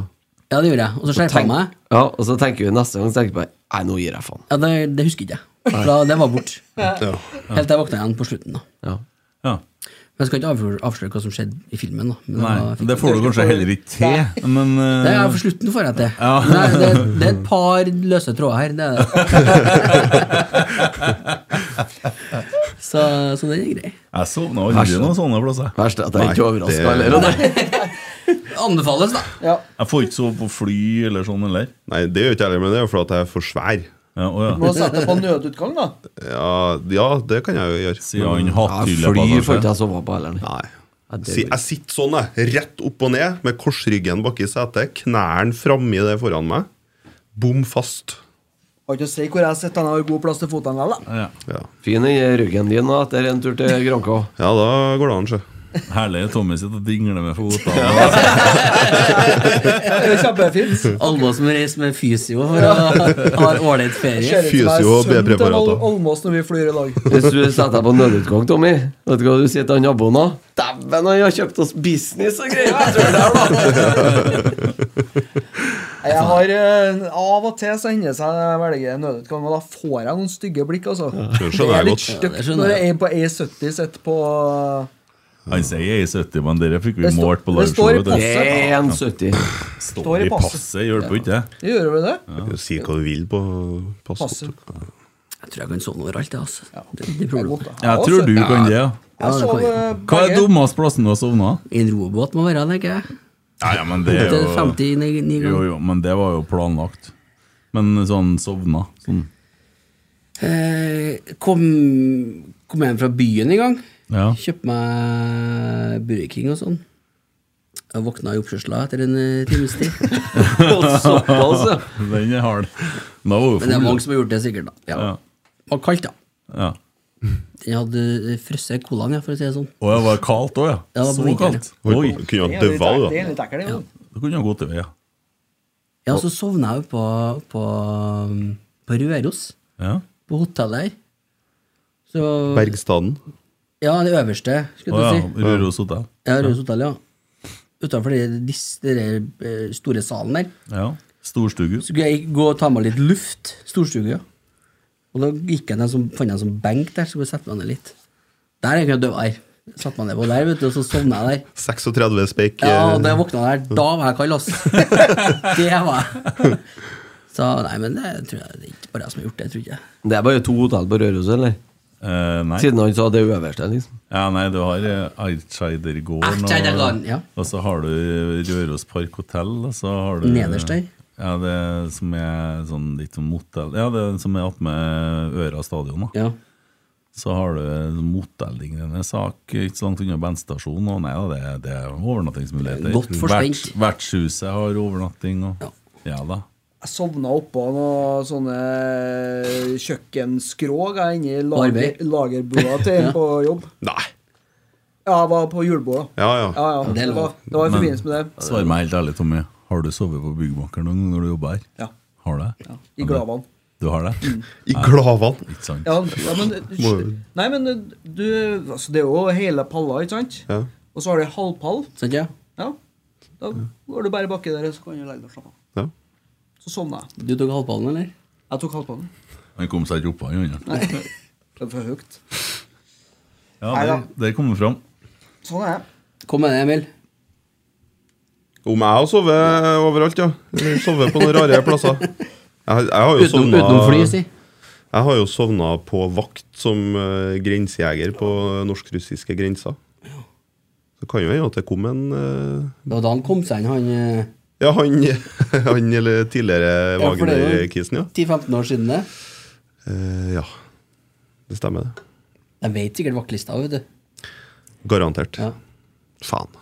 Ja, det gjorde jeg. Og så skjerpa jeg
Tenk-
meg.
Ja, og så tenker vi neste gang så tenker vi bare Nei, nå gir jeg faen.
Ja, det, det husker ikke jeg. Da, det var borte.
ja.
Helt til jeg våkna igjen på slutten, da.
Ja.
Ja.
Men jeg skal ikke avsløre, avsløre hva som skjedde i filmen, da. Men det
Nei,
var- fikk-
det får du kanskje heller ikke til, men eh,
det er for slutten får jeg til.
Ja.
Nei, det, det er et par løse tråder her. Det er det. så, så den er grei.
Jeg sovna aldri noen sånne plasser.
Verst er at jeg er ikke
Nei,
overraska
det-
heller. og det-
Anbefales, da.
Ja.
Jeg får ikke sove på fly eller sånn heller.
Nei, det gjør ikke jeg heller, men det er jo fordi jeg er for svær.
Ja, å,
Må
ja.
sette deg på nødutgang, da.
Ja, ja det kan jeg jo gjøre.
Sier han
Ja, Fly får ikke
hatthylle.
jeg sove på heller.
Nei.
Ja, det-
Si, jeg sitter sånn, jeg. Rett opp og ned, med korsryggen bak i setet, knærne framme i det foran meg. Bom fast.
Har ikke å si hvor jeg sitter, han har jo god plass til føttene vel, da.
Ja,
Ja.
Fin i ryggen din da, etter en tur til Granca.
ja, da går det an, sjø.
herlig Tommy sitter og dingler med fotene.
Det er Kjempefint.
Alle som reiser med fysio for å ha en ålreit ferie.
Ser ut som jeg er
Fysio og
sønnen til
B-preparater.
Ol- Olmås når vi flyr i lag.
Hvis du setter deg på nødutgang, Tommy, vet du hva du sier til han naboen da? Dæven, han har kjøpt oss business og greier! Jeg tror det er da.
Nei, Jeg har eh, Av og til så hender det seg at jeg velger nødutgang, og da får jeg noen stygge blikk, altså.
Det skjønner jeg godt.
Ja,
stygt
det skjønner
når det
jeg.
er en på A70 sitter på
Han sier jeg er 70, men dere fikk vi
Det står-
målt på
det står i
liveshowet.
Det
vet
passet.
er 1,70.
du. Står i passet, hjelper ikke det?
Gjør vi det?
Si hva du vil på passet.
Passet.
Jeg tror jeg kan sove overalt, jeg, altså. Det, det er
Det er
problemet.
godt, da.
Jeg tror du kan det. ja.
Jeg
Ja, det
sov
kan
eh,
Hva er
begge.
dummeste plassen du har sovna?
En robåt må være, tenker jeg.
Ja, ja, men det er
Til
jo
59
Jo,
ganger.
jo, men det var jo planlagt. Men sånn sovna. Sånn.
Eh, kom, kom hjem fra byen en gang.
Ja.
Kjøpte meg Burger King og sånn. Jeg våkna i oppkjørsla etter en eh, times tid.
Såpass, ja.
Den er hard. Da var jo
Men det er
full.
mange som har gjort det, sikkert. da ja.
Ja.
Det var kaldt, da.
Ja.
Jeg hadde frosset colaen, ja, for å si det sånn.
Og det var kaldt òg, ja.
Ja, det var
Så
vinteren,
kaldt.
Oi,
Oi.
Kunne
Det
ha
er litt
døva,
ek- det
da.
er litt ekkelt, det, jo.
Du kunne ha gått til vei.
Ja, så sovna jeg jo på, på, på Røros,
Ja.
på hotellet her. Så
Bergstaden.
Ja, det øverste,
Å
skulle
ja,
jeg til å si.
Røros hotell.
Ja, Røros hotell, ja. Utenfor de- dis- den der, eh, store salen der.
Ja. Storstugu.
Så skulle jeg gå og ta meg litt luft. Storstue. Og da gikk jeg til en som, fant jeg en sånn benk der, så bare sette meg ned litt. Der er jeg ikke døv her. Satt meg ned på der, vet du, og så sovna jeg der.
36 speik.
Ja, og
eh,
da jeg våkna der, da var jeg kald, ass. Det var jeg. Så nei, men det tror jeg det er ikke bare jeg som har gjort det, tror jeg.
Det er bare to hotell på Røros, eller?
Eh, nei.
Siden han sa det øverste, liksom.
Ja, nei, du har Artskeidergården,
Eidskeidergården, ja.
og så har du Røros Park Hotell. Og så har du
Nederst der.
Ja, det som er sånn litt som motell Ja, det som er attmed Øra stadion. da
Ja.
Så har du sånn motelllignende sak ikke så langt unna bandstasjonen. Og nei da, det, det er overnattingsmuligheter.
Godt forspent.
Verts- Vertshuset har overnatting. Og, ja. da.
Jeg sovna oppå noen sånne eh, kjøkkenskrog jeg, inni lager,
Arbeid.
lagerbua til en på jobb.
Nei.
Ja, jeg var på julebua.
Ja, ja.
Ja, ja.
Det er
Det,
lov.
var, det var i forbindelse med det.
Svar meg helt ærlig, Tommy. Har du sovet på Byggmakeren noen gang når du jobber her?
Ja.
Har du det?
I Glavan.
Du har det?
I Glavan.
Ikke sant?
Ja, ja, men Nei, men du altså, Det er jo hele palla, ikke sant?
Ja.
Og så har du halvpall.
Sant, ja?
Ja. Da går du bare baki der, og så kan du legge deg og slappe av.
Ja.
Så sovna jeg.
Du tok halvballen, eller?
Jeg tok halvpallen.
Han kom seg ikke opp av den andre.
Det var for høyt.
Ja, der, der kom det fram.
Sånn er jeg.
Kom med det, Emil.
Om jeg har sovet overalt, ja. Eller Sovet på noen rare plasser. Jeg, jeg har jo
Utenom,
sovna
utenom fly, si.
Jeg har jo sovna på vakt som eh, grensejeger på norsk-russiske grensa. Så kan jo hende at det kom en eh,
Det var da han kom seg inn, han eh,
Ja, han, han eller tidligere
Ja, for det er jo-
Wagner-kisen, ja.
10-15 år siden det.
Eh, ja. Det stemmer, det.
Jeg vet sikkert vaktlista, vet du.
Garantert.
Ja.
Faen.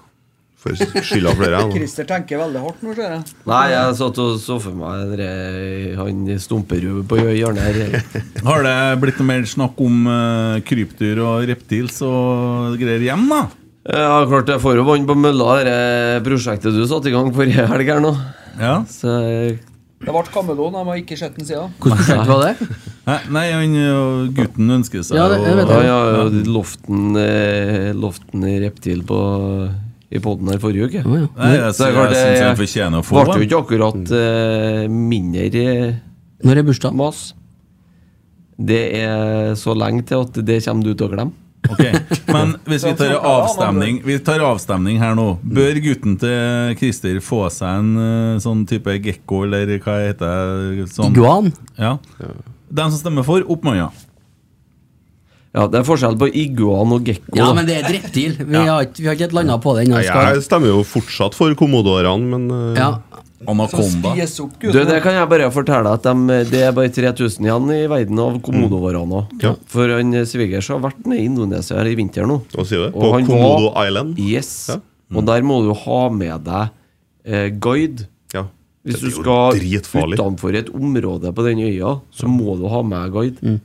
Får skylda for dere, jeg. nå.
Christer tenker veldig hardt nå, ser jeg.
Nei, jeg satt og så for meg den der- han stumperud på hjørnet her. Eh,
Har det blitt noe mer snakk om eh, krypdyr og reptils og greier hjem, da?
Ja, klart jeg får jo vann på mølla, det prosjektet du satte i gang forrige helg her nå.
Ja.
Så eh,
Det ble kameleon. Jeg har ikke sett den siden.
Hvilket prosjekt var det?
Nei, Nei, han, eh, gutten ønsker seg
Ja, det- jeg vet
å-
Ja, ja, ja loften, eh, loften reptil på, i poden her forrige uke.
ja.
Nei, jeg,
Så det er
jeg,
klart,
jeg syns
eh,
han fortjener å få
Ble jo
den.
ikke akkurat eh, mindre eh,
Når er bursdagen?
mas. Det er så lenge til at det kommer du til å glemme.
Ok, Men hvis vi tar avstemning Vi tar avstemning her nå.
Mm.
Bør gutten til Christer få seg en eh, sånn type gekko, eller hva heter det? Sånn.
Iguan?
Ja. De som stemmer for, opp med hånda.
Ja, Det er forskjell på iguan og gekko.
Ja,
da.
men det er et reptil. Vi, har, ikke, vi har ikke helt landa på det ennå.
Nei,
Skal-
Jeg stemmer jo fortsatt for kommodorene, men eh,
Ja.
Anakonda.
Spis opp,
Du,
gutten.
det kan jeg bare fortelle at dem- det er bare 3000 igjen i verden av komodovarana.
Mm. Ja.
For han eh, svigers har vært nede i Indonesia her i vinter nå.
hva sier du?
Og
På
han
Komodo
var-
Island?
Yes.
Ja.
Og der må du ha med deg eh, guide.
Ja.
Hvis
Det
du
er jo
skal
dritfarlig.
utenfor et område på den øya, så må du ha med guide.
Mm.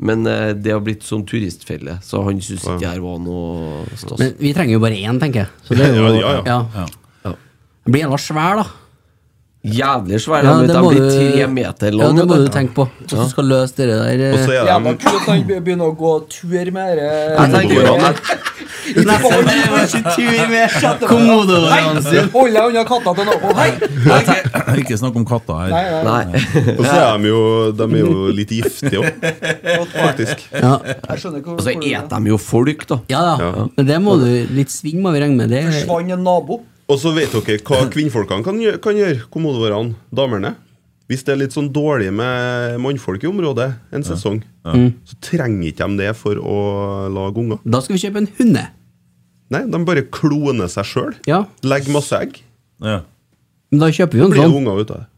Men eh, det har blitt sånn turistfelle, så han syns ikke det her var noe stas.
Men vi trenger jo bare én, tenker jeg. Så det er jo,
Ja, ja, ja.
Ja.
Den blir jævla svær, da.
Jævlig svær. Ja, de
må
blir
du-
tre meter
Ja,
lang.
det må
vet
du tenke på. Hvordan du skal løse det der
Og så
eh,
er
Jævla
de
kult at han be- begynner å gå tur med
Jeg
dere.
tenker jo at
Komodoen sin.
Hold deg unna katta til naboen. Hei!
Ikke snakk om katter her.
Nei, nei.
Nei.
Og så er de jo, de er jo litt giftige òg, faktisk.
Ja.
Jeg skjønner ikke
Og
hvorfor
så
altså,
du
eter de jo folk, da.
ja da. Men det må du litt sving må vi regne med. Det er
forsvant en nabo.
Og så vet dere hva kvinnfolkene kan gjøre, kan gjøre kommodorene, damerne. Hvis det er litt sånn dårlig med mannfolk i området en sesong, så trenger ikke de det for å lage unger.
Da skal vi kjøpe en hunde.
Nei, de bare kloner seg sjøl.
Ja.
Legger masse egg.
Ja.
Men da kjøper vi jo en
Blir det
sånn.
unger ut av det.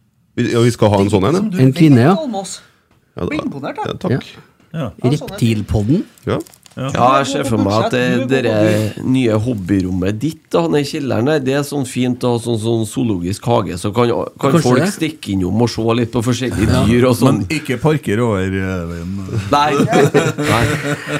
Vi- Ja, vi skal ha en sånn en, ja.
En kvinne, ja.
ja.
Blir
da-
imponert, da.
ja, Takk.
Ja.
Reptilpodden.
Ja.
Ja, jeg ser for meg at det, det nye hobbyrommet ditt da, nede i kjelleren der, det er sånn fint og sånn, sånn zoologisk hage, så kan, kan
Kanskje
folk
det?
stikke innom og se litt på forskjellige dyr og sånn.
Men ikke parker over eh, veien.
Nei, nei,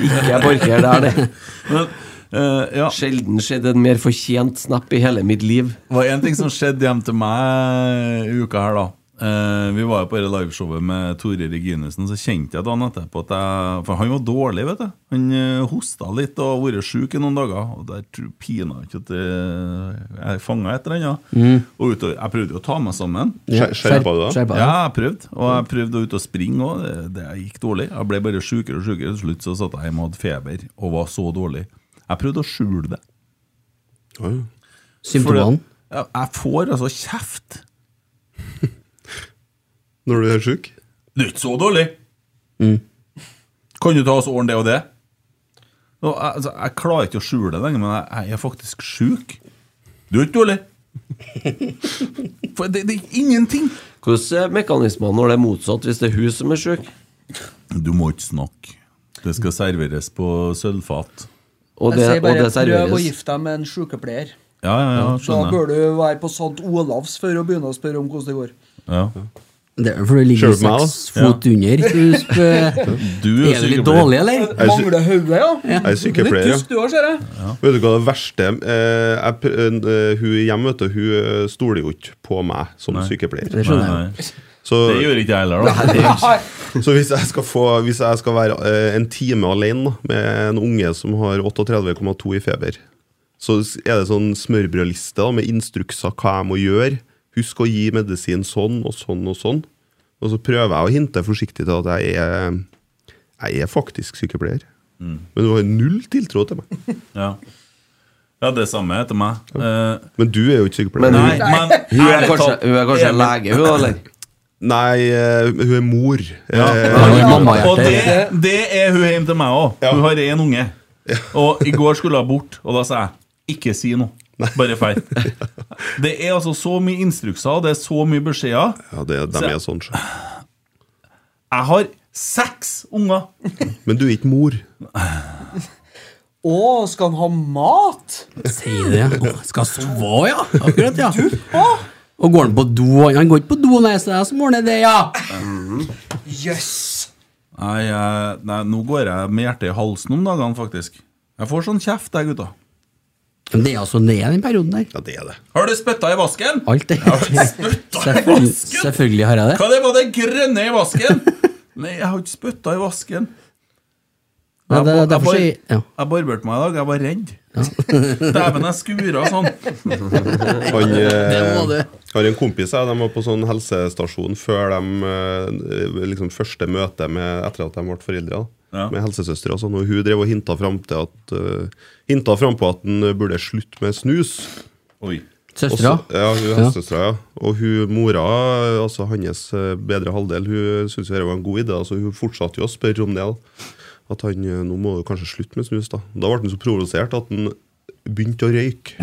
ikke parker der, det.
Men Eh, ja.
Sjelden skjedd en mer fortjent snap i hele mitt liv.
Det var en ting som skjedde hjem til meg i uka her, da. Eh, vi var jo på det liveshowet med Tore Reginesen, så kjente jeg dagen etterpå at jeg For han var dårlig, vet du. Han eh, hosta litt og har vært sjuk i noen dager. Og der tror pina ikke at eh, jeg fanga et eller annet. Og utover, jeg prøvde jo å ta meg sammen.
Skjer- Skjerpa du da?
Skjerpa deg.
Mm. Ja, jeg prøvde. Og jeg prøvde å ut og springe òg. Det, det gikk dårlig. Jeg ble bare sjukere og sjukere. Til slutt så satt jeg hjemme og hadde feber og var så dårlig. Jeg prøvde å skjule det.
Oi.
For
Symptomene.
det- Ja, jeg får altså kjeft.
Når du er sjuk?
Du er ikke så dårlig. Mm. Kan du ta oss ordne det og det? Nå, jeg- altså, jeg klarer ikke å skjule det lenger, men jeg, jeg er faktisk sjuk. Du er ikke dårlig. For det, det er ingenting.
Hvordan er mekanismene når det er motsatt, hvis det er hun som er sjuk?
Du må ikke snakke. Det skal serveres på sølvfat.
Og det,
jeg sier
og
bare
det
prøv å
serveres.
gifte deg med en sykepleier.
Ja, ja, ja,
Da
skjønner jeg.
bør du være på St. Olavs før og begynne å spørre om hvordan det går.
Ja.
Det er fordi du ligger
Skjerpa meg, da.
seks fot under. så du spør,
Du
Er du litt dårlig, eller?
Jeg er sy-
Mangler hodet, ja?
jeg er sykepleier, ja.
Tysk du òg, ser jeg.
Vet du hva det verste eh, jeg, pr- eh, Hun hjemme, vet du, hun eh, stoler jo ikke på meg som sykepleier.
det skjønner jeg.
Så,
Det gjør ikke jeg heller, da.
så hvis, jeg skal få, hvis jeg skal være eh, en time alene da, med en unge som har 38,2 i feber, så s- er det sånn smørbrødliste da, med instrukser hva jeg må gjøre. Husk å gi medisin sånn og sånn og sånn. Og så prøver jeg å hinte forsiktig til at jeg er, jeg er faktisk sykepleier. Men du har null tiltro til meg.
Ja. ja, det samme heter meg. Eh,
Men du er jo ikke sykepleier.
Men
nei, men
Hun er
ærlig
kanskje,
talt-
hun er kanskje en
Emil-
lege, hun, eller?
Nei, eh, hun er mor. Eh,
Har du
Og
mammahjerte?
det, det er hun hjemme til meg òg. Hun har én unge. Og i går skulle hun bort, og da sa jeg ikke si noe. Bare feil. Det er altså så mye instrukser, det er så mye beskjeder.
Ja, det, de er sånn sjøl.
Jeg har seks unger!
Men du er ikke mor.
Å, skal han ha mat?
Sier det. Å, Skal sove, ja. Akkurat, ja. Og går han på do? Han går ikke på do, nei, så det er jeg som ordner det, ja.
Jøss.
Nei, jeg, nei, nå går jeg med hjertet i halsen om dagene, faktisk. Jeg får sånn kjeft, jeg, gutta.
Men det er altså det er den perioden der.
Ja, det er det.
Har du spytta i vasken?
Alt det.
Spytta i
Selvfølgelig,
vasken?
selvfølgelig har jeg det.
Hva det var det grønne i vasken? Nei, jeg har ikke spytta i vasken.
Nei, det,
Jeg- jeg
derfor
bar-
sier ja.
Jeg barberte meg i dag, jeg var redd. Dæven, jeg skura sånn.
Han,
må
eh,
du.
har en kompis her, de var på sånn helsestasjon før de eh, liksom første møte med, etter at de ble foreldre. Da.
Ja.
Med helsesøstre og sånn. Og hun drev og hinta fram, til at, eh, hinta fram på at han burde slutte med snus.
Oi.
Og så-
Søstera?
Ja, hun er helsesøstra, ja. Og hun mora, altså hans eh, bedre halvdel, hun syntes jo dette var en god idé. Altså, hun fortsatte jo å spørre om det. da. At han eh, nå må du kanskje slutte med snus. Da Da ble han så provosert at han begynte å røyke.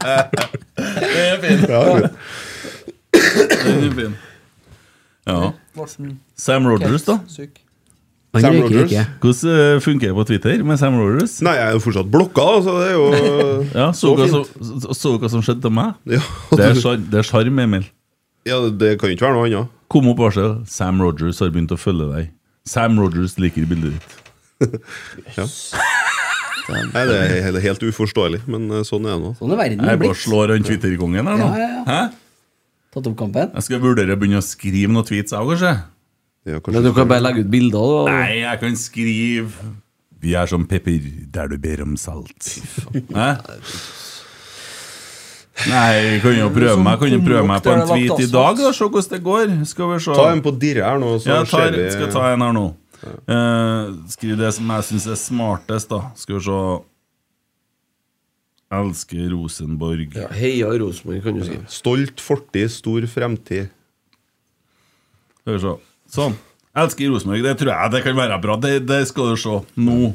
Det er fint. Den er fin. Ja.
Morten
Sam Rogers, da.
Syk.
Han
Sam
røyker
Rogers.
ikke.
Hvordan eh, funker det på Twitter med Sam Rogers?
Nei, jeg er jo fortsatt blokka, da, så det er jo
Ja, Så
Så
dere som- så- så dere som skjedde til meg?
ja,
Det er sjar- det er sjarm, Emil.
ja, det kan jo ikke være noe annet.
Kom opp varsel. Sam Rogers har begynt å følge deg. Sam Rogers liker bildet ditt.
Nei, Det er helt- helt uforståelig, men eh, sånn er det nå.
Sånn er verden
Jeg bare
blitt.
slår han Twitter-kongen her
Ja,
nå.
ja,
Hæ?
Tatt opp kampen.
Jeg skal vurdere å begynne å skrive noen tweets, jeg òg, kanskje.
Det er jo
Men du
kanskje
kan bare legge ut bilder, da.
Nei, jeg kan skrive Vi er som pepper der du ber om salt. Hæ? Nei, jeg kan jo prøve meg Kan jo prøve meg på en tweet i dag og se hvordan det går. Skal vi se.
Ta en på dirre her nå, så
Ja, jeg tar,
ser vi
skal ta en her nå. Eh, skriv det som jeg syns er smartest, da. Skal vi se Elsker Rosenborg.
Ja, Heia Rosenborg, kan du si.
Stolt fortid, stor fremtid.
Skal vi se. Sånn. Elsker Rosenborg. Det tror jeg det kan være bra. Det, det skal du se nå.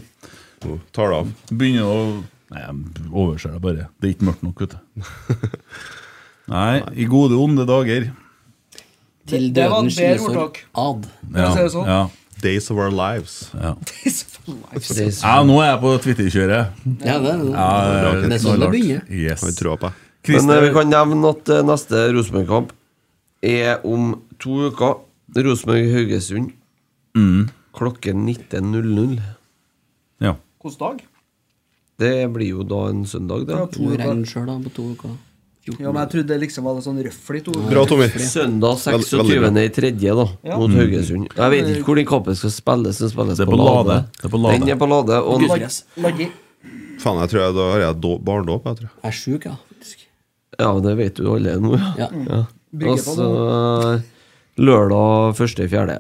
Nå Tar det av.
Begynner å Nei, jeg overser det bare. Det er ikke mørkt nok, vet du. Nei, i gode og onde dager.
Til
det var
døden
et bedre
skilles
ordtak.
ad.
Ja,
si det sånn?
ja,
Days of our lives.
ja.
Det er
ja nå er jeg på Twitter-kjøret. Eh,
Ja, det, det.
Ja,
Det er sånn det begynner.
Yes.
Har trua på
Men
deg.
eh, vi
Christer,
kan nevne at eh, neste Rosenborg-kamp er om
Mm.
to uker. Rosenborg-Haugesund. Klokken 19.00.
Hvilken dag?
Det blir jo da en søndag, det.
Ja,
Det
to
må
uker.
regne sjøl, da, på to uker.
Ja, men jeg trodde det liksom var litt sånn røffelig to uker.
Bra, Tommy.
Søndag
Veld- veldig
26.
bra.
i tredje, da,
Ja.
mot Haugesund. Jeg vet ikke hvor den kampen skal spilles. Den
Mm.
spilles
Det er på Lade. Det er på Lade.
Den er på Lade. Og ja,
Gudfres.
Laggi.
Faen, jeg tror jeg, da har jeg do- barndåp. jeg tror.
Jeg er sjuk, ja, faktisk.
men det vet du alle nå, ja.
Ja.
Mm.
ja.
Bygger
Og
på
så lørdag 1.4.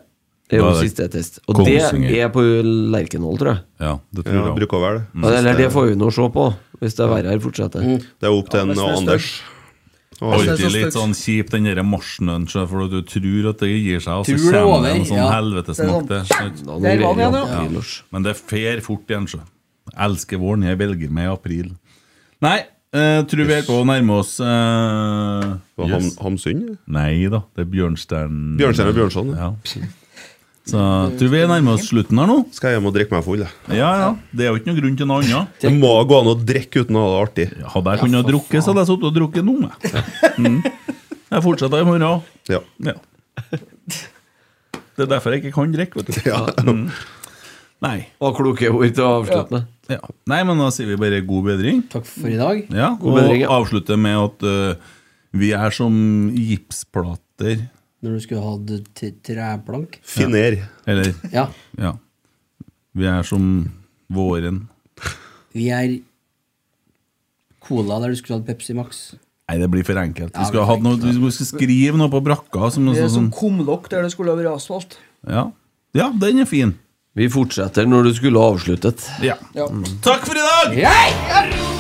Det er
Da
jo
er det
siste test. Og det
Kongsvinger.
er på Lerkendal, tror jeg.
Ja, det tror
Ja,
jeg.
bruker å være det.
Ja, eller det får vi nå se på, hvis det verre her fortsetter.
Mm.
Det er jo opp til en
hvis det er
og Anders. Og
Det er
Anders.
Alltid
så
litt
stygt.
sånn kjipt, den der marsjen den, så for at du tror at det gir seg, og så
Tror det er
kommer
over,
det en sånn
ja.
helvetesmakt.
Det er
der.
Da,
Der
nå
var den
greier vi
igjen, ja.
april, Lars.
Men det fer fort igjen, sjø. Jeg elsker våren, jeg velger meg i april. Nei, eh, tror vi er på å nærme oss eh,
Og Ham,
yes.
Hamsund?
Nei da, det er Bjørnstern...
Bjørnstjerne Bjørnson.
Ja. Så tror vi er nærme oss slutten her nå.
Skal jeg hjem og drikke meg full? jeg.
Ja, ja, Det er jo ikke noe grunn til noe annet.
Det må gå an å drikke uten å ha det artig.
Hadde jeg kunnet drukke, så hadde jeg sittet og drukket nå. jeg. Mm. Jeg fortsetter i morgen.
Ja.
Ja. Det er derfor jeg ikke kan drikke, vet du.
Ja.
Nei.
Og kloke ord til å avslutte med.
Ja. Nei, men da sier vi bare god bedring.
Takk for i dag.
Ja,
God bedring, ja.
Og avslutter med at eh, vi er som gipsplater
Når du skulle hatt t- treplank.
Finer.
Eller
Ja.
ja. Vi er som våren.
Vi er cola der du skulle hatt Pepsi Max.
Nei, det blir for enkelt.
Ja,
Vi skulle
det
ha
blir
hatt noe, vi skulle skrive noe på brakka. Som,
Det
sånn,
er som
sånn,
kumlokk der det skulle ha vært asfalt.
ja. ja, den er fin.
Vi fortsetter når du skulle ha avsluttet.
Ja. Takk for i dag!
Hei!
Arro,